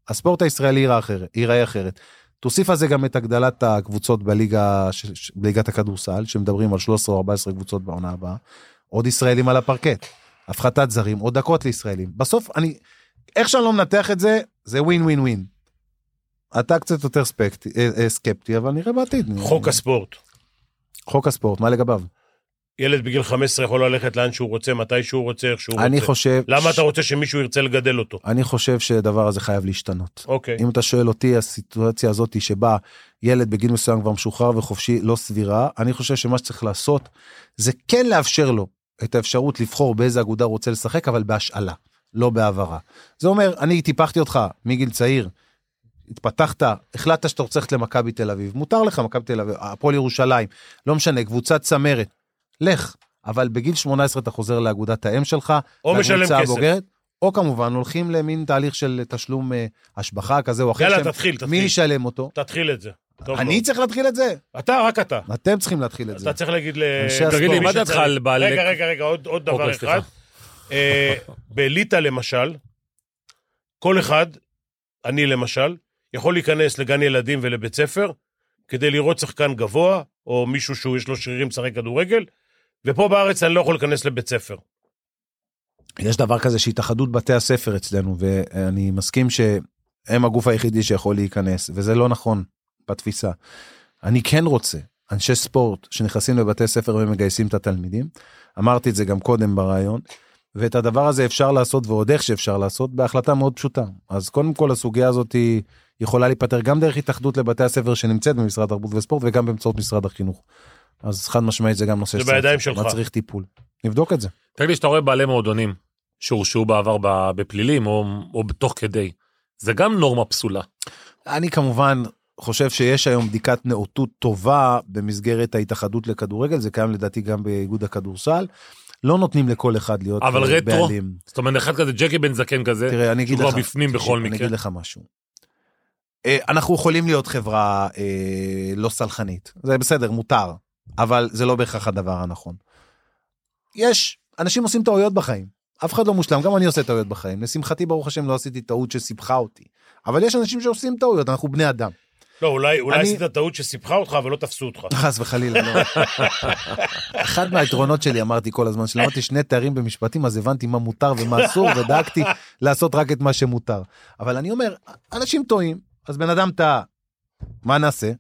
D: הספורט הישראלי ייראה אחרת, ייראה אחרת. תוסיף על זה גם את הגדלת הקבוצות בליגה, ש- ש- בליגת הכדורסל, שמדברים על 13 או 14 קבוצות בעונה הבאה. עוד ישראלים על הפרקט, הפחתת זרים, עוד דקות לישראלים. בסוף אני, איך שאני לא מנתח את זה, זה ווין ווין ווין. אתה קצת יותר ספקטי, אה, אה, סקפטי, אבל נראה בעתיד.
B: חוק הספורט.
D: חוק הספורט, מה לגביו?
B: ילד בגיל 15 יכול ללכת לאן שהוא רוצה, מתי שהוא רוצה, איך שהוא
D: אני
B: רוצה.
D: חושב...
B: אוקיי. למה אתה רוצה שמישהו ירצה לגדל אותו?
D: אני חושב שהדבר הזה חייב להשתנות.
B: אוקיי.
D: אם אתה שואל אותי, הסיטואציה הזאת היא שבה ילד בגיל מסוים כבר משוחרר וחופשי לא סבירה, אני חושב שמה שצריך לעשות זה כן לאפשר לו את האפשרות לבחור באיזה אגודה הוא רוצה לשחק, אבל בהשאלה, לא בהעברה. זה אומר, אני טיפחתי אותך מגיל צעיר, התפתחת, החלטת שאתה רוצה ללכת למכבי תל אביב, מותר לך מכבי תל אביב, הפועל ירושלים, לא משנה, קבוצת צמרת, לך. אבל בגיל 18 אתה חוזר לאגודת האם שלך.
B: או
D: לקבוצה
B: משלם כסף.
D: הבוגרת, או כמובן הולכים למין תהליך של תשלום אה, השבחה כזה או אחר.
B: יאללה,
D: שהם-
B: תתחיל,
D: מי
B: תתחיל.
D: ישלם אותו?
B: תתחיל את זה. טוב
D: אני
B: מאוד.
D: צריך להתחיל את זה?
B: אתה, רק אתה.
D: אתם צריכים להתחיל את זה.
B: אתה צריך להגיד ל...
D: אנשי
C: תגיד לי,
D: הספורט.
C: מה דעתך על בעלי...
B: רגע, רגע, רגע, עוד עוד דבר
C: אוקיי,
B: אחד.
C: סליחה.
B: אה, בליטא למשל, כל אחד, אני למשל, יכול להיכנס לגן ילדים ולבית ספר כדי לראות שחקן גבוה, או מישהו שיש לו שרירים לשחק כדורגל, ופה בארץ אני לא יכול להיכנס לבית ספר.
D: יש דבר כזה
F: התאחדות בתי הספר אצלנו,
D: ואני מסכים שהם הגוף היחידי שיכול להיכנס, וזה לא נכון בתפיסה. אני כן רוצה אנשי ספורט שנכנסים לבתי ספר ומגייסים את התלמידים, אמרתי את זה גם קודם בריאיון, ואת הדבר הזה אפשר לעשות ועוד איך שאפשר לעשות בהחלטה מאוד פשוטה. אז קודם כל הסוגיה הזאת היא יכולה להיפתר גם דרך התאחדות לבתי הספר שנמצאת במשרד התרבות וספורט וגם באמצעות משרד החינוך. אז חד משמעית זה גם נושא
B: זה בידיים
D: שצריך-
B: שלך.
D: מצריך טיפול. נבדוק את זה.
C: תגיד לי, שאתה רואה בעלי מועדונים שהורשעו בעבר ב- בפלילים או, או תוך כדי, זה גם נורמה פסולה.
D: אני כמובן חושב שיש היום בדיקת נאותות טובה במסגרת ההתאחדות לכדורגל, זה קיים לדעתי גם באיגוד הכדורסל. לא נותנים לכל אחד להיות
C: אבל
D: אה,
C: רטרו?
D: בעלים.
C: זאת אומרת, אחד כזה, ג'קי בן זקן כזה,
D: תראה, אני אגיד
C: שהוא
D: לך,
C: כבר בפנים
D: תקשיב,
C: בכל
D: אני
C: מקרה.
D: אגיד לך משהו. אה, אנחנו יכולים להיות חברה אה, לא סלחנית, זה בסדר, מותר, אבל זה לא בהכרח הדבר הנכון. יש, אנשים עושים טעויות בחיים, אף אחד לא מושלם, גם אני עושה טעויות בחיים. לשמחתי, ברוך השם, לא עשיתי טעות שסיבכה אותי, אבל יש אנשים שעושים טעויות, אנחנו בני אדם.
B: לא, אולי אולי
D: אני-
B: עשית טעות שסיפחה אותך, אבל לא תפסו אותך.
D: חס וחלילה, לא. אחד מהיתרונות שלי, אמרתי כל הזמן, שלמדתי שני תארים במשפטים, אז הבנתי מה מותר ומה אסור, ודאגתי לעשות רק את מה שמותר. אבל אני אומר, אנשים טועים, אז בן אדם טעה, מה נעשה?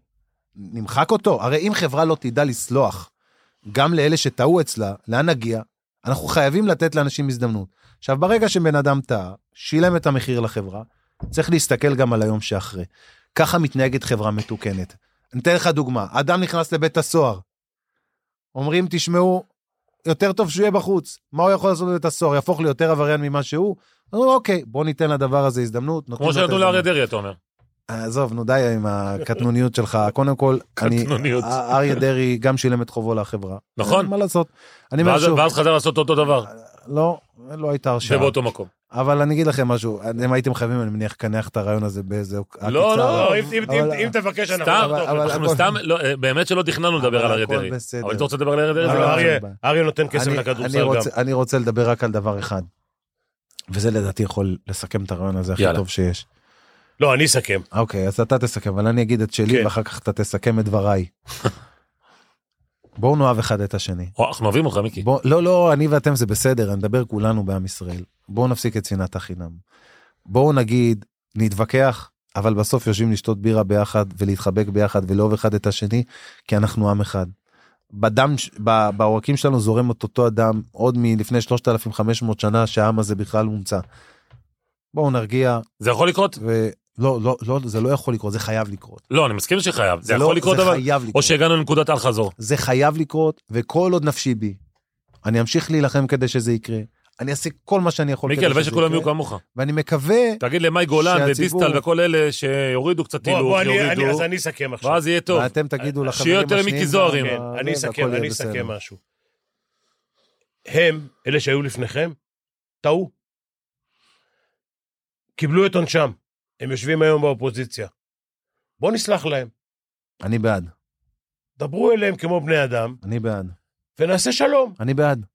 D: נמחק אותו? הרי אם חברה לא תדע לסלוח גם לאלה שטעו אצלה, לאן נגיע? אנחנו חייבים לתת לאנשים הזדמנות. עכשיו, ברגע שבן אדם טעה, שילם את המחיר לחברה, צריך להסתכל גם על היום שאחרי. ככה מתנהגת חברה מתוקנת. אני אתן לך דוגמה, אדם נכנס לבית הסוהר. אומרים, תשמעו, יותר טוב שהוא יהיה בחוץ. מה הוא יכול לעשות בבית הסוהר? יהפוך ליותר עבריין ממה שהוא? אומרים, אוקיי, בוא ניתן לדבר הזה הזדמנות. נותנים לו
C: כמו
D: את
C: שנתנו
D: ההזדמנות.
C: לאריה דרעי, אתה אומר.
D: עזוב, נו די עם הקטנוניות שלך. קודם כל, אני,
C: קטנוניות.
D: אריה דרעי גם שילם את חובו לחברה.
C: נכון.
D: מה לעשות? אני אומר
C: ואז
D: שוב,
C: ואז חזר לעשות אותו דבר,
D: לא, לא הייתה
C: זה
D: הרשעה.
C: באותו מקום.
D: אבל אני אגיד לכם משהו, אתם הייתם חייבים, אני מניח, לקנח את הרעיון הזה באיזה עקיצה.
C: לא, לא,
B: לא, אם- אם-
D: אבל-
B: אם- אם תבקש, אנחנו...
C: סתם,
D: אבל- אבל
C: אנחנו
D: הכל-
C: סתם, לא, אה, באמת שלא תכננו לדבר
D: אבל
C: על אריה
D: הכל
C: דרעי.
D: בסדר.
C: אבל אתה רוצה לדבר על אריה דרעי?
B: אבל
C: זה לא-
D: אבל-
B: אריה-
D: אבל-
B: אריה נותן כסף
D: אני- אני
B: לכדורסל גם.
D: רוצה- אני רוצה לדבר רק על דבר אחד, וזה לדעתי יכול לסכם את הרעיון הזה הכי
C: יאללה.
D: טוב שיש.
B: לא, אני אסכם.
D: אוקיי, אז אתה תסכם, אבל אני אגיד את שלי,
B: כן.
D: ואחר כך אתה תסכם את דבריי. בואו נאהב אחד את השני.
C: או, אה, אנחנו אוהבים אותך, מיקי.
D: בוא, לא, לא, אני ואתם זה בסדר, אני מדבר כולנו בעם ישראל. בואו נפסיק את שנאת החינם. בואו נגיד, נתווכח, אבל בסוף יושבים לשתות בירה ביחד ולהתחבק ביחד ולאהוב אחד את השני, כי אנחנו עם אחד. בדם, ש- ב- בעורקים שלנו זורם את אותו הדם עוד מלפני 3,500 שנה שהעם הזה בכלל מומצא. בואו נרגיע,
C: זה יכול לקרות?
D: ולא, לא, לא, זה לא יכול לקרות, זה חייב לקרות.
C: לא, אני מסכים שחייב. זה
D: לא,
C: יכול לקרות,
D: זה
C: אבל...
D: חייב אוקיי,
C: או
D: לקרות.
C: שהגענו לנקודת אל חזור.
D: זה חייב לקרות, וכל עוד נפשי בי, אני אמשיך להילחם כדי שזה יקרה. אני אעשה כל מה שאני יכול
C: מיקי,
D: כדי
C: הלוואי
D: שזה
C: שכולם יהיו
D: יקרה,
C: כמוך.
D: ואני מקווה,
C: תגיד למאי גולן
D: שהציבור-
C: ודיסטל וכל אלה שיורידו קצת
B: בוא, בוא,
C: הילוך,
B: אני- אני-
C: יורידו,
B: אז אני אסכם עכשיו.
C: ואז יהיה טוב.
D: ואתם
B: אה,
D: תגידו לחברים
C: שיהיה יותר מיקי זוהר,
D: גם,
C: הנה.
B: כן,
D: אה,
B: אני
D: זה, והכל
B: אסכם,
D: יהיה
B: אני
D: בסדר.
B: אסכם משהו. הם, אלה שהיו לפניכם, טעו. קיבלו את עונשם. הם יושבים היום באופוזיציה. בואו נסלח להם.
D: אני בעד,
B: דברו אליהם כמו בני אדם,
D: אני בעד,
B: ונעשה שלום.
D: אני בעד.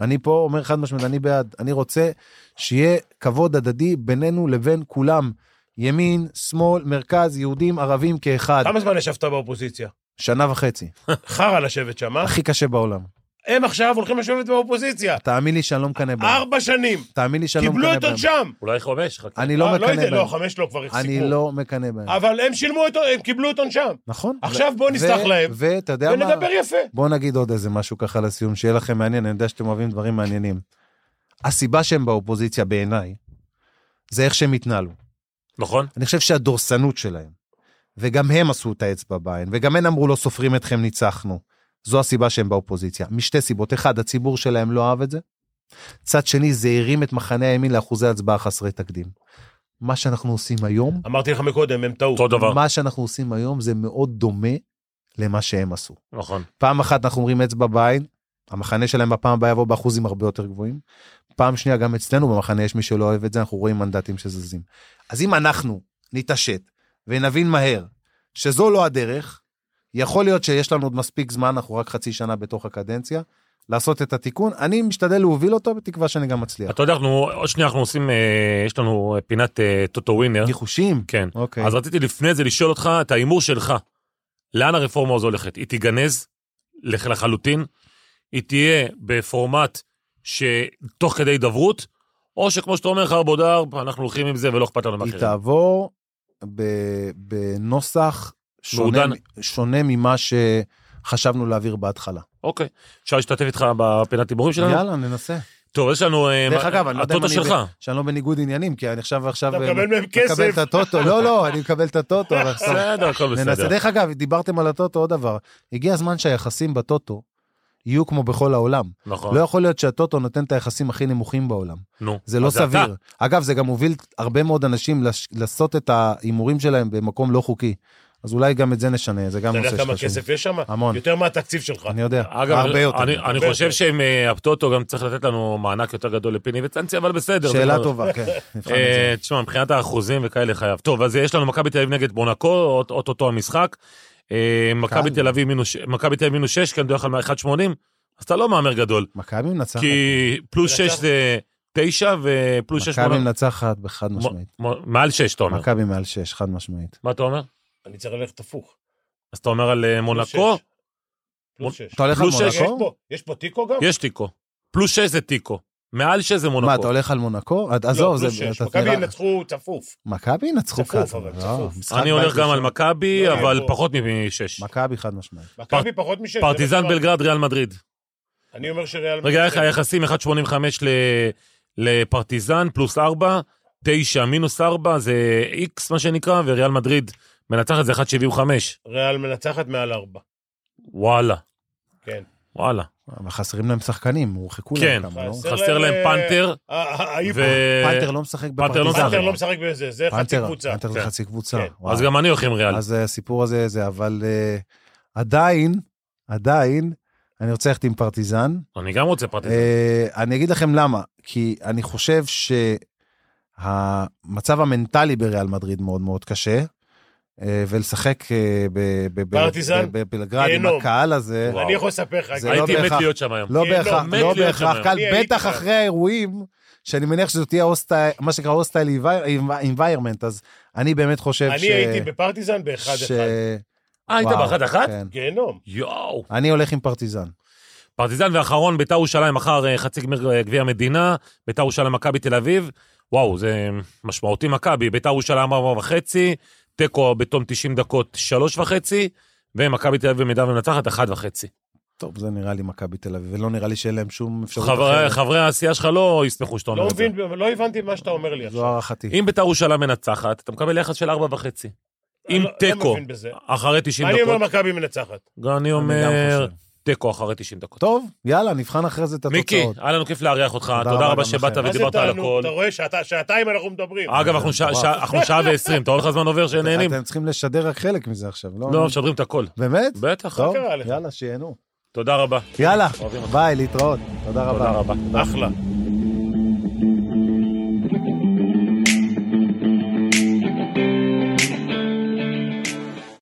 D: אני פה אומר חד משמעית, אני בעד. אני רוצה שיהיה כבוד הדדי בינינו לבין כולם. ימין, שמאל, מרכז, יהודים, ערבים כאחד.
B: כמה זמן ישבת באופוזיציה?
D: שנה וחצי.
B: חרא לשבת שם, אה?
D: הכי קשה בעולם.
B: הם עכשיו הולכים לשבת באופוזיציה.
D: תאמין לי שאני לא מקנא בהם.
B: ארבע שנים.
D: תאמין לי שאני לא
B: קיבלו
D: מקנא
B: את
D: בהם.
B: עונשם.
C: אולי חומש, חכה.
D: אני לא
B: אה,
D: מקנא
B: יודע,
D: בהם.
B: לא, חמש לא, כבר
D: אני
B: הפסיקו.
D: לא מקנא בהם.
B: כן. אבל הם שילמו את... הם קיבלו את עונשם.
D: נכון.
B: עכשיו בוא
D: ו-
B: נסלח להם,
D: ו- ואתה יודע מה?
B: ונדבר יפה.
D: בוא נגיד עוד איזה משהו ככה לסיום, שיהיה לכם מעניין, אני יודע שאתם אוהבים דברים מעניינים. הסיבה שהם באופוזיציה בעיניי, זה איך שהם התנהלו.
C: נכון?
D: אני חושב שהדורסנות שלהם, וגם הם עשו את האצבע בעין, וגם הם אמרו לא סופרים אתכם, ניצחנו. זו הסיבה שהם באופוזיציה, משתי סיבות. אחד, הציבור שלהם לא אהב את זה. צד שני, זה הרים את מחנה הימין לאחוזי הצבעה חסרי תקדים. מה שאנחנו עושים היום,
B: אמרתי לך מקודם, הם טעו.
C: אותו דבר.
D: מה שאנחנו עושים היום זה מאוד דומה למה שהם עשו.
C: נכון.
D: פעם אחת אנחנו אומרים אצבע בעין, המחנה שלהם בפעם הבאה יבוא באחוזים הרבה יותר גבוהים. פעם שנייה, גם אצלנו במחנה יש מי שלא אוהב את זה, אנחנו רואים מנדטים שזזים. אז אם אנחנו נתעשת ונבין מהר שזו לא הדרך, יכול להיות שיש לנו עוד מספיק זמן, אנחנו רק חצי שנה בתוך הקדנציה, לעשות את התיקון. אני משתדל להוביל אותו, בתקווה שאני גם מצליח.
C: אתה יודע, אנחנו, עוד שנייה אנחנו עושים, אה, יש לנו אה, פינת אה, טוטו ווינר.
D: ניחושים?
C: כן.
D: אוקיי.
C: אז רציתי לפני זה לשאול אותך את ההימור שלך. לאן הרפורמה הזו הולכת? היא תיגנז לח- לחלוטין? היא תהיה בפורמט שתוך כדי הידברות? או שכמו שאתה אומר, חרבודר, אנחנו הולכים עם זה ולא אכפת לנו
D: היא
C: מאחרים.
D: תעבור ב- בנוסח שונה,
C: מעודן.
D: שונה ממה שחשבנו להעביר בהתחלה.
C: אוקיי. אפשר להשתתף איתך בפינת הימורים שלנו?
D: יאללה, ננסה.
C: טוב, יש לנו... אה,
D: דרך
C: מה-
D: אגב, אני לא יודע אם
C: הטוטו
D: אני...
C: שלך.
D: ב- שאני לא בניגוד עניינים, כי אני עכשיו עכשיו...
B: אתה
D: אה,
B: מקבל מהם
D: מקבל
B: כסף.
D: את הטוטו. לא, לא, אני מקבל את הטוטו. אבל עכשיו-
C: בסדר, הכל
D: אה, ננסה.
C: בסדר.
D: דרך אגב, דיברתם על הטוטו, עוד דבר. הגיע הזמן שהיחסים בטוטו יהיו כמו בכל העולם.
C: נכון.
D: לא יכול להיות שהטוטו נותן את היחסים הכי נמוכים בעולם.
C: נו.
D: זה לא
C: אז אתה.
D: סביר. אגב, זה גם הוביל הרבה מאוד אנשים לש- לעשות את ההימורים שלהם במקום לא חוקי. אז אולי גם את זה נשנה, זה גם
B: אתה
D: נושא
B: יודע כמה
D: שחשוב.
B: כסף יש שם?
D: המון.
B: יותר מהתקציב שלך.
D: אני יודע,
C: אגב,
D: הרבה יותר.
C: אני, אני
B: הרבה
C: חושב
B: יותר.
C: שהם, אה, הטוטו גם צריך לתת לנו מענק יותר גדול לפיני וצנצי, אבל בסדר. זה
D: שאלה
C: כבר-
D: טובה, כן, נבחן את זה.
C: אה, תשמע, מבחינת האחוזים וכאלה חייב. טוב, אז יש לנו מכבי תל אביב נגד מונקו, אוט- אוטוטו המשחק. אה, מכבי
D: קל.
C: תל אביב מינוס- מכבי תל אביב מינוס כן, 6, כי אני מדבר לך על 1.80, אז אתה לא מהמר גדול.
D: מכבי מנצחת,
C: כי פלוס 6 זה 9 ופלוס 6
D: מכבי מנצחת בחד משמעית.
C: מעל 6 אתה אומר.
D: מכבי מעל 6, חד משמעית.
C: מה אתה אומר?
B: אני צריך ללכת הפוך.
C: אז אתה אומר על אה,
B: פלוס
C: מונקו?
B: שש. פלוס שש.
D: אתה הולך על
C: פלוס שש,
B: יש
D: מונקו?
B: פה- יש פה תיקו גם?
C: יש תיקו. פלוס 6 זה תיקו. מעל 6 זה
D: מה, אתה
C: מונקו.
D: הולך על מונקו? עד-
B: לא,
D: עזוב,
B: פלוס
D: זה...
B: שש.
D: אתה
B: מכבי
D: נראה-
B: ינצחו צפוף.
D: מכבי ינצחו
B: צפוף,
D: ככה.
B: אבל
D: לא,
B: צפוף.
D: משחק בית
C: אני הולך גם
D: ראשון.
C: על מכבי,
B: לא,
C: אבל
B: בוא.
C: פחות מ-6.
D: מכבי חד משמעית.
B: מכבי פחות משש. זה מה
C: פרטיזן
B: שאמרתי.
C: בלגרד, ריאל מדריד.
B: אני אומר שריאל...
C: רגע, איך
B: מדריד-
C: היחסים 1.85 ל- לפרטיזן, פלוס 4, 9 מינוס 4, זה איקס מה שנקרא, וריאל מדריד מנצחת זה 1.75.
B: ריאל מנצחת מעל ארבע.
C: וואלה,
B: כן.
C: וואלה.
D: אבל חסרים להם שחקנים, הורחקו
C: כן.
D: להם כמה, לא?
B: חסר
C: חסר להם
B: להם,
C: פנתר,
B: אה, אה, האיפוק.
C: ו...
D: פנתר לא משחק
C: פנתר לא
D: בפרטיזן.
B: פנתר לא משחק בזה, זה חצי
D: פנתר,
B: קבוצה.
D: פנתר זה
C: כן.
D: חצי קבוצה.
B: כן.
D: וואו.
C: אז גם אני הולך עם ריאל.
D: אז אה, הסיפור הזה זה, אבל אה, עדיין, עדיין, אני רוצה ללכת עם פרטיזן.
C: אני גם רוצה
B: אוקיי.
C: פרטיזן.
D: אה, אני אגיד לכם למה, כי אני חושב שהמצב המנטלי בריאל מדריד מאוד מאוד קשה, אה, ולשחק אה, ב- ב- ב-
B: פרטיזן?
D: ב- בבלגרד עם
B: גיהנום.
D: הקהל הזה,
C: וואו.
B: אני יכול לספר לך,
D: זה לא
C: הייתי מת
D: בהכרח-
C: להיות שם היום.
D: לא
B: גיהנום,
D: בהכרח,
C: מת
D: לא
C: להיות
D: בהכרח
C: שם.
D: קל,
B: אני הייתי
D: בטח
B: שם.
D: אחרי האירועים, שאני מניח שזאת תהיה הוסטי- מה שנקרא הוסטייל environment, אז אני באמת לא חושב ש...
B: אני הייתי בפרטיזן
D: ש-
B: באחד-אחד.
C: אה, היית
D: וואו,
C: באחת אחת?
D: כן.
B: גיהנום.
C: יואו.
D: אני הולך עם פרטיזן.
C: פרטיזן ואחרון, ביתר ירושלים, מחר אה, חצי גמר אה, גביע המדינה, ביתר ירושלים, מכבי תל אביב. וואו, זה משמעותי מכבי. ביתר ירושלים, ארבע וחצי, תיקו בתום 90 דקות, שלוש וחצי, ומכבי תל אביב במידה ומנצחת, אחת וחצי.
D: טוב, זה נראה לי מכבי תל אביב, ולא נראה לי שאין להם שום אפשרות
C: חברי,
D: אחרת.
C: חברי העשייה שלך לא יסמכו שאתה
B: לא
C: אומר את זה.
B: מבין, לא הבנתי מה שאתה אומר לי
D: זו
B: עכשיו.
D: הערכתי.
C: אם ביתר ירושלים מנצחת, אתה מקבל יחס של ארבע וחצי. עם
B: לא- לא
C: תיקו,
B: מבין בזה.
C: אחרי 90
B: אני אומר
C: דקות.
B: מכבי מנצחת.
C: גם אני
D: אני גם
C: אומר,
D: חושב.
C: תיקו אחרי 90 דקות.
D: טוב, יאללה, נבחן אחרי זה את
C: מיקי,
D: התוצאות.
C: היה לנו כיף לארח אותך,
D: תודה
C: תודה
D: רבה
C: רבה
D: גם
C: שבאת
D: לכם.
B: מה זה
C: ודיברת על
B: תענוג?
C: הכל.
B: אתה רואה, שעתה- שעתיים אנחנו מדברים.
C: אגב, אנחנו שעה- שעה- אנחנו שעה ועשרים, אתה רואה לך זמן עובר שנהנים?
D: אתם צריכים לשדר רק חלק מזה עכשיו, לא?
C: לא, משדרים את הכל.
D: באמת?
C: בטח.
D: טוב,
B: קרה לך?
D: יאללה, שיהנו.
C: תודה רבה.
D: יאללה,
C: אוהבים אותך.
D: ביי, להתראות. תודה
C: תודה
D: רבה.
C: רבה.
B: אחלה.